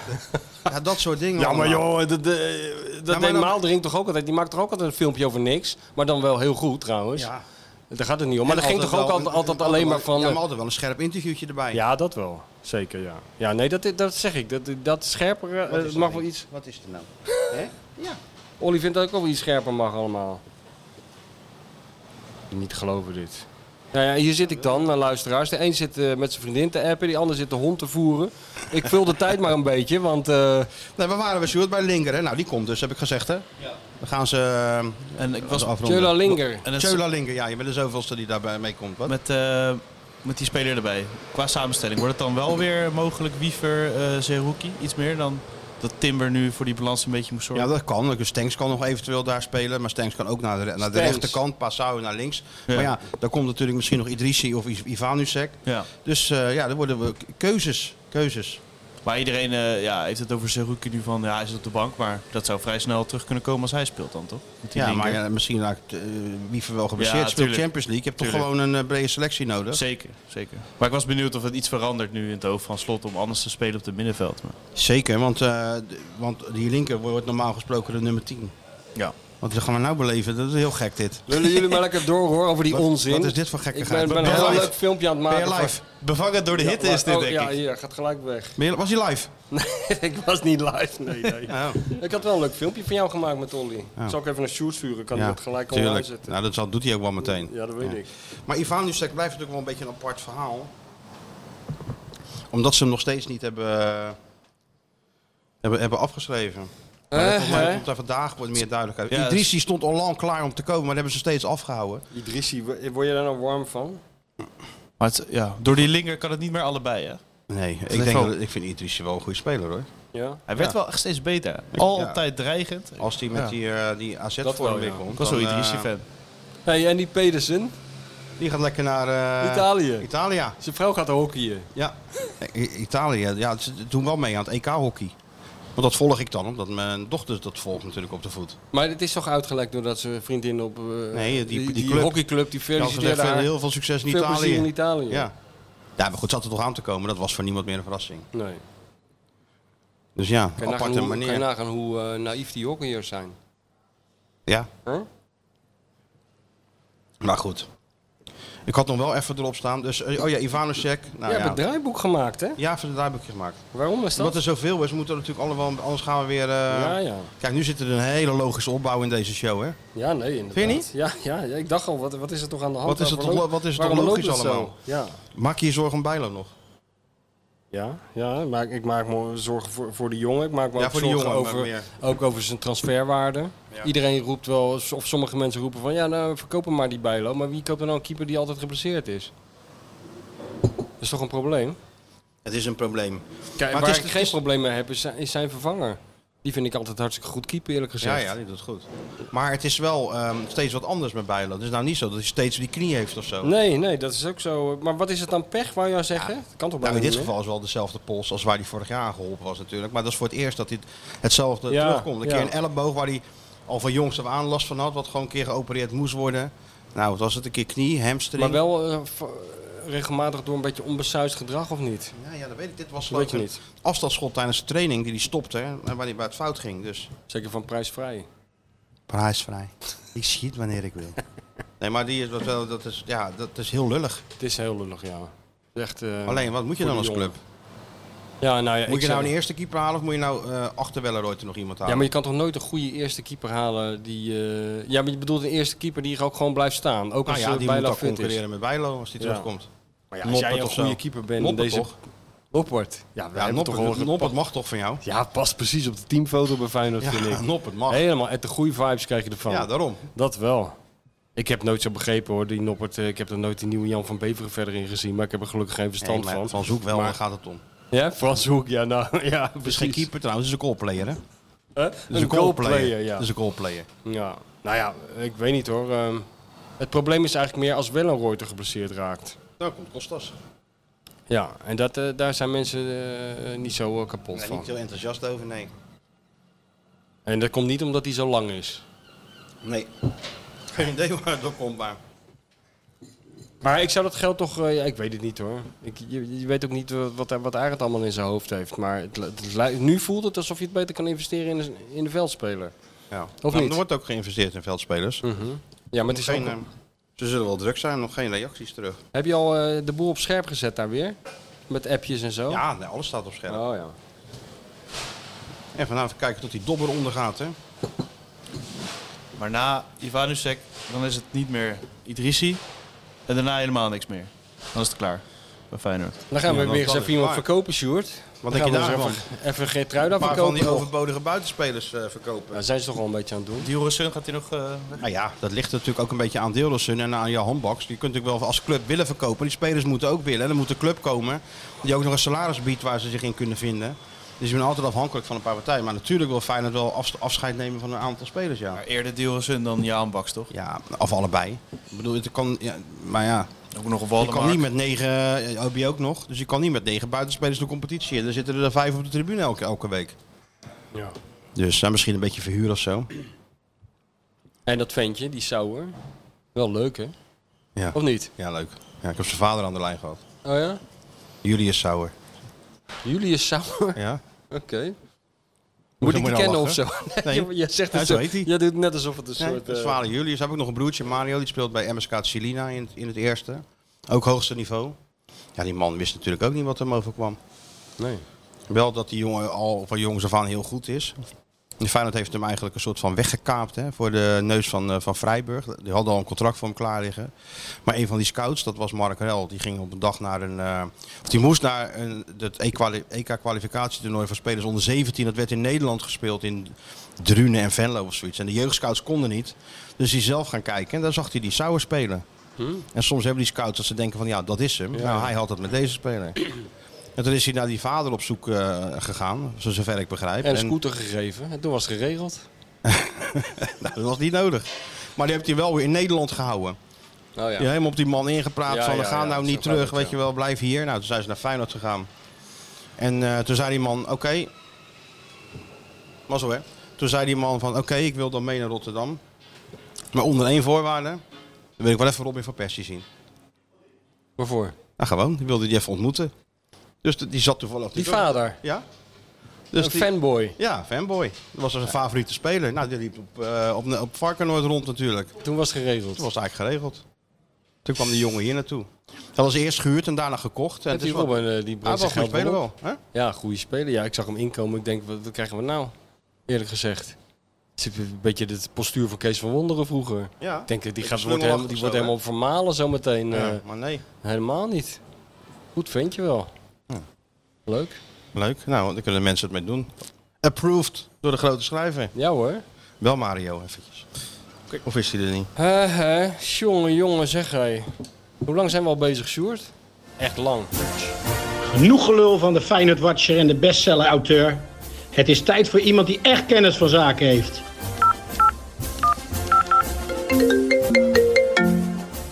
B: ja, dat soort dingen
C: Ja, maar
B: allemaal.
C: joh, dat, eh, dat
B: maar
C: deed
B: dan-
C: Maaldering toch ook altijd. Die maakt toch ook altijd een filmpje over niks. Maar dan wel heel goed trouwens.
B: Ja.
C: Daar gaat het niet om. Maar
B: En
C: dat ging toch
B: altijd
C: ook
B: wel
C: altijd,
B: een-
C: altijd
B: een-
C: alleen
B: altijd
C: maar
B: wel-
C: van...
B: Ja,
C: eh,
B: maar altijd wel een scherp interviewtje erbij.
C: Ja, dat wel. Zeker, ja. Ja, nee, dat, dat zeg ik. Dat, dat scherper eh,
B: Wat is
C: het
B: er
C: mag
B: nou?
C: wel iets...
B: Wat is er nou?
C: Olly vindt dat ook wel iets scherper mag allemaal. Niet geloven dit. Nou ja, hier zit ik dan, naar luisteraars. De een zit eh, met zijn vriendin te appen, die ander zit de hond te voeren. Ik vul de tijd maar een beetje, want... eh,
B: Nee, waar waren we, Sjoerd? Bij Linker, hè? Nou, die komt dus, heb ik gezegd, hè? Ja. Dan gaan ze... eh,
D: En ik was
B: afronden.
C: Tjöla Linger.
D: en het-
B: Chola Linker, ja, je bent de zoveelste die daarbij mee komt. Wat?
D: met, eh, met die speler erbij. Qua samenstelling wordt het dan wel weer mogelijk Wiever, eh Zerouki, iets meer dan dat Timber nu voor die balans een beetje moest
B: Ja,
D: zorgen.
B: dat kan. Dus Stenks kan nog eventueel daar spelen. Maar Stenks kan ook naar de, re- naar de
C: Stenks.
B: rechterkant. Passau naar links.
D: Ja.
B: Maar ja, daar komt natuurlijk misschien nog Idrissi of I- Ivanusek.
D: Ja.
B: Dus eh, ja, er worden we keuzes. Keuzes.
D: Maar iedereen eh, ja, heeft het over Zerouki nu van, ja, hij zit op de bank, maar dat zou vrij snel terug kunnen komen als hij speelt dan, toch? Met die
B: Ja,
D: linker.
B: maar ja, misschien raakt eh, Wiever wel geblesseerd.
D: Ja,
B: speelt
D: tuurlijk.
B: Champions League. Je hebt
D: Tuurlijk.
B: toch gewoon een eh, brede selectie nodig.
D: Zeker, zeker. Maar ik was benieuwd of het iets verandert nu in het hoofd van Slot om anders te spelen op het middenveld. Maar...
B: Zeker, want, eh, d- want die linker wordt normaal gesproken de nummer 10.
D: Ja.
B: Want dat gaan we nou beleven. Dat is heel gek dit.
C: Lullen jullie maar lekker door hoor, over die
B: Wat-
C: onzin.
B: wat is dit voor
C: Ik
B: gekkigheid?
C: ben, ben
B: Ben
C: een
B: je
C: heel
B: live?
C: leuk filmpje aan het
B: Ben
C: maken.
B: je
C: van-
B: live?
D: Bevangen door de hitte
C: Ja,
D: is dit,
C: oh,
D: denk
C: ja,
D: ik.
C: hier, gaat gelijk weg.
B: Ben je- Was hij live?
C: ik was niet live, nee, nee.
B: Oh.
C: Ik had wel een leuk filmpje van jou gemaakt met Olly. Zal ik even een shoot sturen, kan ik dat gelijk online zetten.
B: Nou, dat zal, doet hij ook wel meteen.
C: Ja, dat weet ik.
B: Maar Ivan Nusek blijft natuurlijk wel een beetje een apart verhaal. Omdat ze hem nog steeds niet hebben, eh, hebben, hebben afgeschreven. Maar dat komt-
C: Hè,
B: dat
C: Eh, hè?
B: komt daar vandaag wordt meer duidelijk uit.
D: Ja, dat is-
B: Idrissi stond al lang klaar om te komen, maar dat hebben ze steeds afgehouden.
C: Idrissi, wo- word je daar nou warm van?
D: Maar het- ja, door die linker kan het niet meer allebei, hè?
B: Nee,
D: is
B: ik, denk
D: wel-
B: dat, ik vind Idrissi wel een goede speler hoor.
C: Ja.
D: Hij werd
B: Ja.
D: wel echt steeds beter. Altijd dreigend. Ik
B: Als hij met
D: Ja.
B: die, eh, die
C: Dat wel,
B: AZ-vorm weer
C: ja.
B: komt.
D: was wel
B: dan, eh,
D: Idrissi-fan.
C: Hey, en die Pedersen,
B: Die gaat lekker naar eh,
C: Italië.
B: Italia.
C: Zijn vrouw gaat hockeyen.
B: Ja, I- Italië. Ja, ze doen wel mee aan het EK-hockey. Want dat volg ik dan, omdat mijn dochter dat volgt natuurlijk op de voet.
C: Maar het is toch uitgelekt doordat ze vriendin op eh,
B: Nee, die- die club.
C: die hockeyclub, die
B: Ja, ze
C: feliciteerde
B: zeggen,
C: haar.
B: heel veel succes in
C: Veel plezier in
B: Italië.
C: Italië.
B: Ja. ja, maar goed, zat er toch aan te komen. Dat was voor niemand meer een verrassing.
C: Nee.
B: Dus ja,
C: Kan je nagaan
B: aparte
C: hoe, kan je
B: manier.
C: nagaan hoe eh, naïef die hockeyers zijn.
B: Ja,
C: Huh?
B: maar goed. Ik had nog wel even erop staan. Dus, eh, oh ja, Ivanusek. Nou,
C: je
B: ja,
C: hebt het draaiboek gemaakt, hè?
B: ja, voor het draaiboekje gemaakt.
C: Waarom is dat?
B: Omdat er zoveel is, moeten we natuurlijk allemaal... Anders gaan we weer... eh,
C: Ja, ja.
B: Kijk, nu zit er een hele logische opbouw in deze show, hè?
C: Ja, nee, inderdaad.
B: Vind je niet?
C: Ja, ja, ja, ik dacht al, wat, wat is er toch aan de hand?
B: Wat is het
C: Waarom
B: toch
C: loopt-
B: lo- wat is het toch
C: waarom
B: logisch
C: loopt het zo?
B: allemaal?
C: Ja,
B: Maak je je zorgen om Bijlo nog?
C: ja, ja maar ik maak me zorgen voor, voor de jongen. Ik maak me
B: Ja,
C: ook
B: voor de
C: zorgen
B: jongen, maar
C: over,
B: meer.
C: ook over zijn transferwaarde.
B: Ja.
C: Iedereen roept wel, of sommige mensen roepen van, ja, nou, verkoop hem maar die Bijlo. Maar wie koopt dan nou een keeper die altijd geblesseerd is? Dat is toch een probleem?
B: Het is een probleem.
C: Kijk,
B: Maar
C: waar
B: het is-
C: ik geen probleem mee heb, is zijn, is zijn vervanger. Die vind ik altijd hartstikke goed keeper, eerlijk
B: Ja,
C: gezegd.
B: ja, die doet het goed. Maar het is wel ehm, steeds wat anders met Bijlo. Het is nou niet zo dat hij steeds die knie heeft of zo.
C: Nee, nee, dat is ook zo. Maar wat is het dan pech, wou je nou zeggen? Dat kan toch
B: Nou, in
C: bijna
B: dit
C: niet, hè?
B: geval is wel dezelfde pols als waar hij vorig jaar aan geholpen was natuurlijk. Maar dat is voor het eerst dat hij hetzelfde
C: Ja,
B: terugkomt. Een
C: ja.
B: keer een elleboog waar hij al van jongs af aan last van had. Wat gewoon een keer geopereerd moest worden. Nou, wat was het? Een keer knie, hamstring.
C: Maar wel eh, v- regelmatig door een beetje onbesuisd gedrag of niet?
B: Ja, ja, dat weet ik. Dit was
C: Dat weet
B: geloof
C: je
B: ik een
C: niet.
B: afstandsschot tijdens de training die hij stopte. hè, En waar, hij, waar het fout ging. Dus
C: Zeker van prijsvrij.
B: prijsvrij. ik schiet wanneer ik wil. Nee, maar die is, dat, wel- dat, is, ja, dat is heel lullig.
C: Het is heel lullig, ja. Echt, eh,
B: Alleen, wat moet je
C: voor
B: dan als
C: die
B: club?
C: jongen. Ja, nou ja,
B: Moet
C: ik
B: je
C: zeg-
B: nou een eerste keeper halen of moet je nou eh achter Welleroyd er nog iemand halen?
C: Ja, maar je kan toch nooit een goede eerste keeper halen die... eh, Ja, maar je bedoelt een eerste keeper die er ook gewoon blijft staan. Ook
B: nou
C: als
B: ja,
C: je
B: die moet
C: Bijlo
B: dan
C: fit is.
B: concurreren met Bijlo als die
C: Ja.
B: terugkomt.
C: Maar ja, als jij
B: Noppert
C: een
B: of zo.
C: goede keeper bent in
B: Noppert
C: deze...
B: toch?
C: Noppert. Ja, we
B: Ja,
C: hebben
B: Noppert,
C: toch al-
B: Noppert mag toch van jou?
C: Ja, past precies op de teamfoto bij Feyenoord, vind ik.
B: Ja, Noppert mag.
C: Helemaal, echt de goede vibes krijg je ervan.
B: Ja, daarom.
C: Dat wel. Ik heb nooit zo begrepen hoor, die Noppert. eh, Ik heb er nooit die nieuwe Jan van Beveren verder in gezien. Maar ik heb er gelukkig geen verstand
B: Nee, maar
C: van.
B: van zoek wel,
C: Maar-
B: waar gaat het om?
C: Ja, Frans Hoek, ja, nou, ja,
B: Het is geen
C: precies.
B: keeper trouwens, het is een goalplayer. Hè? Het
C: Hè?
B: is
C: Een goalplayer, ja.
B: Het is een goalplayer.
C: ja. Nou ja, ik weet niet hoor. Ehm, het probleem is eigenlijk meer als Wellenreuter geblesseerd raakt.
B: Nou, komt Kostas.
C: Ja, en dat, eh, daar zijn mensen eh, niet zo eh, kapot
B: Nee,
C: van.
B: niet heel enthousiast over, nee.
C: En dat komt niet omdat hij zo lang is.
B: Nee. Geen idee waar het door komt, maar...
C: Maar ik zou dat geld toch... eh, ja, ik weet het niet hoor. Ik, je, je weet ook niet wat, wat, wat Arend allemaal in zijn hoofd heeft. Maar het, li- het li- nu voelt het alsof je het beter kan investeren in, de- in de veldspeler.
B: Ja.
C: Of
B: Nou,
C: niet?
B: Er wordt ook geïnvesteerd in veldspelers.
C: Ja, maar het is
B: Geen,
C: ook,
B: eh, ze zullen wel druk zijn, nog geen reacties terug.
C: Heb je al eh, de boel op scherp gezet daar weer? Met appjes en zo?
B: Ja, nee, alles staat op scherp.
C: Oh ja.
B: En vanavond kijken tot die dobber ondergaat, hè.
D: Maar na Ivanusek, dan is het niet meer Idrissi. En daarna helemaal niks meer. Dan is het klaar. Bij Feyenoord.
C: Dan gaan we
B: dan
C: weer eens
B: kan
C: even
B: het.
C: iemand
B: Maar-
C: verkopen, Sjoerd.
B: Wat
C: Dan
B: denk je
C: gaan we eens
B: daarvan?
C: Even, even Geertruida
B: Een paar van
C: verkopen.
B: die
C: nog.
B: overbodige buitenspelers eh, verkopen.
C: Nou, zijn ze toch al een beetje aan het doen.
D: Die Sun gaat hij nog... eh, weg?
B: Nou ja, dat ligt natuurlijk ook een beetje aan Deeldersen en aan Johan Baks. Je kunt natuurlijk wel als club willen verkopen. Die spelers moeten ook willen. En dan moet de club komen die ook nog een salaris biedt waar ze zich in kunnen vinden. Dus je bent altijd afhankelijk van een paar partijen. Maar natuurlijk wil Feyenoord wel afs- afscheid nemen van een aantal spelers, ja.
D: maar eerder Dioresun dan Jaan Baks, toch?
B: Ja, of allebei. Ik bedoel, het kan, ja, maar ja,
D: Ook nog een
B: je kan
D: Waldemark.
B: niet met negen, eh, OB ook nog, dus je kan niet met negen buitenspelers de competitie in. Er zitten er vijf op de tribune elke, elke week.
C: Ja.
B: Dus zijn misschien een beetje verhuur of zo.
C: En dat ventje, die Sauer. Wel leuk, hè?
B: Ja.
C: Of niet?
B: Ja, leuk. Ja, ik heb zijn vader aan de lijn gehad.
C: Oh ja?
B: Julius Sauer.
C: Julius Sauer.
B: Ja.
C: Oké. Moet ik die
B: moet je
C: kennen
B: nou
C: of zo?
B: Nee.
C: je, je zegt
B: Ja,
C: het
B: zo
C: zo.
B: heet hij.
C: Je doet net alsof het een
B: Nee,
C: soort...
B: dat is
C: eh,
B: vader Julius. Heb ik nog een broertje, Mario, die speelt bij MSK Celina in, het- in het eerste. Ook hoogste niveau. Ja, die man wist natuurlijk ook niet wat hem overkwam.
C: nee.
B: Wel dat die jongen al van jongs af aan heel goed is. De Feyenoord heeft hem eigenlijk een soort van weggekaapt hè, voor de neus van, eh, van Vrijburg. Die hadden al een contract voor hem klaar liggen. Maar een van die scouts, dat was Mark Rel, die ging op een dag naar een... eh, of die moest naar een, het EK-kwalificatietoernooi voor spelers onder 17. Dat werd in Nederland gespeeld in Drunen en Venlo of zoiets. En de jeugdscouts konden niet. Dus die zelf gaan kijken en daar zag hij die Sauer spelen. En soms hebben die scouts dat ze denken van ja, dat is hem. Nou, hij had het met deze speler. En toen is hij naar die vader op zoek eh, gegaan, zo zover ik begrijp.
C: En een scooter gegeven. En toen was het geregeld.
B: nou, dat was niet nodig. Maar die heeft hij wel weer in Nederland gehouden.
C: Oh ja.
B: Je hebt helemaal op die man ingepraat
C: Ja,
B: van
C: ja,
B: ga
C: ja,
B: nou
C: zo
B: niet
C: gaat
B: terug,
C: het,
B: weet
C: ja.
B: je wel, blijf hier. Nou, toen zijn ze naar Feyenoord gegaan. En eh, toen zei die man, oké, was hè. Toen zei die man van, oké, ik wil dan mee naar Rotterdam. Maar onder één voorwaarde, dan wil ik wel even Robin van Persie zien.
C: Waarvoor?
B: Nou, gewoon, die wilde die even ontmoeten. Dus de- die zat toevallig...
C: Die vader.
B: Ja. Dus
C: een
B: die-
C: fanboy.
B: Ja, fanboy. Dat was zijn favoriete speler. Nou, die liep op, eh op, op Varkenoord rond natuurlijk.
C: Toen was het geregeld.
B: Dat was eigenlijk geregeld. Toen kwam die jongen hier naartoe. Dat was eerst gehuurd en daarna gekocht. En
C: En
B: het
C: die
B: is wel-
C: Robben, eh, die
B: Ah,
C: brengt
B: wel
C: zijn geld
B: een goede speler
C: wel op.
B: wel. Hè?
C: Ja, goede speler. Ja, ik zag hem inkomen. Ik denk, wat, wat krijgen we nou? Eerlijk gezegd. Het is een beetje het postuur van Kees van Wonderen vroeger.
B: Ja.
C: Ik denk, dat die,
B: Beetje
C: gaat, wordt, helemaal, die
B: slungelachtig
C: wordt
B: zo, hè?
C: helemaal vermalen zometeen.
B: Ja,
C: eh
B: maar nee.
C: helemaal niet. Goed vind je wel. Leuk.
B: Leuk. Nou, daar kunnen de mensen het mee doen. Approved door de grote schrijver.
C: Ja hoor.
B: Wel Mario eventjes. Of is hij er niet?
C: Hè, hè. jongen, jongen, zeg hij. Hoe lang zijn we al bezig, Sjoerd? Echt lang.
E: Genoeg gelul van de Feyenoord Watcher en de bestseller-auteur. Het is tijd voor iemand die echt kennis van zaken heeft.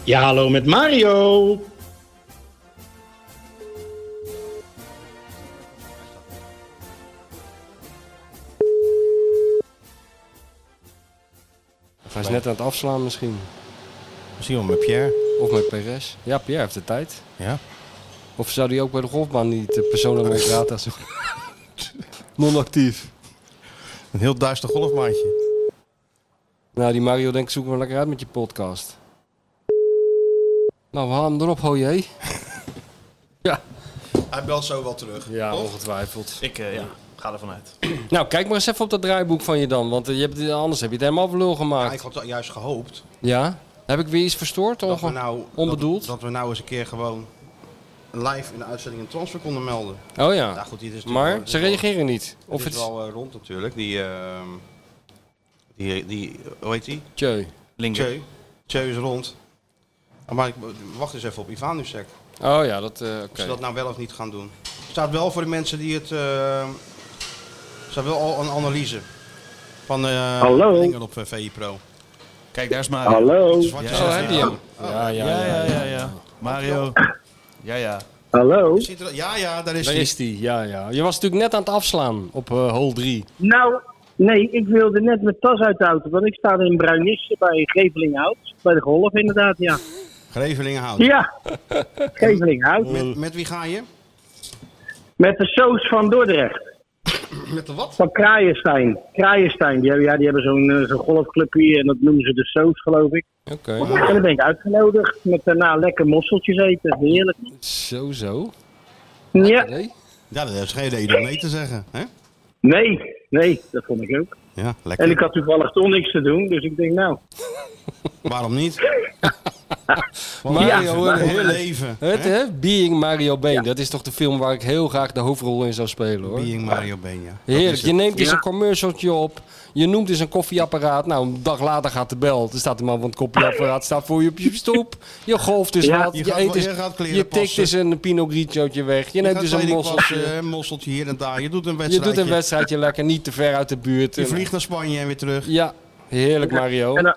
E: Ja, hallo met Mario.
C: Of hij is net aan het afslaan misschien.
B: Misschien wel met Pierre.
C: Of met PRS. Ja, Pierre heeft de tijd.
B: Ja.
C: Of zou die ook bij de golfbaan niet de persona non grata zijn? Non-actief.
B: Een heel duister golfmaatje.
C: Nou, die Mario denk ik zoek maar lekker uit met je podcast. Nou, we halen hem erop, ho jee. ja.
B: Hij belt zo wel terug.
C: Ja, ongetwijfeld.
D: Ik eh, ja, ga ervan uit.
C: Nou, kijk maar eens even op dat draaiboek van je dan. Want eh, je hebt, het- anders heb je het helemaal voor lul
B: ik
C: gemaakt.
B: had juist gehoopt
C: Ja? Heb ik weer iets verstoord?
B: dat we,
C: Onge-
B: nou,
C: onbedoeld?
B: Dat, dat we nou eens een keer gewoon live in de uitzending een transfer konden melden.
C: Oh ja.
B: Ja, goed, dit is natuurlijk wel-
C: maar
B: dit
C: ze
B: is wel-
C: reageren niet. Of
B: dit
C: het
B: is
C: is...
B: wel eh, rond natuurlijk. Die, ehm, die, die, hoe heet die?
C: Tjeu.
D: Linger.
B: Tjeu. Tjeu is rond. Ah, Maar ik wacht eens even op Ivanusek.
C: Oh ja, dat... eh, Oké.
B: Of ze dat nou wel of niet gaan doen. staat wel voor de mensen die het... eh staat wel al een analyse van eh,
E: Hallo?
B: dingen op eh, VI Pro.
D: Kijk, daar is Mario.
E: Hallo,
B: Zwarte
D: Ja.
B: zes-
D: Oh,
C: heb je hem? Ja, ja,
D: Ja, ja,
C: ja.
D: ja, ja. Mario. Ja, ja.
E: hallo.
B: Ziet er- Ja, ja, daar is
C: Daar
B: hij.
C: is die, ja, ja. Je was natuurlijk net aan het afslaan op eh hole 3.
E: Nou, nee, ik wilde net mijn tas uit de auto, want ik sta in Bruinisse bij Gevelinghout. Bij de golf inderdaad, ja.
B: Grevelingenhout.
E: Ja, Gevelinghout.
B: Met, met wie ga je?
E: Met de Soos van Dordrecht.
B: Met de wat?
E: Van Kraaienstein. Kraaienstein, die hebben, ja, die hebben zo'n eh, zo'n golfclub hier en dat noemen ze de Soos, geloof ik.
C: Oké.
E: En dan ben ik uitgenodigd met daarna lekker mosseltjes eten. Heerlijk.
C: Zo, zo.
E: Ja,
C: Nee?
B: Ja, dat is geen reden om nee te zeggen. Hè?
E: nee, nee, dat vond ik ook.
B: Ja, lekker.
E: En ik had toevallig toch niks te doen, dus ik denk nou.
B: Waarom niet?
C: Mario,
B: Een
C: eh,
B: heel leven.
C: het,
B: hè?
C: hè? Being Mario Bane. Dat is toch de film waar ik heel graag de hoofdrol in zou spelen, hoor.
B: Being Mario Been, ja.
C: Heerlijk. Je neemt eens
E: Ja.
C: een commercialtje op. Je noemt eens een koffieapparaat. Nou, een dag later gaat de bel. Er staat een man van het koffieapparaat staat voor je op je stoep. Je golft dus
E: Ja.
C: wat.
B: Je
C: Je,
B: gaat-
C: eet eens,
B: je gaat
C: je,
B: kleren
C: tikt
B: passen.
C: eens een Pinot Grigiootje weg. Je
B: Je
C: neemt
B: gaat
C: dus een
B: tweede eh, klasse,
C: mosseltje.
B: een mosseltje hier en daar. Je doet een
C: Je
B: wedstrijd.
C: doet een wedstrijdje lekker. Niet te ver uit de buurt.
B: Je vliegt naar Spanje en weer terug.
C: Ja, heerlijk Mario.
E: En, eh,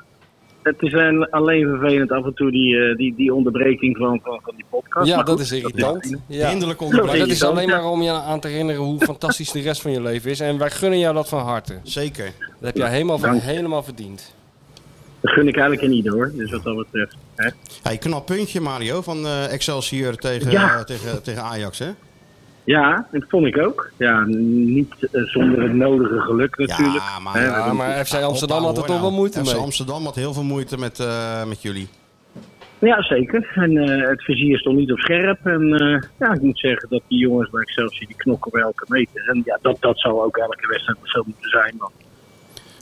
E: het is een- alleen vervelend af en toe die, eh, die, die onderbreking van, van, van die
B: eh,
E: podcast.
C: Ja,
E: Maar goed,
C: dat is irritant. Ja.
B: Hinderlijk
C: Maar
B: onderbreking.
C: dat is alleen maar om je aan te herinneren hoe fantastisch de rest van je leven is. En wij gunnen jou dat van harte.
B: Zeker.
C: Dat heb jij helemaal, van, helemaal verdiend.
E: dat gun ik eigenlijk in ieder hoor. Dus wat dat betreft. Hè?
B: Hey, knap puntje Mario van eh, Excelsior tegen,
E: Ja.
B: eh, tegen, tegen Ajax. Hè?
E: Ja, dat vond ik ook. Ja, niet eh, zonder het nodige geluk natuurlijk.
B: Ja, maar-
E: Hè,
B: Ja,
E: dat
C: Ja,
E: moet-
C: maar FC Amsterdam had er
B: Opbouwen,
C: toch wel
B: hoor,
C: moeite
B: nou.
C: mee.
B: FC Amsterdam had heel veel moeite met, eh, met jullie.
E: ja, zeker. En eh, het vizier stond niet op scherp. En eh, ja, ik moet zeggen dat die jongens bij Excelsior die knokken bij elke meter. En ja, dat, dat zou ook elke wedstrijd zo moeten zijn. Want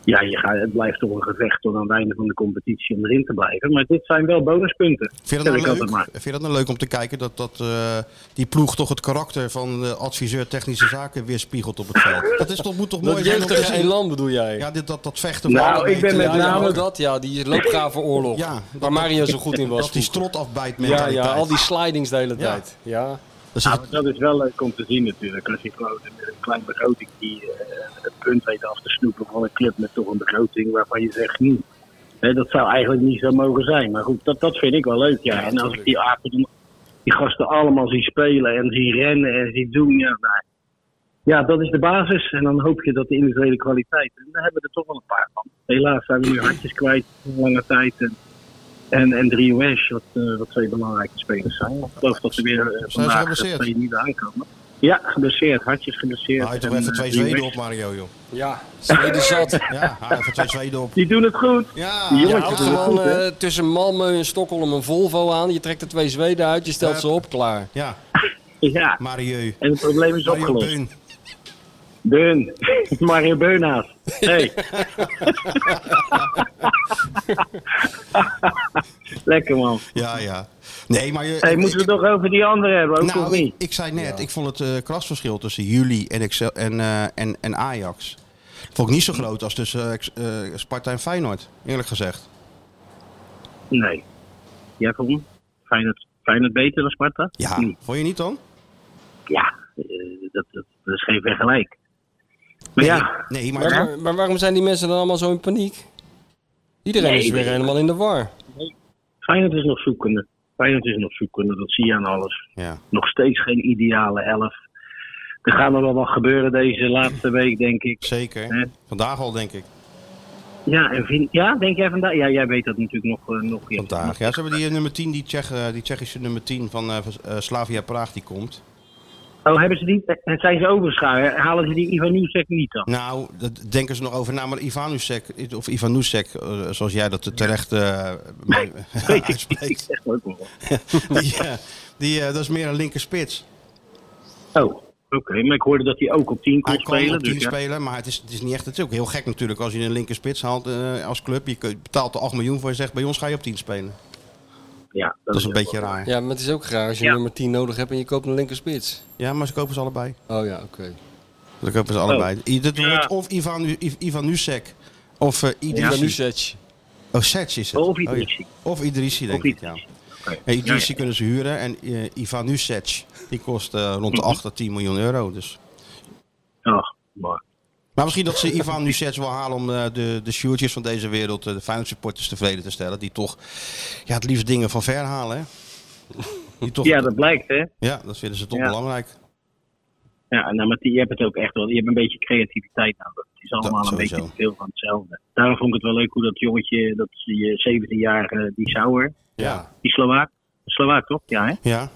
E: ja, je gaat, het blijft toch een gevecht tot aan het einde van de competitie om erin te blijven. Maar dit zijn wel bonuspunten.
B: Vind je dat
E: Zeg ik
B: nou
E: altijd
B: leuk?
E: maar.
B: Vind je dat nou leuk om te kijken dat, dat eh, die ploeg toch het karakter van eh, adviseur technische zaken weerspiegelt op het veld? Dat is toch, moet toch mooi
C: Dat
B: zijn om te
C: jeugdige
B: zien?
C: elan bedoel jij?
B: Ja, dit, dat, dat vechten.
E: Nou,
B: elkaar
E: ik ben
B: mee te-
E: met
C: Ja, ja,
E: name-
C: dat, ja, die loopgravenoorlog.
B: Ja,
C: waar Mario zo goed in was.
B: Dat die
C: vroeger.
B: strot afbijt
C: ja,
B: mentaliteit.
C: ja, al die slidings de hele
B: Ja.
C: tijd. Ja.
B: Dat is-
E: Ja, maar Nou, dat is wel leuk om te zien natuurlijk. Als je gewoon met een klein begroting die eh, het punt weet af te snoepen van een club met toch een begroting waarvan je zegt, hm, hè, dat zou eigenlijk niet zo mogen zijn. Maar goed, dat, dat vind ik wel leuk, ja. En als ik die apen, dan- die gasten allemaal zie spelen en zie rennen en zie doen, ja, nou, ja, dat is de basis. En dan hoop je dat de individuele kwaliteit, en daar hebben we er toch wel een paar van. Helaas zijn we nu hartjes kwijt voor lange tijd. En, en, en drie Wesh, wat, eh, wat twee belangrijke spelers zijn. Ik geloof dat ze weer eh, vandaag
B: geblesseerd?
E: twee niet aankomen. Ja, geblesseerd, hartjes geblesseerd.
B: Hij heeft toch
E: En,
B: even
E: eh,
B: twee
E: Drie
B: Zweden
E: Wesh.
B: op, Mario, joh.
C: Ja, Zweden zat.
B: Ja, hij heeft even twee Zweden op.
E: Die doen het goed.
B: Ja,
E: Die
C: Je
E: jongens
C: houdt
E: doen het goed,
C: gewoon
E: hè?
C: eh, tussen Malmö en Stockholm een Volvo aan. Je trekt er twee Zweden uit, je stelt
B: Ja.
C: ze op, klaar.
B: ja,
E: Ja,
B: Mario.
E: en het probleem is
B: Mario
E: opgelost.
B: Beun.
E: Beun. Mario Beunaas. Hey. Lekker man.
B: Ja, ja. Nee, maar je...
E: Hey, moeten we
B: ik-
E: het nog over die andere hebben, ook of
B: Nou, ik,
E: niet?
B: ik zei net, ik vond het eh krasverschil tussen jullie en, Excel, en, eh, en, en Ajax... Vond ik niet zo groot als tussen eh, Ex- eh, Sparta en Feyenoord, eerlijk gezegd.
E: Nee. Jij vond Feyenoord, Feyenoord beter dan Sparta?
B: Ja,
E: Hm.
B: vond je niet dan?
E: Ja, eh, dat, dat, dat is geen vergelijk. Maar ja,
B: Nee, nee, maar...
C: Maar, waar- maar waarom zijn die mensen dan allemaal zo in paniek? Iedereen
E: Nee,
C: is weer
E: nee.
C: helemaal in de war.
E: Feyenoord is nog zoekende. Feyenoord is nog zoekende, dat zie je aan alles.
B: Ja.
E: Nog steeds geen ideale elf. Er gaan er wel wat gebeuren deze laatste week, denk ik. Hè?
B: Zeker. Vandaag al, denk ik.
E: Ja, en vind, ja denk jij vandaag? Ja, jij weet dat natuurlijk nog, eh, nog eerst.
B: Vandaag. Ja, ze hebben die eh, nummer 10, die, Tsjech, eh, die Tsjechische nummer 10 van eh, van, eh, Slavia Praag, die komt.
E: Oh, hebben ze die? eh, Zijn ze overschuiven? Halen ze die Ivan Nieuwsek niet dan?
B: Nou, daar denken ze nog over na, maar Ivanusek, of Ivanusek, eh, zoals jij dat terecht eh, mee-
E: Ik
B: uitspreekt,
E: zeg het ook nog wel.
B: die, eh, die, eh, dat is meer een linker spits.
E: Oh, oké. Maar ik hoorde dat hij ook op 10 kon
B: Hij kan
E: spelen.
B: op 10
E: dus ja.
B: spelen, maar het is, het is niet echt, het is ook heel gek natuurlijk als je een linker spits haalt eh, als club. Je kun- betaalt er 8 miljoen voor, je zegt bij ons ga je op 10 spelen.
E: Ja,
B: Dat is een
E: ook
B: beetje
E: wel-
B: raar.
C: Ja, maar het is ook graag als je
E: Ja.
C: nummer 10 nodig hebt en je koopt een linkerspits.
B: Ja, maar ze kopen ze allebei.
C: Oh ja, oké.
B: Ze kopen
E: Oh.
B: ze allebei. I- Dat wordt of Ivan, I- Ivanusek of eh
C: Ja,
B: Idrissi.
C: nu zet je.
B: Oh, Sets is het.
E: Of
B: Oh, ja.
E: Idrissi.
B: Of Idrissi, denk
E: Of
B: ik, ja.
E: Idrissi. Oké.
B: En Idrissi
E: Ja, ja.
B: kunnen ze huren. En eh, Ivan Nusec, die kost eh, rond
E: Mhm.
B: de 8 tot 10 miljoen euro. Dus.
E: Ja, maar
B: Maar misschien dat ze Ivan Nusec wel halen om eh, de, de sjoertjes van deze wereld, eh, de Feyenoord supporters tevreden te stellen. Die toch ja, het liefst dingen van ver halen. Hè? Die toch,
E: Ja, dat blijkt, hè?
B: ja, dat vinden ze toch
E: Ja.
B: belangrijk.
E: Ja, nou, maar die- je hebt het ook echt wel. Je hebt een beetje creativiteit nodig. Het is allemaal
B: Dat
E: een
B: sowieso.
E: beetje veel van hetzelfde. Daarom vond ik het wel leuk hoe dat jongetje, dat is die eh, 17-jarige, die Sauer,
B: Ja.
E: die Slovaak. Slovaak, toch? Ja, hè?
B: Ja.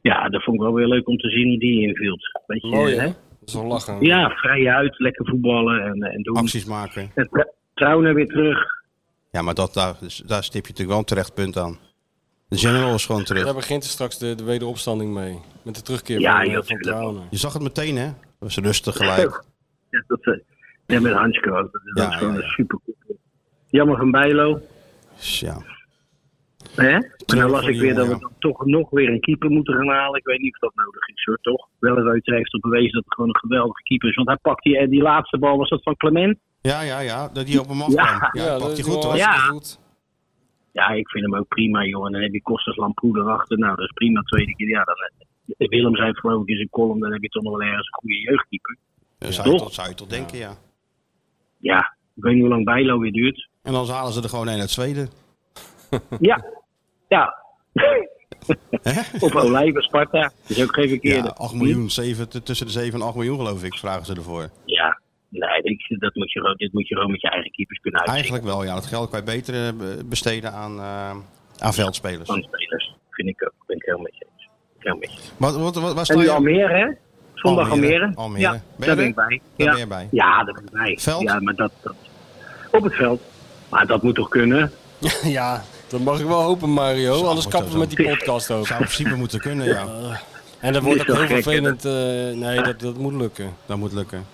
E: Ja, dat vond ik wel weer leuk om te zien hoe die invult. Weet je,
C: Mooi, hè?
E: hè?
C: Dat is wel lachen.
E: Ja, vrije uit, lekker voetballen en, eh, en doen.
B: Acties maken.
E: En Tra- Trouwner weer terug.
B: Ja, maar dat, daar, dus, daar stip je natuurlijk wel een terecht punt aan. De general is gewoon terug.
C: Daar begint er straks de, de wederopstanding mee. Met de terugkeer
E: Ja,
C: van, eh,
E: joh,
C: van
E: tuurlijk.
C: Trauner.
B: Je zag het meteen, hè? Dat was rustig gelijk.
E: Ja, dat, eh, ja, met Hanske ook. Dat is
B: Ja,
E: ook gewoon
B: ja, ja.
E: een super Jammer van Bijlo.
B: Ja.
E: Hè? En
B: Terug
E: dan
B: voor
E: las ik
B: die
E: weer dat
B: jongen,
E: we
B: ja.
E: dan toch nog weer een keeper moeten gaan halen. Ik weet niet of dat nodig is hoor, toch? Wellenreuter heeft al bewezen dat het gewoon een geweldige keeper is. Want hij pakt die, eh, die laatste bal, was dat van Clement?
B: Ja, ja, ja. Dat die op hem afkwam.
E: Ja.
B: Ja,
C: Ja,
B: dat
C: dat
B: pakt hij
C: is
B: goed,
C: wel
B: hoor.
E: Ja.
C: hartstikke goed.
E: Ja, ik vind hem ook prima, joh. En dan heb je Kostas Lamproe erachter. Nou, dat is prima. Tweede keer, ja. Dan, eh, Willem zei geloof ik in zijn column, dan heb je toch nog wel ergens een goede jeugdkeeper.
B: Dat Eh, zou, je
E: Toch?
B: toch, zou je toch denken, ja.
E: Ja, ik weet niet hoe lang Bijlo weer duurt.
B: En dan halen ze er gewoon een uit Zweden.
E: Ja, ja. Op Olijven, Sparta. Dat is ook geen
B: Ja,
E: verkeerde.
B: 8 miljoen, 7, t- tussen de 7 en 8 miljoen geloof ik, vragen ze ervoor.
E: Ja, nee, ik- dat moet je, gewoon- dit moet je gewoon met je eigen keepers kunnen uitzien.
B: Eigenlijk wel, ja. Dat geld kan je beter eh, be- besteden aan, eh, aan veldspelers.
E: van spelers. Vind ik ook. Ben ik helemaal met je eens. Heel met je eens.
B: Wat, wat, wat, waar sta
E: En die
B: je?
E: Almere, hè? Zondag
B: Almere,
E: Almere.
B: Almere. Ben
E: Ja,
B: je er?
E: daar ben ik bij.
B: Daar
E: ja.
B: ben je bij.
E: Ja, daar ben ik bij.
B: Veld?
E: Ja, maar dat, dat... Op het veld. Maar dat moet toch kunnen?
C: ja, dat mag ik wel hopen, Mario. Anders
B: wordt
C: kappen we
B: dat
C: met die podcast ook.
B: Zou in principe moeten kunnen, ja.
C: En dat wordt
E: Niet
C: ook
E: zo
C: heel
E: gek, hè,
C: vervelend. eh, nee, dat, dat moet lukken.
B: Dat moet lukken.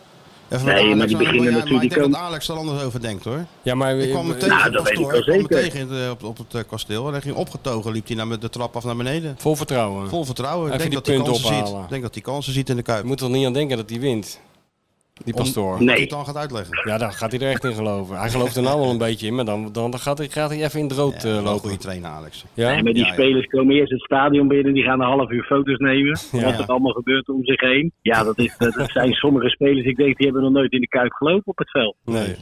B: Even
E: Nee,
B: met
E: maar die
B: aan,
E: beginnen
B: jij- Maar
E: natuurlijk-
B: ik denk
E: die
B: dat Alex er anders over denkt, hoor.
C: Ja, maar
B: Ik kwam hem tegen
E: Nou,
B: op het
E: dat weet ik
B: pastoor.
E: wel
B: Ik kwam hem
E: zeker.
B: tegen in de- op, op het eh, kasteel. En hij ging opgetogen, liep hij naar, de trap af naar beneden.
C: vol vertrouwen.
B: Vol vertrouwen. Ik
C: Even
B: denk
C: die
B: dat
C: punten
B: hij kansen ziet.
C: ophalen.
B: Ik denk dat hij kansen ziet in de Kuip.
C: Je
B: Moet
C: moet er niet aan denken dat hij wint. Die pastoor.
B: hij
E: Nee.
B: het dan gaat uitleggen.
C: Ja, daar gaat hij er echt in geloven. Hij gelooft er nou wel een beetje in, maar dan, dan gaat, hij, gaat hij even in het rood eh,
B: Wel een goede
C: lopen.
B: trainer, Alex.
C: Ja?
E: En met die
B: Ja, ja.
E: spelers komen eerst het stadion binnen. Die gaan een half uur foto's nemen. Wat er allemaal gebeurt om zich heen. Ja, dat, is, dat zijn sommige spelers. Ik denk, die hebben nog nooit in de kuip gelopen op het veld.
C: Nee.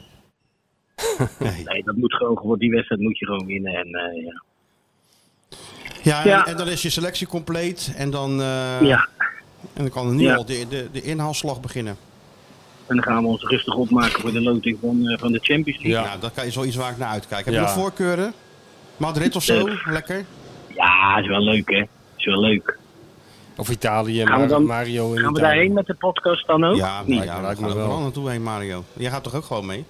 E: Nee, dat moet gewoon, gewoon- die wedstrijd moet je gewoon winnen. En, eh, ja.
B: Ja, en,
E: Ja.
B: en dan is je selectie compleet. En dan, eh,
E: ja,
B: en dan kan nu
E: Ja.
B: al de, de, de inhaalslag beginnen.
E: en dan gaan we ons rustig opmaken voor de loting van, eh, van de Champions League.
C: Ja.
B: Nou, dat kan- is wel iets waar ik naar uitkijk. Heb
C: Ja.
B: je nog voorkeuren? Madrid of zo?
E: Nee.
B: Lekker.
E: Ja, is wel leuk, hè? Is wel leuk.
C: Of Italië,
E: Gaan we
C: Mar-
E: dan-
C: Mario in
E: Gaan we
C: Italië.
E: daarheen met de podcast dan ook?
B: Ja,
E: Niet?
B: nou ja, we
C: lijkt
B: gaan
C: me
B: er wel
C: wel.
B: naartoe heen, Mario. Jij gaat toch ook gewoon mee?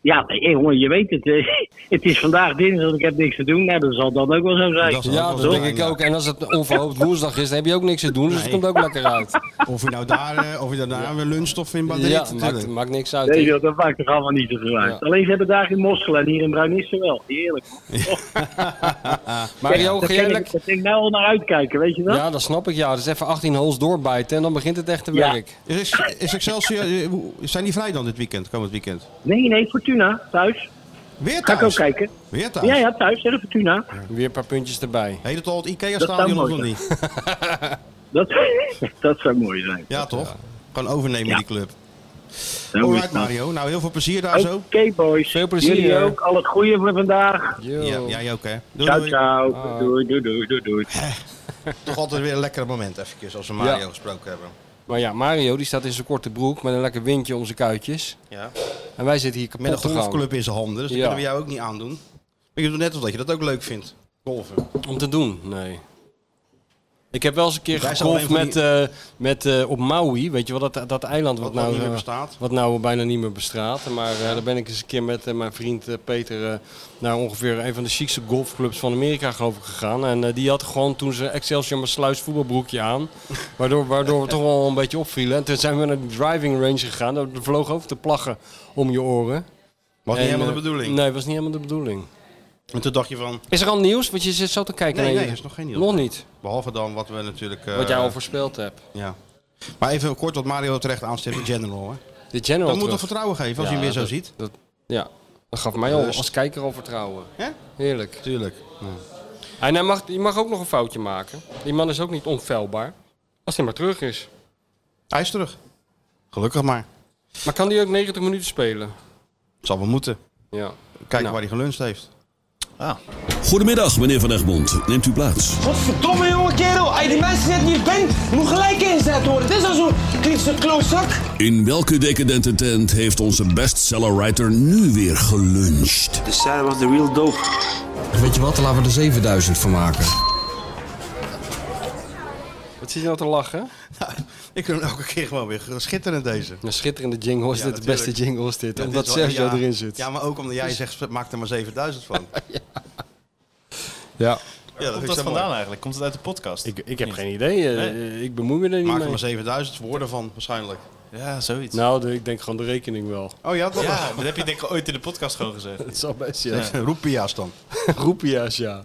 E: Ja, nee, jongen, je weet het. eh, Het is vandaag dinsdag, ik heb niks te doen. Nou, dat zal dan ook wel zo zijn.
B: Dat is-
C: Ja,
B: Ook
C: dat
B: wel
C: denk
B: zijn,
C: ik
B: ja.
C: ook. En als het onverhoopt woensdag is, dan heb je ook niks te doen. Dus het
B: Nee.
C: komt ook lekker uit.
B: Of je nou daar, eh, of je daarna weer luncht of in Madrid.
C: Ja, maakt,
B: natuurlijk.
C: maakt niks uit.
E: Nee, joh, dat maakt toch allemaal niet zoveel uit.
C: Ja.
E: Alleen ze hebben daar in Moskou en hier in Bruinisse wel. Heerlijk.
B: Oh,
C: Mario,
E: Dat
C: ga
E: kan
C: jij
E: ik,
C: lekker...
E: daar kan ik nou al naar uitkijken, weet je wel?
C: Ja, dat snap ik. Ja, dus even 18 holes doorbijten en dan begint het echte
E: Ja.
C: werk.
B: Is, is Excelsior, eh, hoe- zijn die vrij dan dit weekend, komend weekend?
E: Nee, nee, Fortuna, thuis.
B: Weer
E: Ga
B: thuis?
E: ik ook kijken.
B: Weer thuis?
E: Ja, ja, thuis, hè, de Fortuna.
C: Weer een paar puntjes erbij.
B: Heet het al het
E: Dat
B: Ikea-stadion
E: zou
B: of
E: mooi
B: nog niet?
E: Dat, dat zou mooi zijn.
B: Ja, toch? Gewoon overnemen
E: Ja.
B: die club.
E: Zo is
B: Alright
E: dat.
B: Mario, nou heel veel plezier daar
E: Oké,
B: zo.
E: boys.
C: Veel plezier.
E: Jullie ook. Al het goede voor vandaag.
C: Yo. Ah.
B: Ja, jij ook hè. Doei,
E: Ciao,
B: doei.
E: ciao. Doei, doei, doei, doei, doei.
B: Toch altijd weer een lekker moment eventjes als we Mario gesproken hebben.
C: Maar ja, Mario die staat in zijn korte broek met een lekker windje om zijn kuitjes.
B: Ja.
C: En wij zitten hier kapot
B: Met een
C: te gaan.
B: golfclub in zijn handen, dus dat
C: Ja.
B: kunnen we jou ook niet aandoen. Maar je doet net alsof je dat ook leuk vindt. Golven.
C: Om te doen, nee. Ik heb wel eens een keer
B: Wij zijn
C: gegolfd
B: alleen van
C: met,
B: die-
C: eh, met, eh, op Maui. Weet je wel, dat, dat eiland wat,
B: Wat nou
C: nou,
B: niet meer
C: eh,
B: bestaat.
C: wat nou bijna niet meer bestraat. Maar eh, daar ben ik eens een keer met eh, mijn vriend eh, Peter eh, naar ongeveer een van de chicste golfclubs van Amerika geloof ik gegaan. En eh, die had gewoon toen ze Excelsior maar sluis voetbalbroekje aan. Waardoor, waardoor we toch wel een beetje opvielen. En toen zijn we naar de driving range gegaan. Daar vloog over te plaggen om je oren.
B: Was niet
C: En,
B: helemaal de
C: eh,
B: bedoeling.
C: Nee, was niet helemaal de bedoeling.
B: En toen dacht je van,
C: Is er al nieuws? Want je zit zo te kijken.
B: Nee,
C: naar
B: nee,
C: je-
B: er is nog geen nieuws.
C: Nog niet.
B: behalve dan wat we natuurlijk... eh,
C: Wat jij al voorspeld hebt.
B: Ja. Maar even kort wat Mario terecht aanstipt, de general hè.
C: De general.
B: Dan moet
C: terug.
B: toch vertrouwen geven als
C: Ja,
B: je hem weer zo
C: dat-
B: ziet.
C: Dat, ja, dat gaf mij al
B: Rust.
C: als kijker al vertrouwen.
B: Hè?
C: Heerlijk.
B: Tuurlijk.
C: Hij En hij mag, je mag ook nog een foutje maken. Die man is ook niet onfeilbaar. Als hij maar terug is.
B: Hij is terug. Gelukkig maar.
C: Maar kan die ook 90 minuten spelen?
B: Zal wel moeten.
C: Ja.
B: Kijken
C: Nou.
B: waar hij geluncht heeft.
F: Goedemiddag, meneer Van Egmond. Neemt u plaats.
G: Godverdomme jonge kerel, als je die mensen net niet bent, moet gelijk ingezet worden. Het is al zo'n kritische klootzak.
F: In welke decadente tent heeft onze bestseller writer nu weer geluncht?
G: De Sarah was de real dope.
H: Weet je wat, laten we er 7000 van maken.
C: Wat zit je nou te lachen?
B: Ik vind hem elke keer gewoon weer schitterend deze.
C: Een schitterende jingle is
B: Ja,
C: dit. De beste
B: natuurlijk.
C: jingle is dit.
B: Ja,
C: omdat
B: dit is wel-
C: Sergio
B: ja.
C: erin zit.
B: Ja, maar ook omdat jij zegt, maak er maar 7000 van.
C: Ja.
B: Ja,
D: Komt
B: vind
D: dat
B: ik zo
D: vandaan
B: mooi.
D: Oh, eigenlijk? Komt het uit de podcast?
C: Ik, ik heb geen idee. eh, Ik bemoei me er niet
B: Maak er
C: mee.
B: maar 7000 woorden van, waarschijnlijk.
D: Ja, zoiets.
C: Nou, de- ik denk gewoon de rekening wel.
B: Oh ja, dat
D: Ja, Nou, dat heb je denk ik ooit in de podcast gewoon gezegd.
C: Het zal best, ja.
B: was- Roepia's dan.
C: Roepia's, ja.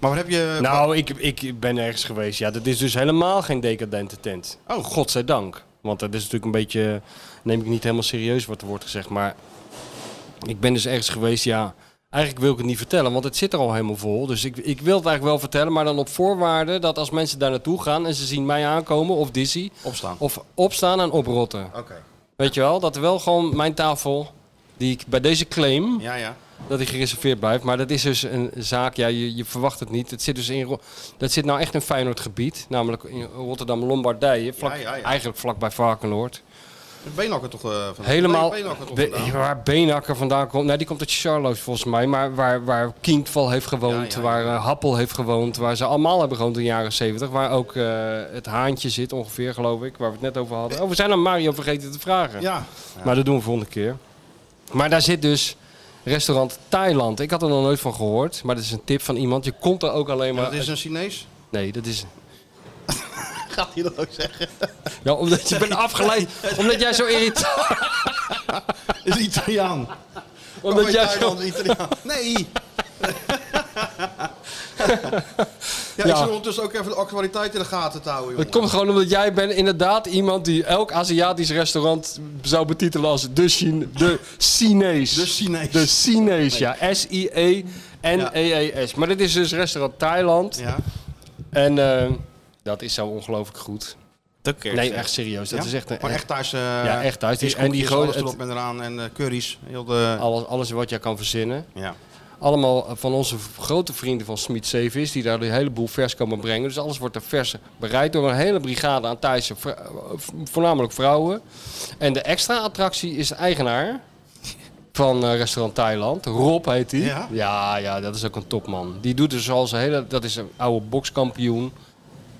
B: Maar wat heb je...
C: Nou, ik, ik ben ergens geweest. Ja, dat is dus helemaal geen decadente tent. Oh, godzijdank. Want dat is natuurlijk een beetje... Neem ik niet helemaal serieus wat er wordt gezegd. Maar ik ben dus ergens geweest, ja... Eigenlijk wil ik het niet vertellen, want het zit er al helemaal vol. Dus ik, ik wil het eigenlijk wel vertellen, maar dan op voorwaarde dat als mensen daar naartoe gaan en ze zien mij aankomen of Dizzy,
B: Opstaan.
C: of opstaan en oprotten.
B: Oké.
C: Weet je wel, dat er wel gewoon mijn tafel, die ik bij deze claim,
B: Ja, ja.
C: dat hij gereserveerd blijft. Maar dat is dus een zaak, ja, je, je verwacht het niet. Het zit dus in, Ro- dat zit nou echt in Feyenoord gebied, namelijk in Rotterdam-Lombardije, vlak,
B: Ja, ja, ja.
C: eigenlijk vlakbij Varkenoord.
B: Beenhakker toch eh van
C: Helemaal
B: Beenhakker toch
C: Be-
B: vandaan?
C: waar Beenhakker vandaan komt. Nou, die komt uit Charloes volgens mij, maar waar, waar Kindval heeft gewoond,
B: Ja, ja, ja.
C: waar eh, Happel heeft gewoond, waar ze allemaal hebben gewoond in de jaren 70, waar ook eh, het haantje zit ongeveer, geloof ik, waar we het net over hadden. Oh, we zijn aan Mario vergeten te vragen.
B: Eh. Ja.
C: Maar dat doen we volgende keer. Maar daar zit dus restaurant Thailand. Ik had er nog nooit van gehoord, maar dat is een tip van iemand. Je komt er ook alleen maar.
B: Dat is een Chinees.
C: Nee, dat is.
B: Gaat hij dat ook zeggen?
C: Ja, omdat je bent afgeleid. Omdat jij zo irritant.
B: is Italiaan.
C: Omdat jij zo.
B: Oh, Thailand, Italiaan. Nee. ja, ik
C: Ja.
B: zit ondertussen ook even de actualiteit in de gaten te houden,
C: Het
B: jongen.
C: komt gewoon omdat jij bent inderdaad iemand die elk Aziatisch restaurant zou betitelen als de, Chine, de Chinees.
B: De Chinees.
C: De Chinees, ja. E S-I-E-N-E-E-S. Maar dit is dus restaurant Thailand.
B: Ja.
C: En eh, dat is zo ongelooflijk goed.
D: Dat keer.
C: Nee, echt serieus. Dat
B: Ja?
C: is echt een.
B: Maar echt thuis. eh,
C: Ja, echt thuis.
B: die
C: en die Ah,
B: gewoon
C: gewoon
B: alles erop en eraan en eh, curry's. Heel de...
C: alles, alles wat jij kan verzinnen.
B: Ja.
C: Allemaal eh, van onze v- grote vrienden van Smit Zeevis, die daar een heleboel vers komen brengen. Dus alles wordt er vers bereid door een hele brigade aan Thaise, vrou- eh, v- voornamelijk vrouwen. En de extra attractie is de eigenaar van eh, restaurant Thailand. Rob heet hij.
B: Ja?
C: ja, ja, dat is ook een topman. Die doet dus al zijn hele... Dat is een oude bokskampioen.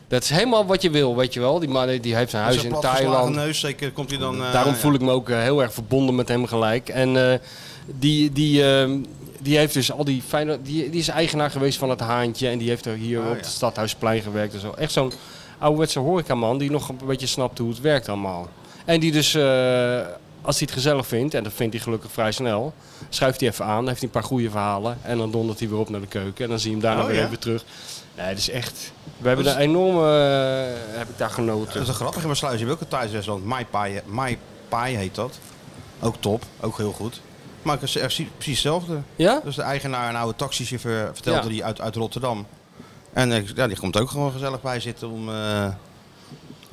C: Dat is helemaal wat je wil, weet je wel. Die man die heeft zijn huis
B: Zo'n
C: in
B: platgeslagen
C: Thailand.
B: neus, zeker komt hij dan... eh,
C: Daarom
B: ja.
C: voel ik me ook eh, heel erg verbonden met hem gelijk. En eh, die, die, ehm, die heeft dus al die fijne. Die, die is eigenaar geweest van het haantje. En die heeft er hier
B: Oh,
C: op
B: ja.
C: het stadhuisplein gewerkt. En zo. Echt zo'n ouderwetse horecaman die nog een beetje snapt hoe het werkt allemaal. En die dus, eh, als hij het gezellig vindt, en dat vindt hij gelukkig vrij snel, schuift hij even aan, heeft hij een paar goede verhalen. En dan dondert hij weer op naar de keuken. En dan zie je hem daarna
B: Oh,
C: weer
B: ja? Dus
C: even terug. Nee, dat is echt. We hebben daar enorme. eh, heb ik daar
B: Dat
C: genoten.
B: is een grappige besluit. Je hebt ook een Thaise restaurant. My Pie, My Pie eh, heet dat. Ook top. Ook heel goed. Maar ik is precies precies hetzelfde.
C: Ja?
B: Dus de eigenaar, een oude taxichauffeur, vertelde
C: Ja.
B: die uit, uit Rotterdam. En eh, ja, die komt ook gewoon gezellig bij zitten om eh,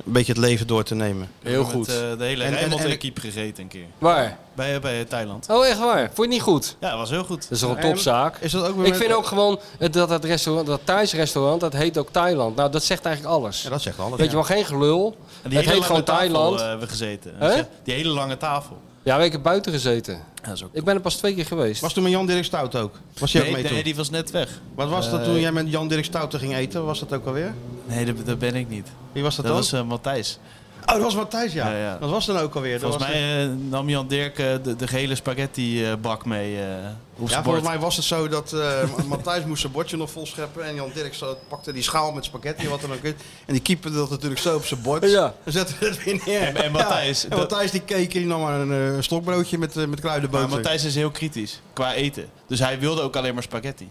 B: een beetje het leven door te nemen.
C: Heel goed.
D: Met, eh, de hele
B: En- en-
D: Rijnmond
B: en-
D: en kiep gegeten een keer.
C: Waar?
D: Bij, eh, bij Thailand.
C: Oh, echt waar? Vond je het niet goed?
D: Ja, dat was heel goed.
C: Dat is toch een topzaak?
B: Is dat ook weer
C: Ik
B: met-
C: vind ook gewoon eh, dat dat, restaurant, dat Thais restaurant, dat heet ook Thailand. Nou, dat zegt eigenlijk alles.
B: Ja, dat zegt alles.
C: Weet je wel, geen gelul.
D: En
C: het heet
D: hele
C: gewoon
D: lange tafel,
C: Thailand.
D: eh, hebben we gezeten.
C: Hè?
D: Die hele lange tafel.
C: Ja, we hebben buiten gezeten.
D: Ja, zo.
C: Ik ben er pas twee keer geweest.
B: Was toen met Jan-Dirk Stout ook? Was hij
D: Nee,
B: ook mee
D: nee,
B: toen?
D: die was net weg.
B: Wat was
C: Eh,
B: dat toen jij met Jan-Dirk Stout ging eten? Was dat ook alweer?
D: Nee, dat, dat ben ik niet.
B: Wie was dat,
D: Dat
B: dan?
D: was eh, Matthijs.
B: Oh, dat was Matthijs, ja.
D: Ja, ja.
B: Dat was dan ook alweer. Dat
D: Volgens
B: was
D: mij eh, nam Jan Dirk eh, de, de gele spaghetti eh, bak mee eh, op
B: Ja,
D: zijn bord.
B: volgens mij was het zo dat eh Matthijs moest zijn bordje nog vol scheppen. En Jan Dirk zo- pakte die schaal met spaghetti en wat dan ook is. En die keeperde dat natuurlijk zo op zijn bord.
C: Ja.
B: En zette het weer neer.
D: En- en Matthijs,
B: Ja, en
D: dat-
B: Matthijs die keek en die nam maar een eh, stokbroodje met, eh, met
D: Maar
B: kruidenboter.
D: Matthijs is heel kritisch qua eten. Dus hij wilde ook alleen maar spaghetti.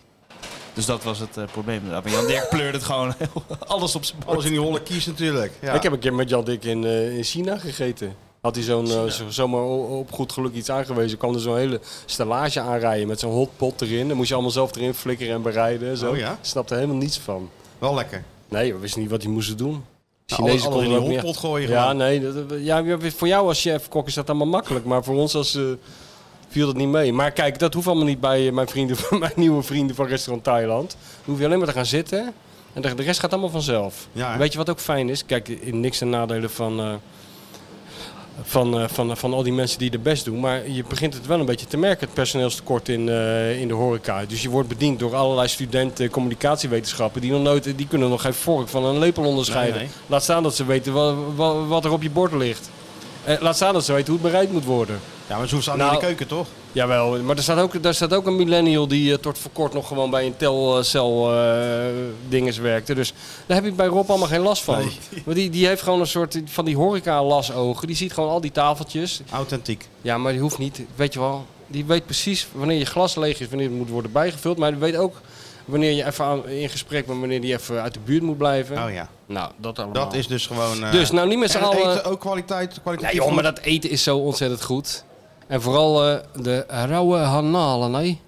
D: Dus dat was het eh, probleem. inderdaad. Maar Jan Dirk pleurde het gewoon heel- alles op zijn bord.
B: Alles in die holle kies natuurlijk. Ja.
C: Ik heb een keer met Jan Dik in, eh, in China gegeten. Had hij zo'n, eh, zo- zomaar o- op goed geluk iets aangewezen. Kwam er zo'n hele stellage aanrijden met zo'n hotpot erin. Dan moest je allemaal zelf erin flikkeren en bereiden. en Zo.
B: Oh ja?
C: Snapte helemaal niets van.
B: Wel lekker.
C: Nee, we wisten niet wat hij moest doen. De
B: Nou,
C: Chinezen
B: alle-
C: konden
B: alle
C: ook niet
B: hotpot
C: echt-
B: gooien
C: Ja,
B: gewoon.
C: nee. dat- dat- ja, ja, voor jou als chef kok is dat allemaal makkelijk. Maar voor ons als... eh, viel dat niet mee. Maar kijk, dat hoeft allemaal niet bij eh, mijn, vrienden, van- mijn nieuwe vrienden van restaurant Thailand. Dan hoef je alleen maar te gaan zitten. En de de rest gaat allemaal vanzelf.
B: Ja, hè?
C: Weet je wat ook fijn is? Kijk, in niks ten nadelen van, eh, van, eh, van, van al die mensen die de best doen. Maar je begint het wel een beetje te merken, het personeelstekort in, eh, in de horeca. Dus je wordt bediend door allerlei studenten communicatiewetenschappen. Die, nog nooit, die kunnen nog geen vork van een lepel onderscheiden.
B: Nee, nee.
C: Laat staan dat ze weten wat, wat, er op je bord ligt. Eh, laat staan dat ze weten hoe het bereid moet worden.
B: Ja, maar zo staan
C: Nou,
B: in de keuken toch?
C: Jawel, maar er staat ook, daar staat ook een millennial die eh, tot voor kort nog gewoon bij een telcel eh dinges werkte. Dus daar heb ik bij Rob allemaal geen last van. Want die, die heeft gewoon een soort van die horeca lasogen. Die ziet gewoon al die tafeltjes.
B: Authentiek.
C: Ja, maar die hoeft niet, weet je wel. Die weet precies wanneer je glas leeg is, wanneer het moet worden bijgevuld. Maar die weet ook wanneer je even aan- in gesprek bent, wanneer die even uit de buurt moet blijven.
B: Oh ja.
C: Nou, dat allemaal.
B: Dat is dus gewoon... eh,
C: Dus nou niet met z'n
B: en het
C: allen-
B: eten ook kwaliteit. kwaliteit
C: Nee joh, maar dat eten is zo ontzettend goed. En vooral eh, de rauwe hanalen, nee?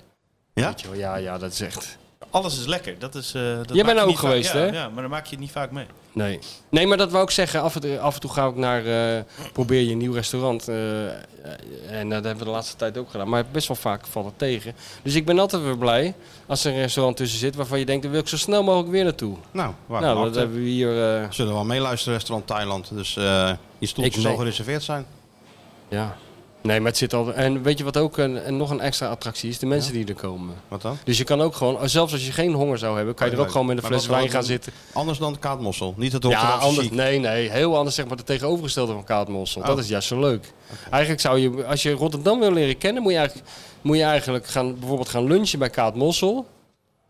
B: Ja?
C: Weet je wel, ja, ja, dat is echt...
I: Alles is lekker. Dat is, eh, dat
C: Jij
I: maak
C: bent
I: je
C: ook
I: niet vaak-
C: geweest,
I: ja,
C: hè?
I: Ja, maar dan maak je het niet vaak mee.
C: Nee. Nee, maar dat wou ik zeggen. Af en toe, af en toe ga ik naar... eh, probeer je een nieuw restaurant. eh, en dat hebben we de laatste tijd ook gedaan. Maar best wel vaak valt het tegen. Dus ik ben altijd weer blij als er een restaurant tussen zit... waarvan je denkt, daar wil ik zo snel mogelijk weer naartoe.
B: Nou, waar
C: nou,
B: gemaakt,
C: dat
B: hè?
C: hebben we hier... eh,
B: Zullen we wel meeluisteren, restaurant Thailand. Dus eh je
C: Ik
B: stoeltjes
C: mee.
B: zal gereserveerd zijn.
C: ja. Nee, maar het zit al... En weet je wat ook een, en nog een extra attractie is? De mensen die er komen.
B: Wat dan?
C: Dus je kan ook gewoon... Zelfs als je geen honger zou hebben... kan je er ook gewoon met een
B: Maar
C: fles
B: wat-
C: wijn
B: wat-
C: gaan zitten...
B: Anders dan kaatmossel. Niet het
C: Ja,
B: Rotterdamse
C: anders,
B: chic.
C: nee, nee. Heel anders zeg maar de tegenovergestelde van Kaatmossel. Dat
B: Oh.
C: is juist zo leuk. Eigenlijk zou je, als je Rotterdam wil leren kennen, moet je eigenlijk, moet je eigenlijk gaan, bijvoorbeeld gaan lunchen bij Kaatmossel.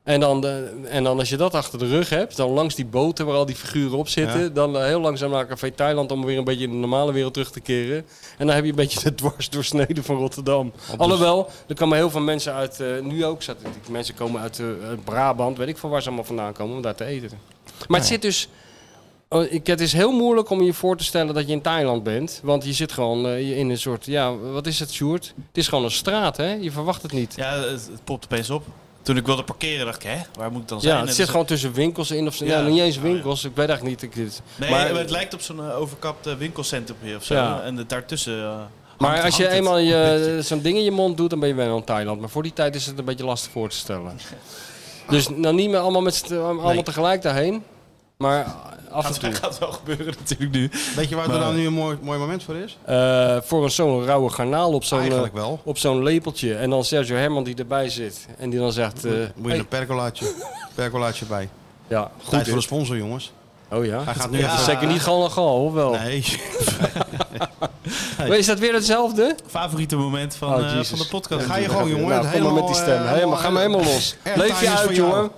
C: En dan, de, en dan als je dat achter de rug hebt, dan langs die boten waar al die figuren op zitten.
B: Ja.
C: Dan eh, heel langzaam naar Café Thailand om weer een beetje in de normale wereld terug te keren. En dan heb je een beetje de dwars doorsneden van Rotterdam. Alhoewel, er komen heel veel mensen uit, eh, nu ook, zat- die mensen komen uit eh, uit Brabant, weet ik van waar ze allemaal vandaan komen om daar te eten.
B: Ah,
C: Maar het zit dus... oh, ik- Het is heel moeilijk om je voor te stellen dat je in Thailand bent. Want je zit gewoon eh, in een soort... Ja, wat is het, Sjoerd? Het is gewoon een straat, hè? Je verwacht het niet.
I: Ja, het, het popt opeens op. Toen ik wilde parkeren, dacht ik, hè, waar moet ik dan zijn?
C: Ja, het
I: En
C: zit
I: dus-
C: gewoon tussen winkels in of zo.
I: Ja.
C: Ja, niet eens winkels. Ik weet eigenlijk niet. Ik, dit-
I: Nee,
C: maar,
I: maar, het lijkt op zo'n eh, overkapt eh, winkelcentrum hier of zo.
C: Ja.
I: En het daartussen. eh, hangt-
C: maar als je
I: hangt het.
C: eenmaal je, eh, zo'n ding in je mond doet, dan ben je wel in Thailand. Maar voor die tijd is het een beetje lastig voor te stellen. Dus nou niet meer allemaal, met z'n- allemaal
B: Nee.
C: tegelijk daarheen. Maar af en
I: Gaat-
C: toe.
I: gaat wel gebeuren natuurlijk nu.
B: Weet je waar er
I: Maar-
B: nou nu een mooi, mooi moment voor is?
C: Eh, voor een- zo'n rauwe garnaal op zo'n,
B: Eigenlijk
C: eh,
B: wel.
C: op zo'n lepeltje. En dan Sergio Herman die erbij zit. En die dan zegt... eh,
B: Moet je
C: hey.
B: een percolaatje, percolaatje bij.
C: Ja, goed.
B: Tijd
C: hè?
B: voor de sponsor, jongens.
C: Oh ja?
B: Hij gaat nu
C: Dat is
B: even-
C: Zeker niet gal en gal, of wel?
B: Nee.
C: Maar Is dat weer hetzelfde?
I: Favoriete moment van,
C: Oh,
I: eh,
C: Jezus.
I: van de podcast.
B: Ga je gewoon, jongen.
C: Nou, kom maar
B: helemaal,
C: met die stem.
B: eh,
C: helemaal, ga maar helemaal los.
B: Echt,
C: Leef
B: Thijs
C: je
B: is
C: uit,
B: voor jou.
C: jongen.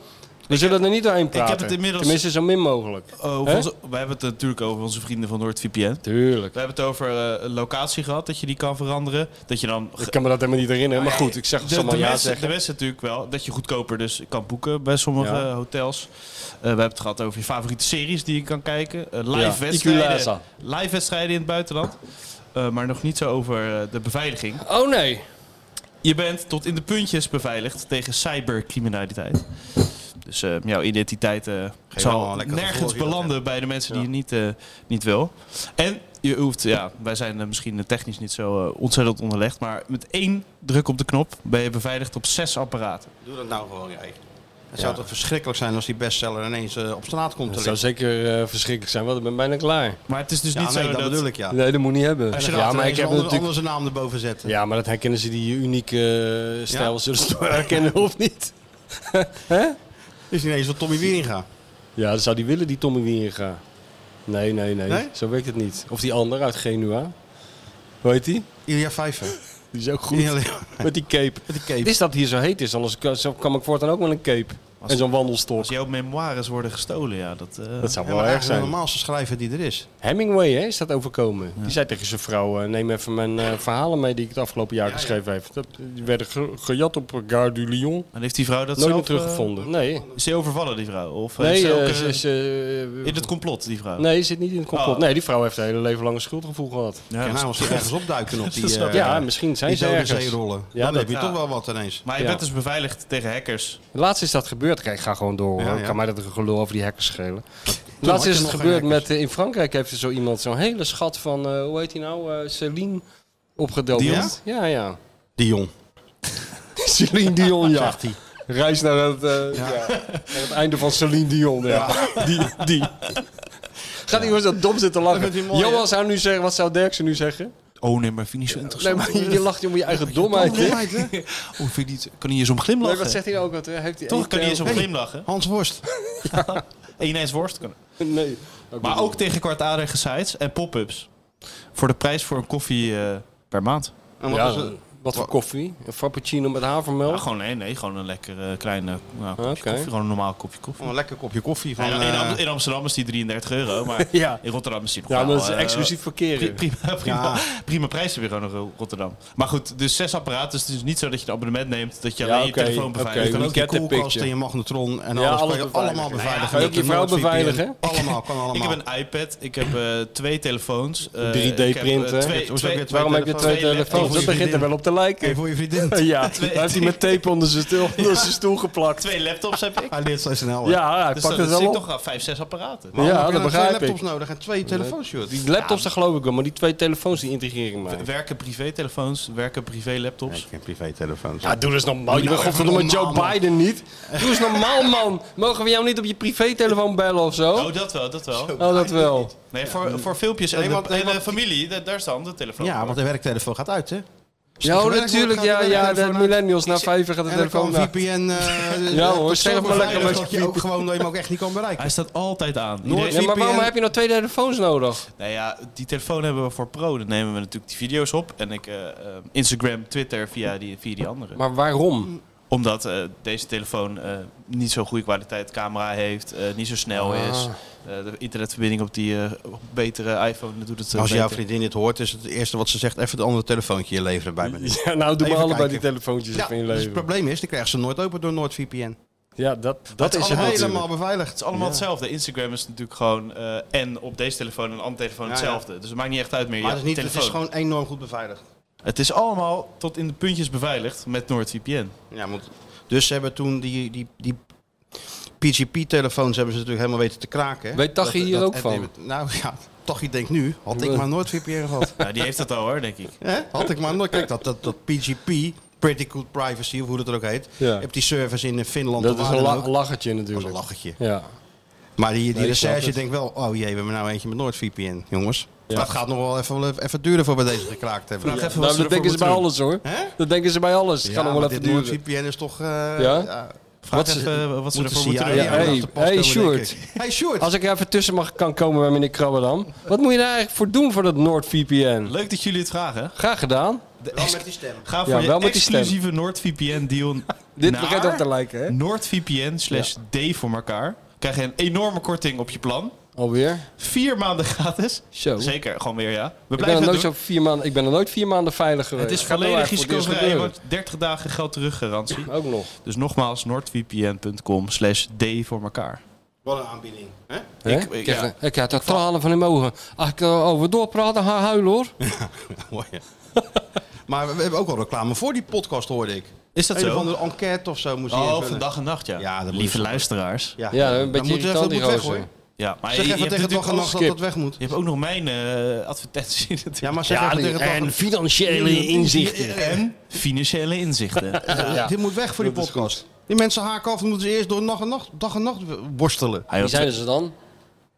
C: We zullen er niet doorheen praten.
I: het inmiddels-
C: Tenminste, zo min mogelijk.
I: Over
C: Hè?
I: onze- we hebben het natuurlijk over onze vrienden van NoordVPN.
C: Tuurlijk.
I: We hebben het over eh, een locatie gehad, dat je die kan veranderen. Dat je dan...
C: Ik kan me dat helemaal niet herinneren.
B: Oh,
C: Maar goed, ik zeg
I: De,
C: allemaal
I: de
C: ja
I: mensen- de
C: zeggen.
I: mensen natuurlijk wel, dat je goedkoper dus kan boeken bij sommige
C: Ja.
I: eh, hotels. Eh, we hebben het gehad over je favoriete series die je kan kijken. Eh, live,
C: Ja,
I: wedstrijden,
C: Iculasa.
I: live wedstrijden in het buitenland. Eh, maar nog niet zo over eh, de beveiliging.
C: Oh nee.
I: Je bent tot in de puntjes beveiligd tegen cybercriminaliteit. Dus eh, jouw identiteit eh,
B: wel
I: zal
B: een lekker
I: nergens
B: gevoel hier,
I: belanden bij de mensen die je niet, eh, niet wil. En je hoeft, ja, wij zijn eh, misschien technisch niet zo eh, ontzettend onderlegd, maar met één druk op de knop ben je beveiligd op zes apparaten.
B: Doe dat nou gewoon, jij. Het zou toch verschrikkelijk zijn als die bestseller ineens eh, op straat komt te
C: Dat zou
B: liggen.
C: zeker eh, verschrikkelijk zijn, want ik ben bijna klaar.
I: Maar het is dus
B: Ja,
I: niet
B: nee,
I: zo
B: dat,
I: dat...
B: bedoel ik, ja.
C: Nee, dat moet niet hebben.
B: Nou. Als je
C: Ja, maar ik heb
B: anders,
C: natuurlijk...
B: zijn naam erboven zetten.
C: Ja, maar dat herkennen ze die unieke eh, stijl.
B: Ja?
C: Zullen ze het wel herkennen of niet? Hè?
B: Is ineens wat Tommy Wieringa.
C: Ja, dan zou die willen die Tommy Wieringa. Nee, nee, nee,
B: Nee?
C: Zo werkt het niet. Of die ander uit Genua. Hoe heet die?
B: Ilja Vijver.
C: Die is ook goed.
B: Ilja-
C: Met die cape.
B: Met die cape.
C: Het is dat het hier zo heet is, anders kan, zo kwam ik voortaan ook met een cape. en zo'n wandelstok. Als
D: die ook memoires worden gestolen, ja. Dat, eh,
C: Dat zou
D: ja,
C: wel
D: maar
C: erg zijn.
D: eigenlijk normaal.
C: schrijver die er is. Hemingway hè, is dat overkomen. Die zei tegen zijn vrouw, eh, neem even mijn eh, verhalen mee die ik het afgelopen jaar geschreven heb. Dat, die werden ge- gejat op Gare du Lyon.
D: En heeft die vrouw dat
C: Nooit
D: zelf...
C: meer teruggevonden.
D: eh,
C: nee.
D: Is ze overvallen, die vrouw? Of
C: Nee,
D: heeft ze ook,
C: eh,
D: eh,
C: ze is, eh,
D: in het complot, die vrouw?
C: Nee, zit niet in het complot.
D: Oh.
C: Nee, die vrouw heeft haar hele leven lang een schuldgevoel gehad.
D: Ja, Kijk, nou, als
B: ze ergens opduiken op die,
C: Ja,
B: eh,
C: misschien zijn
B: die
C: ze
B: dode
C: ergens.
B: zeerollen. Dan heb je toch wel wat ineens.
D: Maar je
C: Ja.
D: bent dus beveiligd tegen hackers.
C: Laatst is dat gebeurd. Kijk, ik ga gewoon door. hoor.
D: Ja, ja.
C: Kan mij dat gelul over die hackers schelen.
D: had
C: Laatst
D: je
C: is het
D: nog geen
C: gebeurd met... eh, in Frankrijk heeft er zo iemand zo'n hele schat van... eh, hoe heet hij nou? eh Céline opgedoken.
B: Dion?
C: Ja, ja.
B: Dion.
C: Céline Dion, ja.
B: Zegt hij.
C: Reis naar het, eh, ja. naar het einde van Celine Dion. Ja. Die, die. Gaat iemand zo dom zitten lachen?
D: vindt hij mooi, hè?
C: Johan zou nu zeggen, wat zou Derksen nu zeggen?
D: Oh nee, maar vind je niet zo interessant.
C: Nee, maar je lacht om je eigen domheid. hè?
D: Domheid, hè? Oh, vind je niet... Kan hij eens om glimlachen?
C: Nee, wat zegt hij nou ook? Wat, eh, heeft hij
D: Toch
C: heeft,
D: kan hij
C: eh,
D: eens om
C: hey,
D: glimlachen.
B: Hans Worst.
D: Ineens worst kunnen.
C: Nee.
D: Maar ook tegen kwartadige sites en pop-ups. Voor de prijs voor een koffie eh, per maand.
B: En wat
C: ja,
B: is het?
C: wat voor koffie? Een frappuccino met havermelk?
D: Ja, gewoon, nee, nee, gewoon een lekker eh, klein eh, nou, kopje
C: Oké.
D: koffie. Gewoon een normaal kopje koffie.
B: Een lekker kopje koffie van...
D: Ja, in, Am-
B: eh,
D: in Amsterdam is die 33 euro, maar
C: Ja.
D: in Rotterdam is die nog
C: Ja, maar
D: wel,
C: dat
I: Nou,
C: is
D: eh,
C: exclusief voor keren.
D: pri- prima, prima,
B: Ja.
D: prima prijzenbureau nog in Rotterdam. Maar goed, dus zes apparaten. Dus het is niet zo dat je een abonnement neemt dat je
C: Ja,
D: alleen
C: oké,
D: je telefoon
C: oké,
D: beveiligt.
B: Je kan
C: we
B: ook je
C: get the
B: koelkast
C: picture.
B: en je magnetron en
C: Ja,
B: alles.
C: alles
B: kan je
C: beveiligen.
B: allemaal beveiligen.
C: Kan je ook
B: met
C: je
B: de
C: vrouw
B: NordVPN.
C: beveiligen?
B: Allemaal, kan allemaal.
D: Ik heb een iPad, ik heb eh, twee telefoons. eh,
C: 3D
D: ik heb, eh,
C: printen.
D: twee-
B: Hoezo
D: twee-
B: heb je
C: Waarom heb je twee
D: Twee
C: telefoons? Dat
D: laptops.
C: begint er wel op te
B: Even
C: lijken.
B: voor je vriendin.
C: Ja,
D: Twee-
C: hij heeft hij met tape onder zijn stoel, onder zijn stoel geplakt.
D: Twee laptops heb ik.
B: Hij leert zo snel. hè.
C: Ja, hij
D: Dus
C: pakt
D: dat
C: het wel
D: zit
C: op.
D: toch aan vijf, zes apparaten.
C: Ja,
B: Waarom heb je
C: dat
B: dan
C: begrijp
B: twee laptops
C: ik.
B: nodig en twee telefoons, joh. Die-
C: Die laptops, dat geloof ik wel, maar die twee telefoons die integreren mij.
D: Werken privé-telefoons, werken privé-laptops.
B: Ik heb privé-telefoons.
C: Ja, doe eens normaal. Je
B: Nou,
C: bent
B: even
C: godverdomme Joe
B: normaal, man.
C: Biden niet. Doe eens normaal, man. Mogen we jou niet op je privételefoon bellen of zo?
D: Oh, dat wel, dat wel.
C: Oh, dat wel.
D: Nee, voor, voor filmpjes en,
B: Nee,
D: de-
B: want-
D: en
B: nee,
D: de
B: want-
D: familie, da- daar is dan de telefoon.
B: Ja, want de werktelefoon gaat uit, hè?
C: Ja, oh, natuurlijk. Ja, ja, de millennials na vijven gaat de
B: En dan kan
C: telefoon uit.
B: VPN... eh,
C: Ja,
B: eh,
C: hoor,
B: tot
C: zeg het maar
B: zover
C: lekker
B: veilig
C: met
B: Dat je ook gewoon dat je hem ook echt niet kan bereiken.
D: Hij staat altijd aan.
B: Nooit-
D: Iedereen-
C: Ja, maar waarom
B: VPN.
C: heb je nou twee telefoons nodig?
D: Nou ja, die telefoon hebben we voor pro. Dan nemen we natuurlijk die video's op. En ik eh, eh, Instagram, Twitter via die, via die andere.
C: Maar waarom?
D: Omdat eh, deze telefoon eh, niet zo'n goede kwaliteit camera heeft. eh, niet zo snel
C: Ah.
D: is. Eh, de internetverbinding op die eh, op betere iPhone doet het eh,
B: Als jouw
D: beter.
B: vriendin dit hoort, is het eerste wat ze zegt... even het andere telefoontje je leveren bij me.
C: Ja, nou, doe maar
B: Even
C: allebei die
B: kijken.
C: telefoontjes
B: Ja,
C: even in je
B: dus het
C: leven.
B: probleem is, die krijgen ze nooit open door NordVPN.
C: Ja, dat, dat is het
B: allemaal
C: natuurlijk.
B: helemaal beveiligd.
D: Het is allemaal hetzelfde. Instagram is natuurlijk gewoon eh, en op deze telefoon en een andere telefoon
B: Ja, ja.
D: hetzelfde. Dus het maakt niet echt uit meer.
B: Maar
D: je
B: het is, niet, het
D: telefoon.
B: is gewoon enorm goed beveiligd.
D: Het is allemaal tot in de puntjes beveiligd met NordVPN.
B: Ja, want, dus ze hebben toen die, die, die PGP-telefoons hebben ze natuurlijk helemaal weten te kraken. hè?
C: Weet Tachi
B: Dat-
C: hier
B: dat-
C: ook
B: en-
C: van?
B: Nou ja, Tachi denkt nu, had ik maar nooit VPN gehad.
D: Nou, die heeft dat al hoor, denk ik.
B: Hè? had ik maar nooit. Kijk, dat, dat, dat PGP, Pretty Good Privacy, of hoe dat er ook heet.
C: Ja.
B: Je hebt die service in Finland
C: Dat
B: of
C: is
B: waar
C: een
B: dan
C: la-
B: ook.
C: lachertje
B: Dat is een Nou,
C: natuurlijk.
B: lachetje.
C: Ja. Nou,
B: Maar die, die
C: Nee, ik snap
B: recherche
C: het.
B: denkt wel, oh jee, we hebben nou eentje met NoordVPN, jongens.
C: Ja.
B: Dat gaat nog wel even, even duren voor we deze gekraakt hebben.
D: Vraag even wat
C: Nou,
D: ze
C: dat denken ze bij
D: alles.
C: alles hoor.
B: Hè?
C: Dat denken ze bij alles. Het kan
B: Ja,
C: nog wel
B: maar
C: even
B: dit
C: duren.
B: NoordVPN is toch... eh, ja,
D: Vraag
C: Wat ze-
D: even wat ze
B: moeten
D: ervoor
B: ze
D: moeten
B: ja,
D: doen.
C: Ja,
B: ja,
C: hey,
B: te
C: hey,
B: pas komen, denk
C: Sjoerd.
B: ik. Hey Sjoerd!
C: Als ik er even tussen mag kan komen bij meneer Krabberdam. Wat moet je daar eigenlijk voor doen voor dat NordVPN?
D: Leuk dat jullie het vragen.
C: Graag gedaan.
B: Wel met die stem.
D: Ga
C: Ja,
D: voor
C: wel
D: je
C: met die stem.
D: exclusieve NordVPN deal
C: Dit
D: naar
C: begint op te lijken, hè?
D: NordVPN slash D voor elkaar. Krijg je een enorme korting op je plan.
C: Alweer.
D: Vier maanden gratis.
C: Zo.
D: Zeker, gewoon weer ja. We
C: Ik ben, er
D: blijven het
C: nooit
D: doen.
C: zo vier maanden, ik ben er nooit vier maanden veilig geweest.
D: Het is
C: Gaat nou
D: volledig
C: eigenlijk voor het
D: risicovrij. Je
C: eerst
D: wordt 30 dagen geld teruggarantie.
C: gebeuren? Ook nog.
D: Dus nogmaals, nordvpn.com slash D voor elkaar.
B: Wat een aanbieding. Hè?
C: hè?
D: ik-
C: Ik,
D: ja.
C: heb- ik had dat tranen van in mijn ogen. Als ik eh, erover doorpraten, ga ik huilen hoor.
B: Mooi, hè? maar we hebben ook al reclame voor die podcast, hoorde ik.
D: Is dat
B: Een of
D: zo?
B: andere enquête of zo moest je
D: Oh,
B: invullen.
D: van dag en nacht, ja.
B: Ja, dat moet je
D: Lieve
B: zo-
D: luisteraars.
C: Ja, een beetje
B: Dan moet
C: irritant,
B: dat
C: die
B: moet weg,
C: gozer.
B: hoor.
D: Ja, maar
B: Zeg
D: je- je
B: even
D: hebt
B: tegen
D: natuurlijk
B: dag en nacht
D: ook-
B: dat dat weg moet.
D: Je hebt ook nog mijn eh, advertentie natuurlijk.
B: Ja, maar zeg even tegen dag en
C: financiële
D: En financiële inzichten.
B: Ja, Dit moet weg voor die podcast. Die mensen haken af, dan moeten ze eerst door dag en nacht, dag en nacht worstelen.
D: Hij
C: Wie
D: had-
C: zijn ze dan?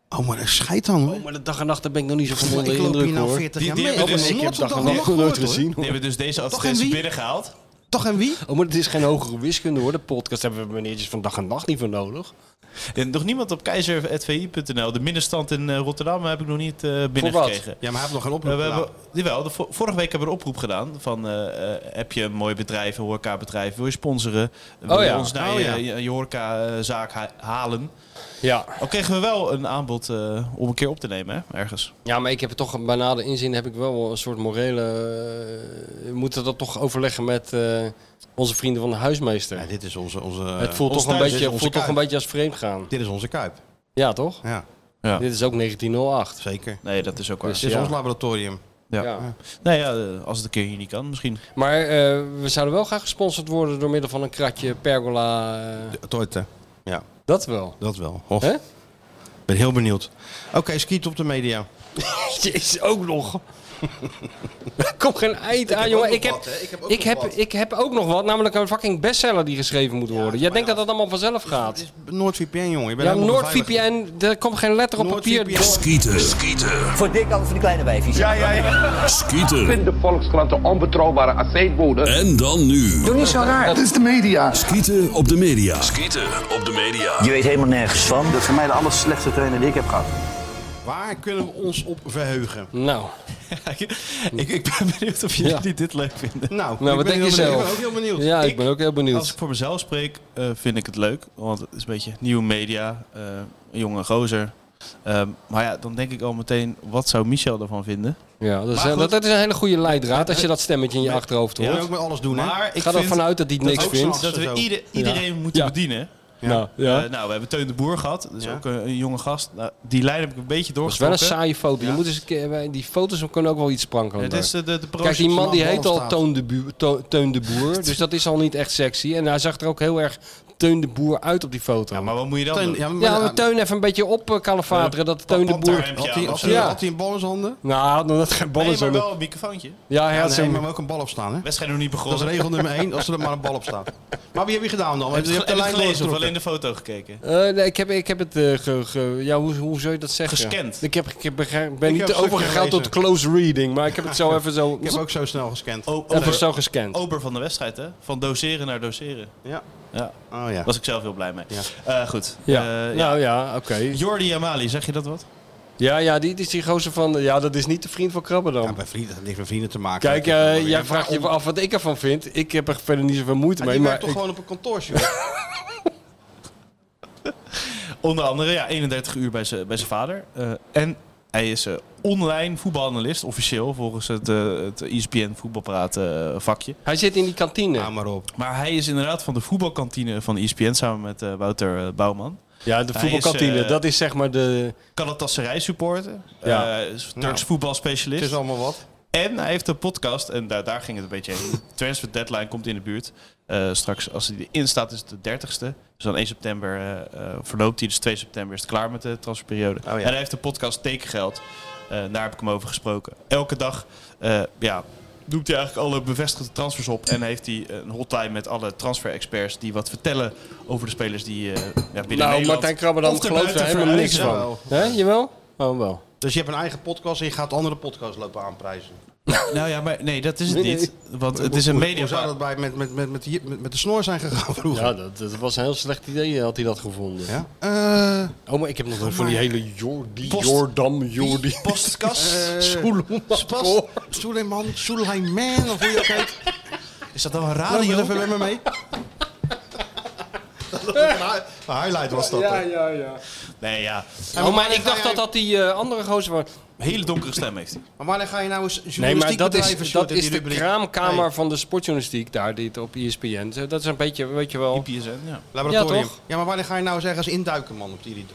B: Oh, maar dat schijt dan, hoor.
C: Maar de dag en nacht daar ben ik nog niet zo van
B: Maar
C: onder
B: ik
C: de
B: loop hier
C: indruk
B: nou
C: hoor.
B: 40
D: Die-
B: jaar
D: die
B: mee.
D: hebben
B: Ik
D: dus-
B: heb
D: ik
B: nooit
D: heb
B: van
D: dag
B: dag
D: en
B: en
D: nacht
B: nacht gehoord, hoor.
D: Die hebben dus deze advertentie
B: wie?
D: binnengehaald.
B: Toch en wie?
C: Oh, maar het is geen hogere wiskunde hoor. De podcast hebben we meneertjes van dag en nacht niet voor nodig.
D: En Eh, nog niemand op keizer.vi.nl. De middenstand in eh, Rotterdam heb ik nog niet eh, binnengekregen.
B: Ja, maar hij heeft nog geen oproep
D: Eh, we hebben,
B: gedaan.
D: Jawel, de vo- vorige week hebben we een oproep gedaan. Van, eh, eh, heb je een mooi bedrijf, een horecabedrijf? Wil je sponsoren? Wil
C: Oh
D: je
C: ja.
D: ons naar
C: Oh
D: je,
C: ja.
D: je, je horecazaak ha- halen?
C: Ja.
D: Al kregen we wel een aanbod eh, om een keer op te nemen, hè? ergens.
C: Ja, maar ik heb het toch bij nader inzien heb ik wel een soort morele. eh, we moeten dat toch overleggen met eh, onze vrienden van de huismeester.
B: dit is onze. onze
C: het voelt,
B: eh, ons
C: toch een,
B: thuis,
C: beetje,
B: dit is onze
C: voelt toch een
B: Kuip.
C: beetje als vreemd gaan.
B: Dit is onze kuip.
C: Ja, toch?
B: Ja.
D: Ja.
C: Dit is ook 1908.
B: Zeker.
D: Nee, dat is ook waar.
C: Dus
B: Dit is
C: ja.
B: ons laboratorium.
D: Ja.
C: Ja.
D: Nou ja, eh, als het een keer hier niet kan, misschien.
C: Maar eh, we zouden wel graag gesponsord worden door middel van een kratje pergola. eh,
B: Torte. Ja,
C: dat wel.
B: dat wel. Hof.
C: Hè?
B: Ik ben heel benieuwd. Oké, skiet op de media.
C: Jezus, ook nog. Er komt geen eind aan,
B: heb
C: jongen.
B: ook
C: Ik heb,
B: nog wat, hè. Ik heb ook
C: ik,
B: nog
C: heb,
B: wat.
C: ik heb ook nog wat, namelijk een fucking bestseller die geschreven moet worden. Jij denkt dat dat allemaal vanzelf gaat.
B: NoordVPN, jongen. Je bent
C: Ja,
B: helemaal beveiligd.
C: NoordVPN, er komt geen letter op papier.
F: Skieten. Skieten.
J: Voor dik altijd voor de kleine wijfjes. Ja, ja, ja.
F: Skieten.
J: Vind de Volkskrant de onbetrouwbare aceetbode.
F: En dan nu.
J: Doe niet zo raar. Dat is de media.
F: Skieten op de media. Skieten op de media.
J: Je weet helemaal nergens van. Dat is voor mij de aller slechtste trainer die ik heb gehad.
B: Waar kunnen we ons op verheugen?
C: Nou,
D: ik, ik ben benieuwd of jullie
C: Ja.
D: dit leuk vinden.
B: Nou,
C: nou
B: ik
C: wat
B: ben
C: denk je
B: heel
C: zelf?
B: benieuwd. Ik ben ook heel benieuwd.
C: Ja, ik,
D: Ik-
C: ben ook heel benieuwd.
D: Als ik voor mezelf spreek, eh, vind ik het leuk. Want het is een beetje nieuwe media, eh, een jonge gozer. Ehm, maar ja, dan denk ik al meteen, wat zou Michel daarvan vinden?
C: Ja, dat is,
D: Maar goed.
C: dat is een hele goede leidraad als je dat stemmetje in je achterhoofd
B: Je
C: hoort.
B: moet ook met alles doen, hè?
D: Maar ik
C: Ga
D: vind
C: ervan uit dat hij het niks
B: ook
C: vindt.
B: s'nachts.
D: dat we
B: Zo.
D: ieder- iedereen moeten
C: Ja.
D: bedienen.
C: Ja. Nou, ja.
D: Eh, nou, we hebben Teun de Boer gehad. Dat is
B: Ja.
D: ook een, een jonge gast. Nou, die lijn heb ik een beetje
C: dat is wel
D: doorgestoken.
C: een saaie foto. Je moet eens, een keer- eh, die foto's kunnen ook wel iets sprankelen.
D: Het is eh, de, de, de
C: Kijk, die man die
B: man
C: heet al
B: staat.
C: Toon de, Bu- To- Teun de Boer. Dus dat is al niet echt sexy. En hij zag er ook heel erg Teun de Boer uit op die foto. Ja,
D: Maar
C: maar,
D: wat moet je dan
B: Teun-
D: doen?
B: ja, maar,
C: Teun even een beetje op eh, kalefateren. Dat Teun de Boer...
D: Panterhemdje
B: Had
D: aan
B: hij,
D: of
B: had
D: zo.
B: hij,
C: Ja.
B: had hij een bal in zijn handen?
C: Nou, dat geen bal
D: Nee,
C: is.
D: maar wel een microfoontje.
C: Ja, hij
B: Ja,
C: had
B: nee,
C: zo'n-
B: maar ook een bal op staan, hè?
D: Wedstrijd nog niet
B: Dat is
D: begonnen.
B: regel nummer 1, als er maar een bal op staat. Maar wie heb je gedaan dan?
D: Heb
B: Want
D: je
B: je
D: het
B: hebt de lijn
D: gelezen of
B: doorgetrokken.
D: alleen de foto gekeken?
C: Eh, nee, ik heb, ik heb het... eh, ge, ge- ja, hoe, hoe zou je dat zeggen?
D: Gescand.
C: Ik, heb, ik heb, bege- ben
B: Ik heb
C: niet
B: een stukje
C: overgegaan tot
B: gelezen.
C: close reading. Maar ik heb het zo even zo...
B: Ik heb ook zo snel gescand.
D: O-
C: even
D: ober,
C: zo gescand.
D: ober van de wedstrijd, hè? Van doseren naar doseren.
B: Ja.
D: Ja,
B: Oh ja.
D: daar was ik zelf heel blij mee.
B: Ja.
D: Eh, goed.
C: ja.
D: Eh, ja.
C: Nou ja, oké.
D: Jordi Amali, zeg je dat wat?
C: Ja, ja, die, die is die gozer van... Ja, dat is niet de vriend van Krabben dan.
B: Ja, bij vrienden, dat heeft met vrienden te maken.
C: Kijk,
B: Dat is wel
C: eh,
B: weer-
C: jij vraagt je
B: Waarom?
C: af wat ik ervan vind. Ik heb er verder niet zoveel moeite
B: Maar
C: mee.
B: die
C: Maar
B: werkt toch
C: ik-
B: gewoon op een kantoortje? hoor.
D: Onder andere, ja, 31 uur bij zijn bij zijn vader. Eh, en hij is eh, online voetbalanalist, officieel, volgens het, eh het ESPN voetbalpraat eh, vakje.
C: Hij zit in die kantine.
B: Ja, maar op.
D: Maar hij is inderdaad van de voetbalkantine van ESPN samen met eh, Wouter eh, Bouwman.
C: Ja, de
D: Hij
C: voetbalkantine,
D: is, eh,
C: dat is zeg maar de...
D: Kan het Tasserij supporten.
C: Ja.
D: Eh, is Turks
B: Nou, Het
D: voetbalspecialist.
C: Dus-
B: is allemaal wat.
C: Nou,
D: En hij heeft een podcast, en daar, daar ging het een beetje heen. De transfer deadline komt in de buurt. Eh, straks, als hij erin staat, is het de 30ste. Dus dan 1 september eh, eh, verloopt hij. Dus 2 september is het klaar met de transferperiode.
B: Oh ja.
D: En hij heeft een podcast Tekengeld. Eh, daar heb ik hem over gesproken. Elke dag eh, ja, doet hij eigenlijk alle bevestigde transfers op. En heeft hij eh, een hotline met alle transfer-experts die wat vertellen over de spelers die eh ja, binnen
C: Nou,
D: Nederland...
C: Martijn Krabberdam
D: of er
C: gelooft er
D: buiten
C: helemaal niks
D: verhuizen.
C: van.
B: wel.
C: Hè, jawel? Oh, wel.
B: Dus je hebt een eigen podcast en je gaat andere podcasts lopen aanprijzen.
D: Nou ja, maar nee, dat is het
C: Nee, nee.
D: niet. Want het is een
B: Hoe-
D: media...
B: Hoe zou dat bij, met, met, met, met, hier- met, met de snor zijn gegaan vroeger?
C: Ja, dat, dat was een heel slecht idee, eh, had hij dat gevonden.
B: Ja? Eh,
C: Oh, maar ik heb nog nooit van die hele Jordi,
D: Post-
C: Jordam, Jordi.
D: Postkast?
B: eh,
C: Soeleman.
B: Spas- Soleiman, Soleiman, of hoe je ook heet.
D: Is dat dan een
B: Laat
D: radio?
B: me even met me mee. Dat was een hi- een highlight was dat. hè?
C: ja, ja.
D: Nee, ja.
C: Oh, maar ik dacht dat dat die eh, andere gozer was.
D: Hele donkere stem heeft hij.
B: Maar wanneer ga je nou eens journalistiek
C: Nee, maar dat
B: bedrijven,
C: is,
B: Sjoerd,
C: dat is
B: in die
C: de
B: rubriek?
C: kraamkamer
B: Nee,
C: van de sportjournalistiek daar, dit op E ESPN. Zo, Dat is een beetje, weet je wel...
D: PSN, ja.
B: laboratorium.
C: Ja,
B: Ja,
C: toch?
B: maar wanneer ga je nou eens ergens induiken, man, op die,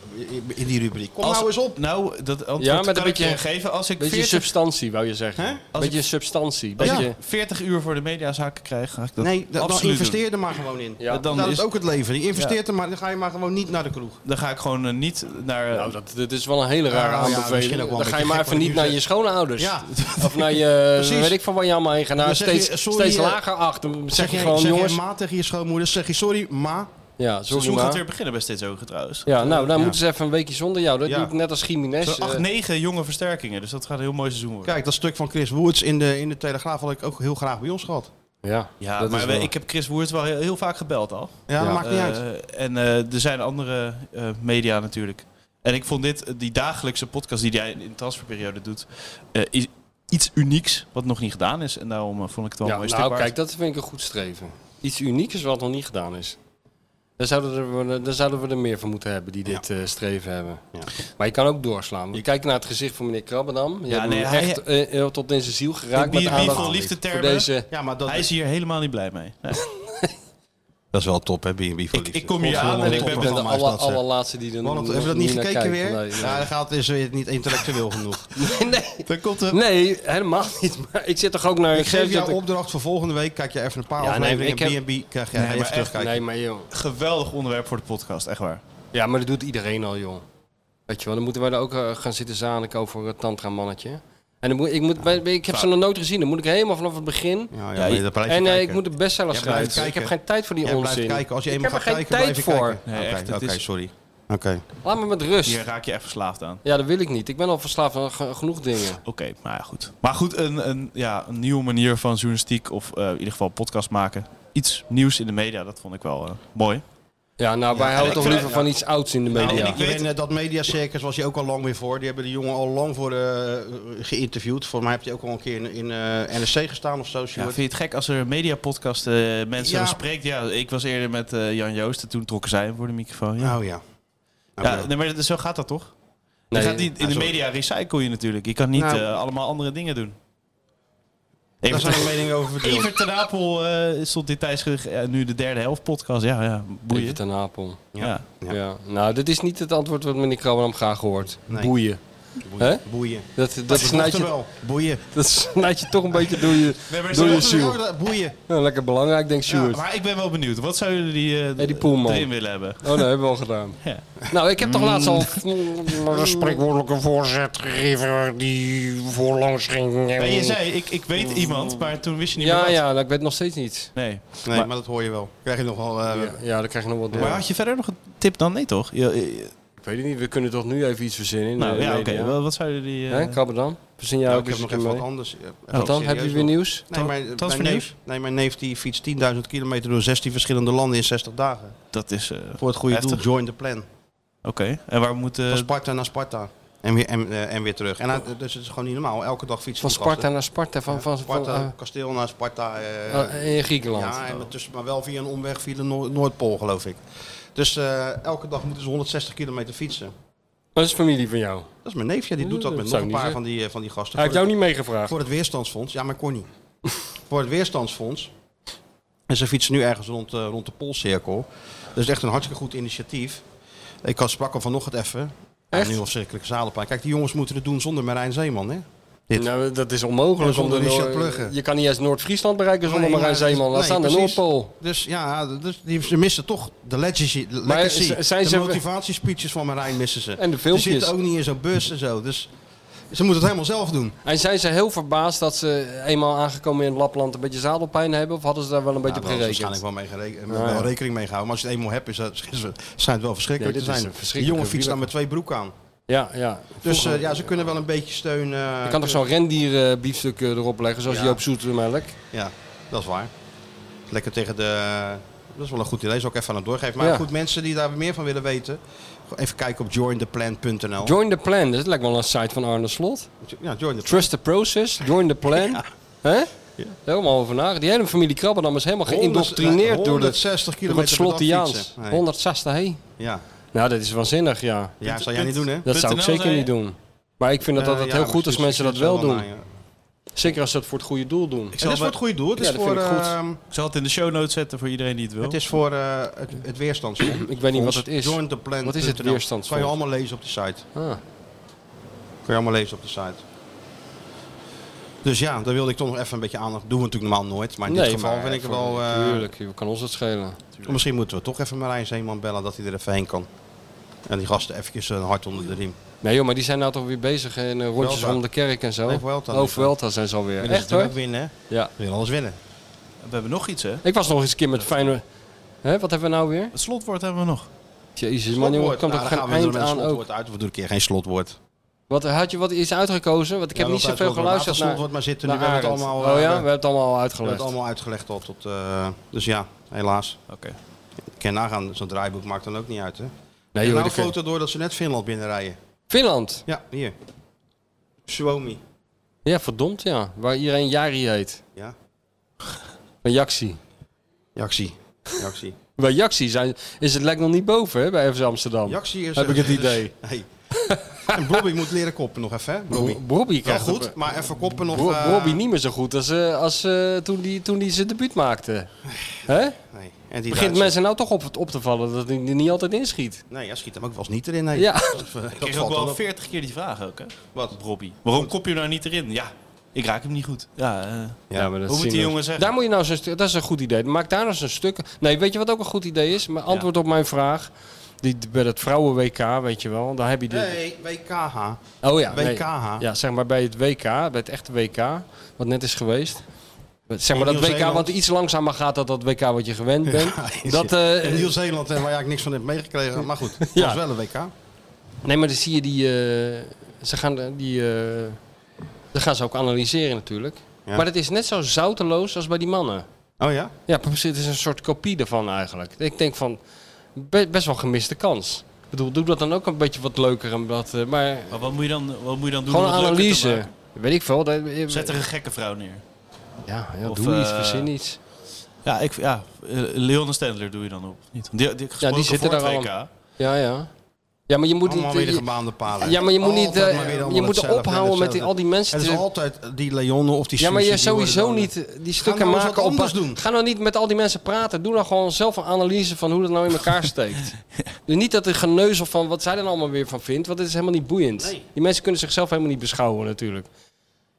B: in die rubriek? Kom
D: Als-
B: nou eens op.
D: Nou, dat antwoord
C: Ja, met een
D: kan
C: beetje-
D: ik je geven. Als ik
C: Beetje
D: 40,
C: substantie, wou je zeggen.
B: Hè?
D: Als
C: Beetje
D: ik-
C: substantie.
D: als
C: Beetje...
D: ik 40 uur voor de mediazaken krijg, ga ik dat
B: Nee, dan, dan
D: absoluut
B: investeer er maar gewoon in.
C: Ja.
D: Dan
B: Dan dat
D: is-
B: is ook het leven. Je investeert er maar, dan ga je maar gewoon niet naar de kroeg.
D: doen. Dan ga ik gewoon eh, niet naar... eh,
C: Nou, dat, dit is wel een hele rare
B: Ja, ja,
C: aanbeveling.
B: misschien ook wel
C: dan
B: een
C: ga je
B: beetje
C: maar
B: gek
C: even
B: wat
C: niet
B: ik
C: naar
B: nu
C: je schoonouders.
B: Ja.
C: Of naar je,
B: Precies.
C: weet ik van waar je allemaal heen gaat. Nou,
B: Dan zeg je,
C: steeds,
B: sorry,
C: steeds
B: eh,
C: lager achter. Dan Zeg, je
B: jij-
C: gewoon,
B: zeg
C: jongens.
B: jij ma tegen je schoonmoeder, zeg je sorry, ma.
C: ja,
D: het
C: sorry
D: seizoen gaat
C: maar.
D: weer beginnen bij Steeds Hoger trouwens.
C: Ja, nou, dan
B: Ja.
C: moeten ze even een weekje zonder jou. Dat
B: Ja.
C: doe ik net als
D: Zo'n
C: Jiménez.
D: acht,
C: eh,
D: negen jonge versterkingen. Dus dat gaat een heel mooi seizoen worden.
B: Kijk, dat stuk van Chris Woods in de, in de Telegraaf had ik ook heel graag bij ons gehad.
C: Ja,
D: Ja,
C: dat
D: maar
C: is
D: we-
C: wel-
D: ik heb Chris Woert wel heel, heel vaak gebeld al.
C: Ja, dat maakt niet
D: Eh,
C: uit.
D: En eh, er zijn andere eh, media natuurlijk. En ik vond dit, eh, die dagelijkse podcast die jij in de transferperiode doet, eh, is iets unieks wat nog niet gedaan is. En daarom eh, vond ik het wel
C: Ja,
D: een mooi
C: nou,
D: stuk waard.
C: kijk, dat vind ik een goed streven. Iets unieks wat nog niet gedaan is. Daar zouden, we, daar zouden we er meer van moeten hebben die dit eh, streven hebben. Maar je kan ook doorslaan. Want Je kijkt naar het gezicht van meneer Krabbendam. Je
D: Ja,
C: hebt
D: nee,
C: hem
D: hij-
C: echt eh, eh, tot in zijn ziel geraakt.
D: Die
C: met aandacht
D: liefde
C: voor
D: liefdetermen.
C: deze.
D: ja, maar dat... Hij is hier helemaal niet blij mee. Nee.
B: Dat is wel top, hè, B&B voor liefde.
D: ik kom hier aan en ik ben
B: van
C: de aller- allerlaatste die er
B: nog
C: nog-
B: Hebben we dat
C: nog
B: niet
C: niet naar
B: gekeken weer?
C: kijkt. Nee, nee.
B: Ja, dan gaat is weer niet intellectueel genoeg.
D: nee. Komt er...
C: nee, helemaal niet. Maar ik zit toch ook naar...
B: Ik geef jou
C: zit-
B: opdracht voor volgende week. Kijk je even een paar
C: Ja, nee,
B: afleveringen
C: ik heb-
B: en B&B krijg jij
C: Nee,
B: even
C: maar echt,
B: terugkijken.
C: Nee, maar joh.
D: Geweldig onderwerp voor de podcast, echt waar.
C: Ja, maar dat doet iedereen al, joh. Weet je wel, dan moeten wij daar ook eh, gaan zitten zaniken over het tantra-mannetje. En dan moet, ik, moet, bij- bij- ik heb ze nog nooit gezien. Dan moet ik helemaal vanaf het begin.
B: Ja, ja, maar je- dat blijf je
C: en eh, ik
B: kijken.
C: moet de bestseller
B: Jij blijft
C: schrijven. Ik heb
B: kijken.
C: geen tijd voor die
B: Jij blijft
C: onzin.
B: kijken. Als je
C: ik
B: eenmaal
C: heb
B: gaat
C: er geen
B: kijken,
C: tijd
B: blijf je
C: voor.
B: kijken. Nee, echt, het is- Oké.
C: Laat me met rust.
D: Hier raak je echt verslaafd aan.
C: Ja, dat wil ik niet. Ik ben al verslaafd aan ge- genoeg dingen.
D: Oké, maar ja, goed. Maar goed, een, een, ja, een nieuwe manier van journalistiek of eh, in ieder geval podcast maken. Iets nieuws in de media, dat vond ik wel eh, mooi.
C: Ja, nou, wij
D: Ja,
C: houden
D: ik
C: toch
D: vind-
C: liever van iets ouds in de
D: Nou,
C: media.
D: en ik
B: Ik
D: weet-
B: weet, eh, dat mediacircus was je ook al lang weer voor. Die hebben de jongen al lang voor eh, geïnterviewd. Voor mij heb je ook al een keer in, in eh, NSC gestaan of zo.
D: Ja,
B: Sjoerd.
D: vind je het gek als er een mediapodcast eh mensen
B: Ja.
D: spreekt? Ja, ik was eerder met eh, Jan Joosten, toen trokken zij hem voor de microfoon. Ja.
B: Oh ja. Nou,
D: ja, nee, maar dat- zo gaat dat toch? Je
C: Nee.
D: gaat niet, in
C: Ah,
D: de
C: sorry.
D: media recycle je natuurlijk. Je kan niet
C: Nou.
D: eh, allemaal andere dingen doen.
B: Daar
D: Evert-
B: zijn we meningen over verdeeld.
D: Evert ten Apel eh, stond dit tijdens eh, nu de derde helft podcast. Ja, ja boeien.
C: Evert ten Apel.
D: Ja.
C: Ja. Nou, dit is niet het antwoord wat meneer Krabbenam graag hoort.
B: Nee.
C: Boeien.
B: Boeien.
C: Hè?
B: Boeien.
C: Dat, dat,
B: Dat
C: snijd
B: klopt
C: je,
B: er wel. Boeien.
C: dat snijd je toch een beetje door je,
D: Nee, maar
C: door
D: ze-
C: je ziel.
B: Ja, Boeien.
C: Nou, lekker belangrijk, denk
D: Ja,
C: Sjoerd.
D: maar ik ben wel benieuwd. Wat zouden jullie eh,
C: Eddie Poelman.
D: erin willen hebben?
C: Oh, nee, hebben we al gedaan.
D: Ja.
C: Nou, ik heb toch laatst al...
K: een spreekwoordelijke voorzet gegeven die voorlangs ging.
D: Nee, je zei, ik, ik weet iemand, maar toen wist je niet meer
C: Ja,
D: wat.
C: ja, nou, ik weet nog steeds niet.
D: Nee.
B: Nee, maar, dat hoor je wel. Krijg je nog wel... eh,
C: Ja, ja, dan krijg je nog wat door.
D: Maar had je verder nog een tip dan? Nee, toch? Ja, eh,
C: Ik weet het niet, we kunnen toch nu even iets verzinnen? in
D: nou,
C: de
D: ja, oké.
C: media?
D: Wel, Wat zouden jullie... eh,
C: Hè, Krabberdam? Verzin jij
B: nou,
C: ook
B: ik heb
C: eens
B: nog
C: een
B: even
C: keer
B: wat
C: mee?
B: anders. eh,
C: Wat dan?
B: serieus
C: Heb je weer
B: wel.
C: nieuws?
B: Nee, maar,
D: Transfer
B: mijn,
D: nieuws?
B: neef, nee, mijn neef die fietst 10.000 kilometer door 16 verschillende landen in 60 dagen.
D: dat is... eh,
B: Voor het goede
D: heftig.
B: doel, join the plan.
D: Oké. En waar moet... eh,
B: Van Sparta naar Sparta. En weer, en, eh, en weer terug. En, hij- dus het is gewoon niet normaal. Elke dag fietsen
C: Van
B: die
C: Sparta
B: gasten.
C: naar Sparta, van, van, van,
B: Sparta,
C: eh,
B: kasteel naar Sparta. eh,
C: eh, in Griekenland.
B: Ja, en met tussen, maar wel via een omweg via de Noor- Noordpool, geloof ik. Dus eh, elke dag moeten ze 160 kilometer fietsen.
C: Dat is familie van jou.
B: Dat is mijn neefje, die doet dat
C: Dat
B: met nog
C: zou
B: een
C: ik
B: paar
C: niet
B: van die, eh, van die gasten.
C: Hij heeft
B: Voor
C: jou
B: het-
C: niet meegevraagd.
B: Voor het Weerstandsfonds. Ja, maar ik kon niet. voor het Weerstandsfonds. En ze fietsen nu ergens rond, eh, rond de Poolcirkel. Dat is echt een hartstikke goed initiatief. Ik had sprak al vanochtend even. Ja,
C: Echt?
B: nu verschrikkelijke zadelpijn. Kijk, die jongens moeten het doen zonder Marijn Zeeman, hè? Dit.
C: Nou, dat is onmogelijk.
B: En zonder
C: zonder
B: Richard
C: Noor-
B: Plugge.
C: Je kan niet eens Noord-Friesland bereiken zonder
B: Nee,
C: Marijn
B: maar-
C: Zeeman. Laat
B: nee,
C: staan de
B: precies.
C: Noordpool.
B: Dus ja, dus die, ze missen toch de legacy, de
C: Maar
B: legacy.
C: z- zijn
B: de
C: ze-
B: motivatiespeeches van Marijn missen ze.
C: En de
B: Ze
C: filmpjes.
B: zitten ook niet in zo'n bus en zo. Dus ze moeten het helemaal zelf doen.
C: En zijn ze heel verbaasd dat ze eenmaal aangekomen in Lapland een beetje zadelpijn hebben? Of hadden ze daar wel een beetje
B: Ja,
C: op
B: daar hadden ze
C: gerekend?
B: waarschijnlijk wel, mee gereken,
C: Ah, ja.
B: wel rekening mee gehouden. Maar als je het eenmaal hebt, is dat, zijn het wel verschrikkelijk
C: Nee, dit is
B: te zijn.
C: een
B: Die
C: verschrikkelijke
B: jongen fietst dan
C: wieler-
B: met twee broeken aan.
C: Ja, ja.
B: Dus
C: Vroeger-
B: eh, ja, ze kunnen wel een beetje steun... eh,
C: je kan toch zo'n rendierbiefstuk eh, erop leggen, zoals
B: Ja.
C: Joop Zoetemelk?
B: Ja, dat is waar. Lekker tegen de... Dat is wel een goed idee, zal ik even aan het doorgeven. Maar
C: Ja.
B: goed, mensen die daar meer van willen weten... Even kijken op jointheplan.nl.
C: Join the plan, dat lijkt wel een site van Arne Slot.
B: ja, join the
C: Trust the process, join the plan. Hè? Helemaal over na. Die hele familie Krabbendam is helemaal geïndoctrineerd door, de,
B: 160
C: door
B: kilometer
C: het
B: per dag
C: Slottiaans.
B: fietsen. Nee.
C: 160, hé.
B: Ja.
C: Nou, dat is waanzinnig, ja.
B: Ja, dat zou jij niet doen, nou hè?
C: Dat zou ik
D: .nl
C: zeker
D: zei
C: niet
D: je?
C: doen. Maar ik vind het
B: Eh,
C: altijd
B: ja,
C: heel
B: maar
C: goed als mensen
B: misschien
C: dat
B: schieten
C: wel
B: ze
C: doen.
B: wel na,
C: Zeker als ze dat voor het goede doel doen.
D: ik
B: Het
D: zal
B: is voor het goede doel. Het
C: Ja,
B: is
C: dat
B: voor,
C: vind ik goed.
B: ehm,
D: Ik zal het in de show notes zetten voor iedereen die het wil.
B: het, is voor eh, het, het weerstandsfonds.
C: Ik weet niet wat het is.
B: Jointheplan.nl.
C: Wat is het weerstandsfonds?
B: Kan je allemaal lezen op de site.
C: Ah.
B: Kun je allemaal lezen op de site. Dus ja, daar wilde ik toch nog even een beetje aandacht. Doen we natuurlijk normaal nooit. Maar in dit geval
C: maar
B: vind ik er
C: voor-
B: wel. eh,
C: Tuurlijk, joh, kan ons dat schelen.
B: misschien moeten we toch even Marijn Zeeman bellen dat hij er even heen kan. En die gasten eventjes eh, een hart onder de riem.
C: Nee joh, maar die zijn nou toch weer bezig in eh, rondjes
B: Vuelta.
C: om de kerk en zo.
B: Nee, Vuelta.
C: Oh, Vuelta zijn ze alweer.
B: En
C: Echt
B: ze
C: hoor?
B: ook winnen, hè?
C: Ja.
B: Ze willen alles winnen.
D: We hebben nog iets, hè?
C: Ik was nog eens een keer met Feyenoord. Hè, wat hebben we nou weer?
D: Het slotwoord hebben we nog.
C: Jezus man, jongen, er
B: Slotwoord.
C: komt
B: Nou,
C: er geen
B: dan gaan we er
C: eind
B: met een
C: aan ook.
B: slotwoord uit. Of we doen een keer geen slotwoord.
C: Wat, had je wat is uitgekozen? Want ik
B: Ja,
C: heb niet
B: dat
C: zoveel
B: uitgelopen.
C: geluisterd
B: Waterstond
C: naar...
B: wordt maar zitten.
C: naar
B: nu hebben we het
C: Arend.
B: allemaal...
C: Oh
B: eh,
C: ja, we hebben het allemaal
B: We hebben
C: uitgelegd.
B: het allemaal uitgelegd al tot... eh, dus ja, helaas. Oké. Ik kan nagaan, zo'n draaiboek maakt dan ook niet uit, hè? Nee,
C: joh,
B: nou een
C: dat kan-
B: foto door dat ze net Finland binnenrijden.
C: Finland?
B: Ja, hier. Suomi.
C: Ja, verdomd ja. Waar iedereen Jari heet.
B: Ja.
C: Van Jaxi.
B: Jaxi. Jaxi.
C: Bij Jaxi zijn, is het lijkt nog niet boven hè, bij FC Amsterdam.
B: Jaxi is...
C: Heb ik het idee.
B: Nee. en Bobby moet leren koppen nog even, hè? Bobby.
C: Bro- Bobby
B: Wel
C: krijgt
B: goed,
C: het-
B: maar even koppen nog...
C: Bro-
B: eh,
C: Bobby niet meer zo goed als, eh, als eh, toen hij toen die zijn debuut maakte. Hè?
B: Nee. En die
C: Begint
B: Duitsers-
C: mensen nou toch op, het op te vallen dat hij er niet altijd inschiet.
B: Nee, hij schiet hem ook wel eens niet erin. Nee.
C: Ja.
D: Ik kreeg ook wel 40 keer die vraag ook, hè? Wat? Robbie. Waarom kop je hem nou niet erin? Ja, ik raak hem niet goed. Ja, eh, hoe moet die jongen zeggen?
C: Daar moet je nou zo'n stu- dat is een goed idee. Maak daar nou zo'n stuk. Nee, weet je wat ook een goed idee is? Mijn antwoord op mijn vraag. Die, bij dat vrouwen WK, weet je wel. Daar heb je de,
B: Nee, WKH.
C: Oh ja, nee.
B: WKH.
C: Ja, zeg maar bij het WK, bij het echte WK, wat net is geweest. Zeg maar
B: In
C: dat WK
B: Nieuw-Zeeland.
C: wat iets langzamer gaat dan dat WK wat je gewend bent.
B: Ja,
C: dat,
B: in
C: eh,
B: Nieuw-Zeeland, eh, waar je eigenlijk niks van hebt meegekregen. Maar goed, het
C: Ja.
B: was wel een Oh WK.
C: nee, maar dan zie je die... eh, ze gaan eh, die... eh dan gaan ze ook analyseren natuurlijk.
B: Ja.
C: Maar het is net zo zouteloos als bij die mannen.
B: Oh ja?
C: Ja, precies. Het is een soort kopie daarvan eigenlijk. Ik denk van, be- best wel gemiste kans. Ik bedoel, doe dat dan ook een beetje wat leuker. En wat, eh, maar
D: Maar wat moet je dan, wat moet je dan doen
C: gewoon
D: om het leuker te
C: analyse.
D: maken?
C: Weet ik veel. dat- eh,
D: Zet er een gekke vrouw neer.
C: Ja, ja
D: Of,
C: doe iets,
D: eh,
C: verzin iets.
D: Ja, ik, ja eh, Leon en Stendler doe je dan op. Niet. Die, die,
C: Ja, die zitten daar al.
D: WK.
C: Ja, ja. Ja, maar je moet
B: Allemaal
C: niet...
B: weer de
C: je-
B: gebaande palen.
C: eh, Ja, maar je moet niet...
B: Altijd
C: eh,
B: maar weer
C: je
B: allemaal
C: moet
B: hetzelfde,
C: ophouden met die, al die mensen...
B: Het is
C: te-
B: altijd die Leon of die
C: ja, maar je
B: Susie, die
C: sowieso
B: worden dan-
C: niet eh, die stukken
B: nou eens
C: maken
B: wat
C: op...
B: anders doen.
C: Ga nou niet met al die mensen praten. Doe dan gewoon zelf een analyse van hoe dat nou in elkaar steekt. Dus niet dat er geneuzel van wat zij er allemaal weer van vindt. Want het is helemaal niet boeiend. Die mensen kunnen zichzelf helemaal niet beschouwen natuurlijk.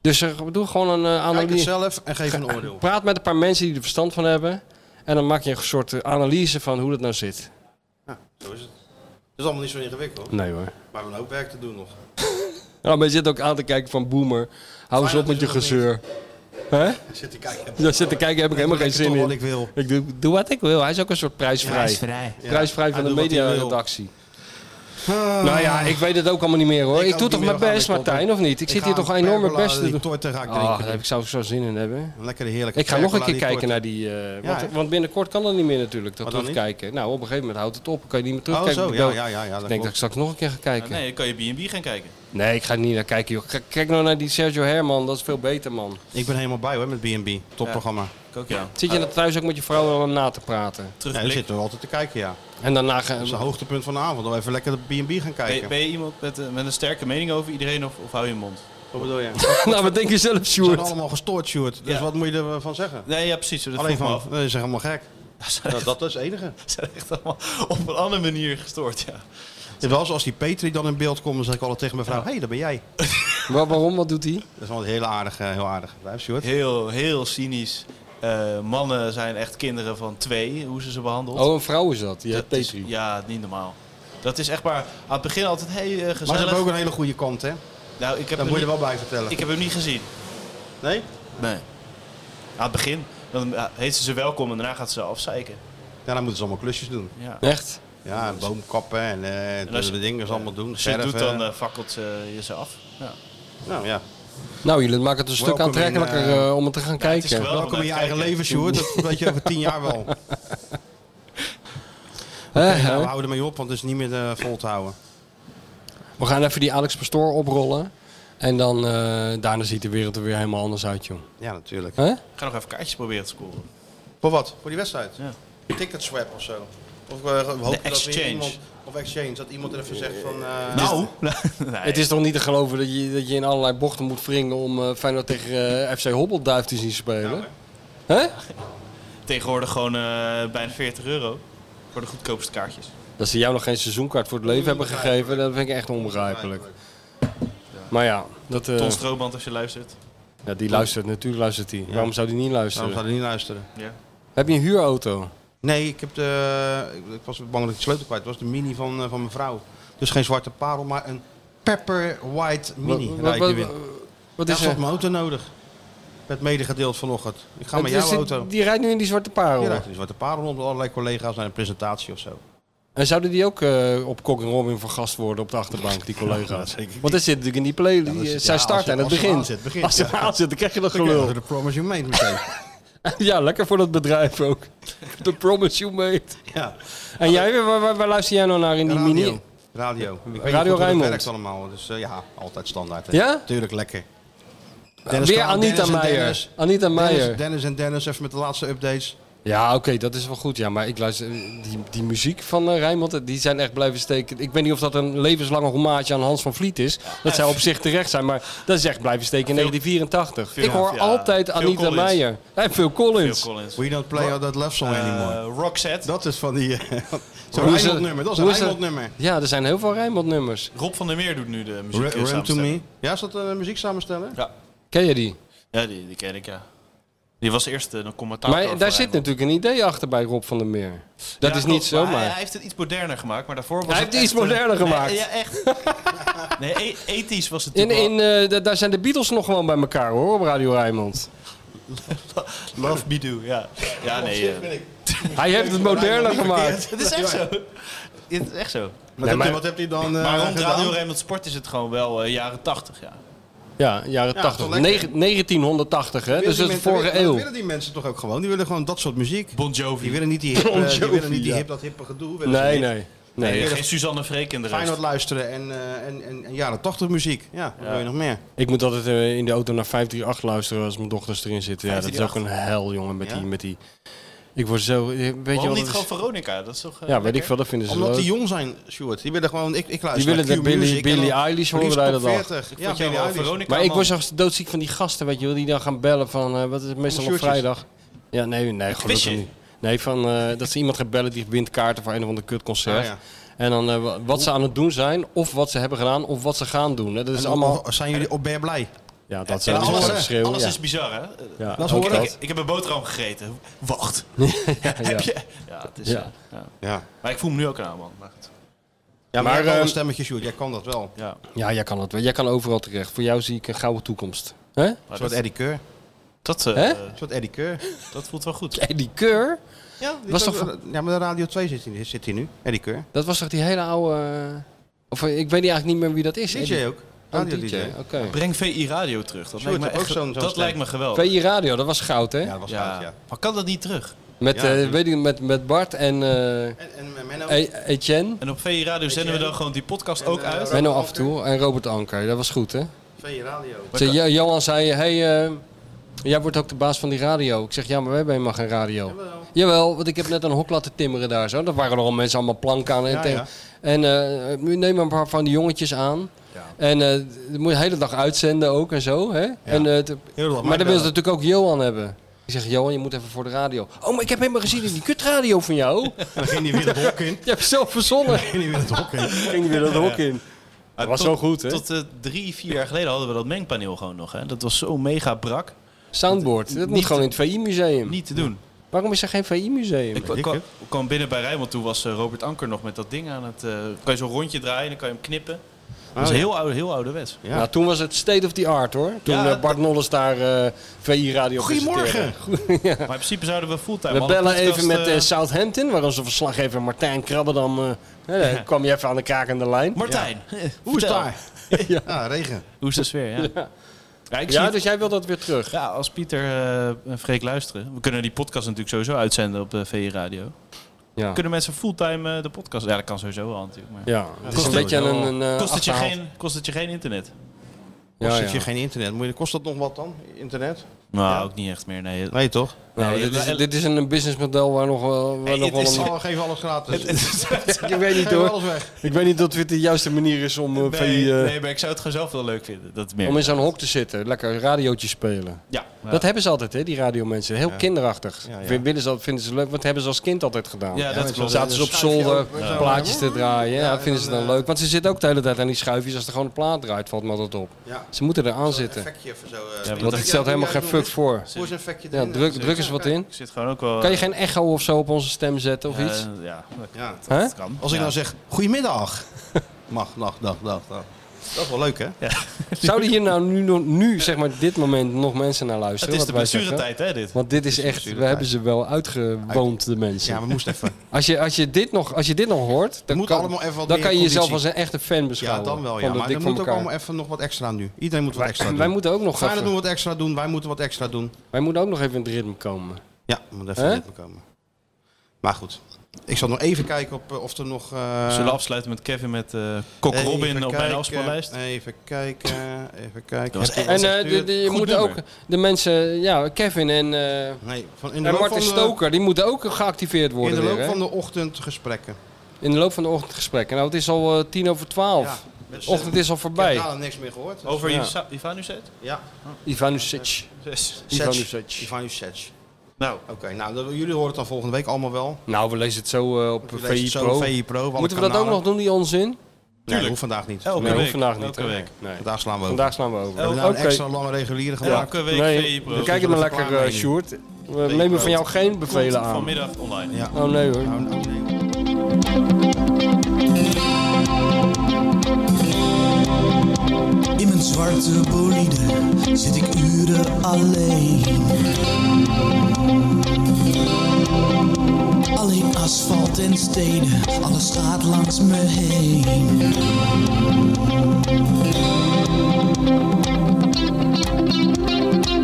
C: Dus eh, doe gewoon een eh,
B: Kijk het
C: analyse.
B: zelf en geef een oordeel.
C: Praat met een paar mensen die er verstand van hebben. En dan maak je een soort eh, analyse van hoe dat nou zit.
B: Ja, zo is het. Het is allemaal niet zo ingewikkeld.
C: Nee hoor.
B: Maar we hebben een hoop werk te doen nog.
C: Ja, maar je zit ook aan te kijken van boomer. Hou eens op met je gezeur. Hè?
B: Zit te kijken.
C: Ja, zit te kijken, heb ik helemaal geen
B: lekker
C: zin
B: doen
C: in.
B: wat ik wil.
C: Ik doe, doe wat ik wil. Hij is ook een soort prijsvrij.
B: Prijsvrij. Ja.
C: Prijsvrij
B: Hij
C: van de
B: doet wat hij wil.
C: mediaredactie. Nou ja, ik weet het ook allemaal niet meer hoor.
B: Ik
C: Ik,
B: ook
C: doe
B: niet
C: toch
B: meer.
C: mijn
B: We gaan
C: best,
B: weer koppen.
C: Martijn, of niet? Ik,
B: Ik
C: zit
B: ga
C: hier toch
B: een
C: enorm mijn
B: pergola
C: best te
B: die
C: doen.
B: torte ga ik
C: Ah,
B: drinken.
C: daar heb ik zo, zo zin in hebben.
B: Een lekkere heerlijke
C: Ik ga nog een
B: pergola
C: keer
B: die
C: kijken
B: torte.
C: naar die... eh, want,
B: Ja.
C: want binnenkort kan dat niet meer natuurlijk, dat
B: Wat dan niet?
C: terugkijken. Nou, op een gegeven moment houdt het op. Dan kan je niet meer
B: Oh,
C: terugkijken.
B: zo,
C: Ik
B: ja,
C: bedoel,
B: ja, ja, ja, dat
C: Ik denk dat
B: klopt.
C: ik straks nog een keer ga kijken.
D: Nee, dan kan je B&B gaan kijken.
C: Nee, ik ga niet naar kijken, joh. K- Kijk nou naar die Sergio Herman, dat is veel beter, man.
B: Ik ben helemaal bij hoor met B&B. Topprogramma.
D: Ik ook, ja.
C: Zit je
B: Eh.
C: dan thuis ook met je vrouw wel om na te praten?
B: Ja, daar zitten we altijd te kijken, ja.
C: En daarna
B: Dat
C: gaan
B: is het hoogtepunt van de avond. Dan even lekker de B&B gaan
D: Ben, je-
B: kijken.
D: ben je iemand met, een- met een sterke mening over iedereen of, of hou je mond?
B: Wat bedoel je?
C: nou, wat denk je zelf,
B: Ze zijn
C: Sjoerd?
B: allemaal gestoord, Sjoerd. Dus
D: Ja.
B: wat moet je ervan zeggen?
D: Nee, ja, precies. Dat
B: Alleen
D: vroeg me
B: van,
D: af.
B: dat is helemaal gek. Nou, dat is het enige.
D: Ze zijn echt allemaal op een andere manier gestoord, ja.
B: Terwijl als die Petri dan in beeld komt, dan zeg ik altijd tegen mijn vrouw... Hé, hey, daar ben jij.
C: Waar- waarom? Wat doet hij?
B: Dat is wel heel aardig, eh, heel aardig. Blijf, Sjoerd.
D: Heel, heel cynisch. Eh, mannen zijn echt kinderen van twee, hoe ze ze behandelt.
C: Oh, een vrouw is dat. Ja,
D: Dat is- ja, niet normaal. Dat is echt maar aan het begin altijd heel eh, gezellig.
B: Maar ze hebben ook een hele goede kant, hè?
D: Nou, ik heb
B: Dat
D: hem
B: moet je
D: niet-
B: er wel bij vertellen.
D: Ik heb hem niet gezien.
B: Nee?
D: Nee. Aan het begin dan eh, heet ze ze welkom en daarna gaat ze afzeiken.
B: Ja, dan moeten ze allemaal klusjes doen.
D: Ja.
C: Echt?
B: Ja, en boomkappen en, eh
D: En als je-
B: de dingen ze allemaal doen.
D: Als je het doet,
B: verven.
D: dan eh, fakkelt ze je ze af. Ja.
B: Nou ja.
C: Nou, jullie maken het een stuk
B: Welkom in,
C: aantrekkelijker
B: eh,
C: eh, om het te gaan
D: het is
C: kijken.
D: geweldig.
B: Welkom in je
D: Even
B: eigen
D: kijken.
B: leven, Sjoerd. Dat weet je over tien jaar wel. Oké,
C: Hè, hè?
B: nou, we houden ermee op, want het is niet meer eh, vol te houden.
C: We gaan even die Alex Pastoor oprollen. En dan eh, daarna ziet de wereld er weer helemaal anders uit, joh.
B: Ja, natuurlijk.
C: Hè?
D: Ik ga nog even kaartjes proberen te scoren.
B: Voor wat? Voor die wedstrijd?
D: Ja.
B: Ticket swap of zo? Of eh, we hopen dat weer
D: exchange.
B: iemand... Of exchange, dat iemand er even zegt van... eh,
D: Nou,
C: Het is toch niet te geloven dat je, dat je in allerlei bochten moet wringen om eh, Feyenoord tegen eh, FC Hobbelduif te zien
B: Nou,
C: spelen? Hè?
D: tegenwoordig gewoon eh, bijna 40 euro voor de goedkoopste kaartjes.
C: Dat ze jou nog geen seizoenkaart voor het leven hebben gegeven, dat vind ik echt onbegrijpelijk. Maar ja, dat, eh,
D: Ton Strooband als je luistert.
C: ja die luistert natuurlijk, luistert hij. Waarom zou die niet
B: Waarom
C: luisteren?
B: zou hij niet luisteren?
D: Ja.
C: Heb je een huurauto?
B: Nee, ik, heb de, ik- ik was bang dat ik de sleutel kwijt was. De mini van, eh, van mijn vrouw. Dus geen zwarte parel, maar een pepper white mini.
C: Wat-
B: rijd ik
C: wat-
B: nu in.
C: wat- Wat
B: Ja,
C: is
B: is had
C: er?
B: mijn auto nodig. Werd medegedeeld vanochtend. Ik ga met
C: Dus
B: jouw
C: die-
B: auto.
C: Die rijdt nu in die zwarte parel.
B: Ja, die zwarte parel rond met allerlei collega's naar een presentatie of zo.
C: En zouden die ook eh, op Cock and Robin vergast worden op de achterbank, die
B: Ja,
C: collega's?
B: zeker.
C: Want dat zit natuurlijk in die play.
B: Ja,
C: die,
B: dat
C: eh,
B: is-
C: zij
B: ja, als
C: starten
B: je-
C: en het
B: als je
C: begint.
B: aanzet, begint,
C: Als ze
B: ja.
C: aanzet, dan krijg je dat
B: Dan krijgen
C: gelul.
B: we de promise you made meteen.
C: ja, lekker voor dat bedrijf ook. The promise you
B: Nou,
C: made.
B: Ja.
C: En jij, waar, waar, waar luister jij nou naar in die mini?
B: Radio. Radio. Ik weet niet goed
C: Radio
B: hoe dat
C: Rijnmond.
B: werkt allemaal, dus eh, ja, altijd standaard. hè.
C: Ja?
B: Tuurlijk, lekker.
C: Weer
B: Kraan,
C: Anita
B: en
C: Meijer. Anita Meijer.
B: Dennis, Dennis en Dennis, even met de laatste updates.
C: Ja, oké, dat is wel goed. Ja, maar ik luister, die, die muziek van eh, Rijnmond, die zijn echt blijven steken. Ik weet niet of dat een levenslange hommage aan Hans van Vliet is. Dat zou op zich terecht zijn, maar dat is echt blijven steken in 1984.
D: Phil-
C: ik hoor
D: ja,
C: altijd
D: Phil
C: Anita
D: Collins.
C: Meijer. En Phil Collins.
D: Phil Collins.
B: We don't play all that love song
D: Eh,
B: anymore.
D: Roxette.
B: Dat is van die... eh, Zo'n
C: Hoe is
B: Rijnmond nummer, dat is
C: hoe
B: een Rijnmond nummer.
C: Ja, er zijn heel veel Rijnmond nummers.
D: Rob van der Meer doet nu de muziek.
B: Run,
D: eh,
B: to
D: samenstelling.
B: me. Ja, is dat een muziek samenstellen?
D: Ja.
C: Ken je die?
D: Ja, die, die ken ik, ja. Die was eerst eh, een commentaar.
C: Maar daar zit natuurlijk een idee achter bij Rob van der Meer. Dat is niet
D: Hij,
C: zomaar.
D: hij heeft het iets moderner gemaakt, maar daarvoor was
C: Hij
D: het
C: heeft iets
D: echt, eh,
C: moderner
D: nee,
C: gemaakt.
D: ja, echt. Nee, e- ethisch was het
C: In,
D: natuurlijk
C: in, eh, da- daar zijn de Beatles nog gewoon bij elkaar hoor, op Radio Rijnmond.
D: wel- Love Me Do, ja. Ja,
C: Oh,
D: nee. eh,
C: Hij heeft het moderner gemaakt.
D: Het is echt zo. Het is echt zo.
B: Wat,
C: Nee,
B: heb,
C: maar-
B: je, wat heb je dan eh,
D: maar rond
B: gedaan?
D: Radio Raymond Sport is het gewoon wel eh, jaren 80, ja.
C: Ja, jaren
B: Ja,
C: 80.
B: toch lekker.
C: Negen- 1980, hè?
B: Willen
C: Dus
B: die
C: dat is de
B: mensen-
C: vorige
B: willen-
C: eeuw.
B: willen die mensen toch ook gewoon? Die willen gewoon dat soort muziek.
D: Bon Jovi.
B: Die willen niet die hip, eh,
C: Bon
B: die
C: Jovi,
B: willen niet die
C: ja.
B: hip dat hippe gedoe. willen ze
C: Nee,
B: niet.
C: nee.
D: Nee,
C: nee.
D: geen Suzanne Freek en de rest.
B: Feyenoord luisteren en, eh, en, en, en jaren 80 muziek. Ja, wat
D: Ja.
B: wil je nog meer?
C: Ik moet altijd eh, in de auto naar 538 luisteren als mijn dochters erin zitten. Ja, dat is ook een
D: 538.
C: hel, jongen, met,
B: Ja?
C: die, met die... Ik word zo... eh, Weet je
D: Waarom
C: wat
D: niet
C: het
D: gewoon
C: is?
D: Veronica? Dat is toch, eh,
C: Ja, weet ik
D: lekker?
C: veel, dat vinden ze
B: Omdat
C: leuk.
B: die jong zijn, Stuart. Die willen gewoon, ik, ik luister
C: Die willen
B: naar
C: dat
B: Q
C: Billie-
B: Music en
C: Billie
B: dan
C: Eilish horen
B: liefst
C: wij
B: top
C: dat al.
B: 40.
D: Ik vond
B: Ja,
D: jou
B: Billie
D: wel
B: Eilish.
D: Veronica,
C: Maar ik
D: man.
C: was echt doodziek van die gasten, weet je wel, die dan gaan bellen van... eh, wat is het meestal op
B: shirtjes.
C: vrijdag? Ja, nee, nee, gelukkig
D: quizje.
C: niet. Nee, van, eh, dat ze iemand gaat bellen die wint kaarten voor een of ander kutconcert.
B: Ah, ja.
C: En dan eh, wa- wat ze aan het doen zijn, of wat ze hebben gedaan, of wat ze gaan doen. hè. Dat is
B: En
C: allemaal...
B: allemaal... Zijn jullie, op ben je blij?
C: Ja, dat
D: En
C: zijn
D: alles,
C: gewoon schreeuwen.
D: alles
C: ja.
D: is bizar, hè? Eh,
C: Ja,
B: Dat is
C: ook
B: hoor
D: Ik, ik heb een boterham gegeten. Wacht.
C: Ja.
D: Heb je? Ja, het is...
C: Ja.
D: eh, ja.
B: Ja.
D: Maar ik voel me nu ook aan, man. Maar goed.
B: Ja, maar,
C: Maar,
B: jij kan
C: eh,
B: een stemmetje, Sjoerd. Jij kan dat wel.
D: Ja.
C: Ja, jij kan het wel. Jij kan overal terecht. Voor jou zie ik een gouden toekomst. Hè?
D: Maar
B: Een soort
D: dat,
B: Eddie Keur. Een
D: dat, eh,
C: Hè?
D: eh,
B: soort Eddie Keur.
D: dat voelt wel goed.
C: Eddie Keur?
B: Ja, die
C: Was
B: is
C: toch
B: ook- ja, maar de Radio 2 zit hier, zit hier nu. Eddie Keur.
C: Dat was toch die hele oude... eh, Of eh, ik weet eigenlijk niet meer wie dat is.
B: DJ ook.
C: Oh,
B: Radio
C: DJ.
B: DJ.
C: Oké.
D: Breng VI Radio terug. Dat
B: Sjoerd,
D: lijkt me,
B: heb ook
D: echt-
B: zo'n- zo'n
D: dat
B: stem.
D: lijkt me geweldig.
C: VI Radio, dat was goud, hè?
B: Ja, dat was
D: ja.
B: goud, ja.
D: Maar kan dat niet terug?
C: Met,
B: Ja,
C: eh,
B: natuurlijk.
C: weet ik, met, met Bart en eh,
B: En, en, en Menno.
C: E- Etienne.
D: En op VI Radio zenden we dan gewoon die podcast ook
B: eh,
D: uit?
B: Robert
C: Menno af en
B: Anker.
C: toe. En Robert Anker. Dat was goed, hè?
B: Vee Radio.
C: Ze- Jo- Johan zei, hey, eh, jij wordt ook de baas van die radio. Ik zeg, ja, maar wij hebben helemaal geen radio. Jawel, want ik heb net een hok laten timmeren daar zo. Daar waren er al mensen allemaal planken aan. En,
B: Ja,
C: tegen-
B: ja.
C: en eh, nu neem maar een paar van die jongetjes aan. En eh, dan moet je de hele dag uitzenden ook en zo. Hè? En, eh, te-
B: Heel wat
C: maar
B: mij
C: dan wil ze
B: bellen.
C: natuurlijk ook Johan hebben. Ik zeg, Johan, je moet even voor de radio. Oh, maar ik heb helemaal gezien in die kutradio van jou.
B: En dan ging hij weer het hok in.
C: je hebt zelf verzonnen.
B: Ging hij weer het hok in.
C: Ging weer dat hok in.
D: Dat
C: was zo goed, hè?
D: Tot eh, drie, vier jaar geleden hadden we dat mengpaneel gewoon nog. Hè? Dat was zo mega brak.
C: Soundboard, dat moet
D: Niet-
C: gewoon in het VI-museum.
D: Niet te doen.
C: Waarom is er geen VI-museum?
D: Ik, ik kwam- ik kwam binnen bij Rijnmond, toen was eh, Robert Anker nog met dat ding aan het... eh, kan je zo'n rondje draaien, dan kan je hem knippen.
C: Oh,
D: Dat is
B: ja.
D: heel, oude, heel ouderwets.
B: Ja.
C: Nou, toen was het state of the art hoor. Toen
D: Ja,
C: eh, Bart Nolles daar eh, VI Radio
B: Goedemorgen.
C: presenteerde.
D: Maar in principe zouden we fulltime...
C: We
D: alle
C: bellen
D: podcast,
C: even met
D: eh,
C: eh, Southampton, waar onze verslaggever Martijn Krabbe dan... eh, hè, daar kwam je even aan de kakende lijn.
D: Martijn,
B: Hoe is
D: vertel.
B: het daar?
C: Ja.
B: Ja, regen.
D: Hoe is de sfeer, ja. ja. ik zie
C: Ja,
D: het-
C: dus jij wil dat weer terug.
D: ja, als Pieter eh, en Freek luisteren. We kunnen die podcast natuurlijk sowieso uitzenden op de VI Radio.
C: Ja.
D: Kunnen mensen fulltime eh, de podcast... Ja, dat kan sowieso wel natuurlijk. Maar...
C: Ja, het is
D: kost
C: een
D: het-
C: beetje een... een eh,
D: kost, het je
C: achterhaald-
D: geen, kost het je geen internet?
B: Kost
C: Ja,
B: het
C: ja.
B: je geen internet? Moet je, kost dat nog wat dan? Internet?
D: Nou, ook niet echt meer. Nee.
B: Nee, toch?
C: Nou,
D: Nee,
C: dit, is,
D: het-
C: dit is een businessmodel waar nog wel... Waar
D: Hey,
C: nog
D: het
C: wel
D: is-
C: een-
B: Oh, geef alles gratis.
D: Dus, eh,
C: ik weet niet
B: Geef
C: hoor.
B: alles weg.
C: Ik weet niet of dit de juiste manier is om, eh,
D: nee,
C: VI, eh,
D: nee, maar ik zou het gewoon zelf wel leuk vinden. Dat meer.
C: om in zo'n hok te zitten. Lekker radiootje spelen.
D: ja, ja.
C: Dat hebben ze altijd, hè, die radiomensen. Heel kinderachtig.
B: Ja, ja.
C: Vind- Willen ze, dat- vinden ze leuk, want dat hebben ze als kind altijd gedaan.
D: ja, dat klopt.
C: Zaten ze op zolder plaatjes te draaien. Ja, dat vinden ze dan leuk. Want ze zitten ook de hele tijd aan die schuifjes. Als er gewoon een plaat draait, valt me dat op.
B: Ja.
C: Ze moeten er aan zitten.
B: Effectje even zo. eh,
D: Ja,
C: Want het stelt helemaal geen fuck voor.
B: Voor zijn effectje
C: Ja,
B: erin.
C: druk, druk eens wat in.
D: Ik zit gewoon ook wel...
C: Kan je geen echo of zo op onze stem zetten of iets?
D: Ja, dat
B: Ja.
C: Hè?
D: kan.
B: Als ik
D: Ja.
B: nou zeg, goedemiddag. Mag, dag, dag, dag, dag. Dat is wel leuk, hè?
C: Zouden hier nou nu, nog- nu zeg maar dit moment nog mensen naar luisteren?
B: Het is
C: wat
B: de
C: wij zeggen?
B: blessuretijd, hè, dit?
C: Want dit is echt, we hebben ze wel uitgewoond, de mensen.
B: Ja, we moesten even.
C: Als je, als je, dit, nog, als je dit nog hoort, dan
B: Moet
C: kan,
B: allemaal even wat
C: dan
B: meer
C: kan je jezelf als
B: conditie.
C: een echte fan
B: Ja,
C: beschouwen.
B: dan wel,
C: van
B: ja.
C: de
B: Maar
C: Dik voor
B: dan moet ook
C: elkaar.
B: allemaal even nog wat extra nu. Iedereen moet wat extra doen.
C: wij moeten ook nog
B: Feyenoord
C: even.
B: doen wat extra doen. Wij moeten wat extra doen.
C: Wij moeten ook nog even in het ritme komen.
B: Ja, we moeten even in het ritme komen. Maar goed. Ik zal nog even kijken op, eh, of er nog... eh,
D: Zullen we afsluiten met Kevin met eh Kok
B: Even
D: Robin op mijn
B: kijken,
D: afspeellijst?
B: Even kijken, even kijken.
D: Dat was
C: En eh, de- de- je
B: Goed
C: moet
B: nummer.
C: ook de mensen, ja, Kevin en, eh,
B: Nee, van in de
C: en
B: loop
C: Martin
B: van de-
C: Stoker, die moeten ook geactiveerd
B: in
C: worden.
B: de loop
C: weer, hè?
B: van de ochtend gesprekken.
C: in de loop van de ochtendgesprekken. Nou, het is al eh, tien over twaalf.
B: Dus, eh,
C: Ochtend is al voorbij.
B: Ik heb daar niks meer gehoord. Dus-
D: Over
C: Ja.
D: Ivan Ivanuset?
B: Ja.
C: Ivanusic.
D: Zes.
C: Ivanusic.
B: Ivanusic. Nou, oké. nou, dan- jullie horen het dan volgende week allemaal wel.
C: Nou, we lezen het zo eh, op
B: We lezen
C: VI
B: het zo
C: Pro.
B: op VI Pro, alle
C: Moeten we dat ook
B: kanalen.
C: nog doen, die onzin?
B: Nee, dat hoeft vandaag
D: Oh.
B: niet.
C: Elke
B: Nee,
C: week.
B: hoeft
C: Vandaag niet.
B: Elke
C: hè?
B: week.
C: Nee.
B: Vandaag slaan we over.
C: Vandaag slaan we over.
B: We hebben nou een extra lange reguliere gemaakt.
C: Elke week nee,
B: VI-pro.
C: We kijken maar lekker, eh,
B: Reclame.
C: Sjoerd. We nemen van jou geen bevelen aan.
D: Vanmiddag online.
B: Ja.
C: Oh nee hoor.
A: In mijn zwarte bolide zit ik uren alleen. Alleen asfalt en stenen, alles gaat langs me heen.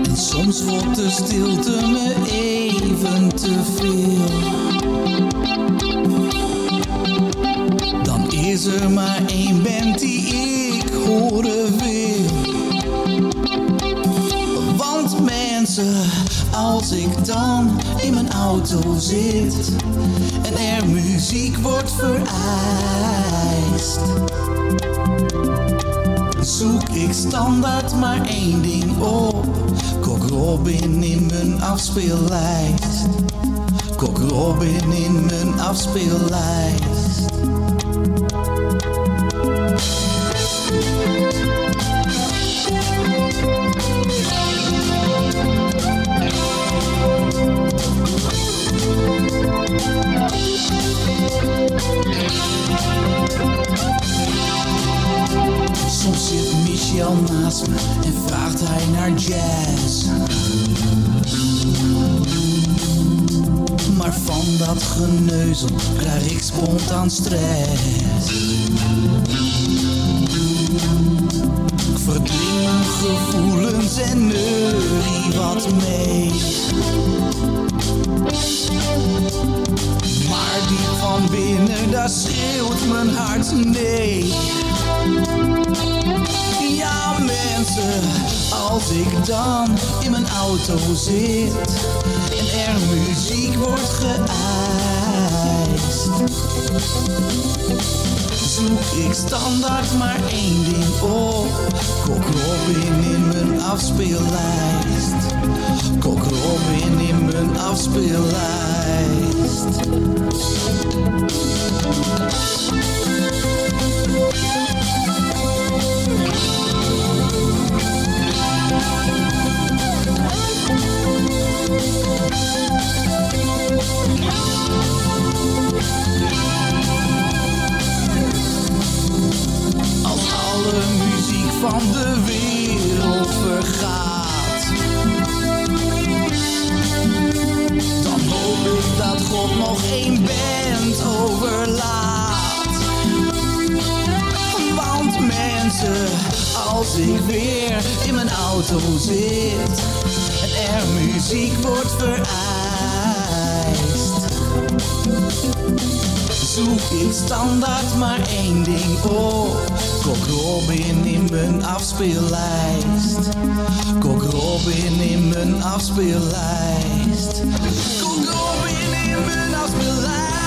A: En soms wordt de stilte me even te veel. Dan is er maar één band die ik horen wil. Want mensen, als ik dan in mijn auto zit en er muziek wordt vereist, zoek ik standaard maar één ding op. Kok Robin in mijn afspeellijst. Kok Robin in mijn afspeellijst. Soms zit Michel naast me en vraagt hij naar jazz. Maar van dat geneuzel krijg ik spontaan stress. Ik verdring mijn gevoelens en neurie wat mee. Maar diep van binnen, daar schreeuwt mijn hart nee. Ja mensen, als ik dan in mijn auto zit en er muziek wordt geëist, zoek ik standaard maar één ding op. Kok Robin in mijn afspeellijst. Kok Robin in mijn afspeellijst. Als alle muziek van de wereld vergaat, dan hoop ik dat God nog één band overlaat. Want mensen, als ik weer in mijn auto zit en er muziek wordt vereist zoek ik standaard maar één ding op. Kok Robin in mijn afspeellijst. Kok Robin in mijn afspeellijst. Kok Robin in mijn afspeellijst.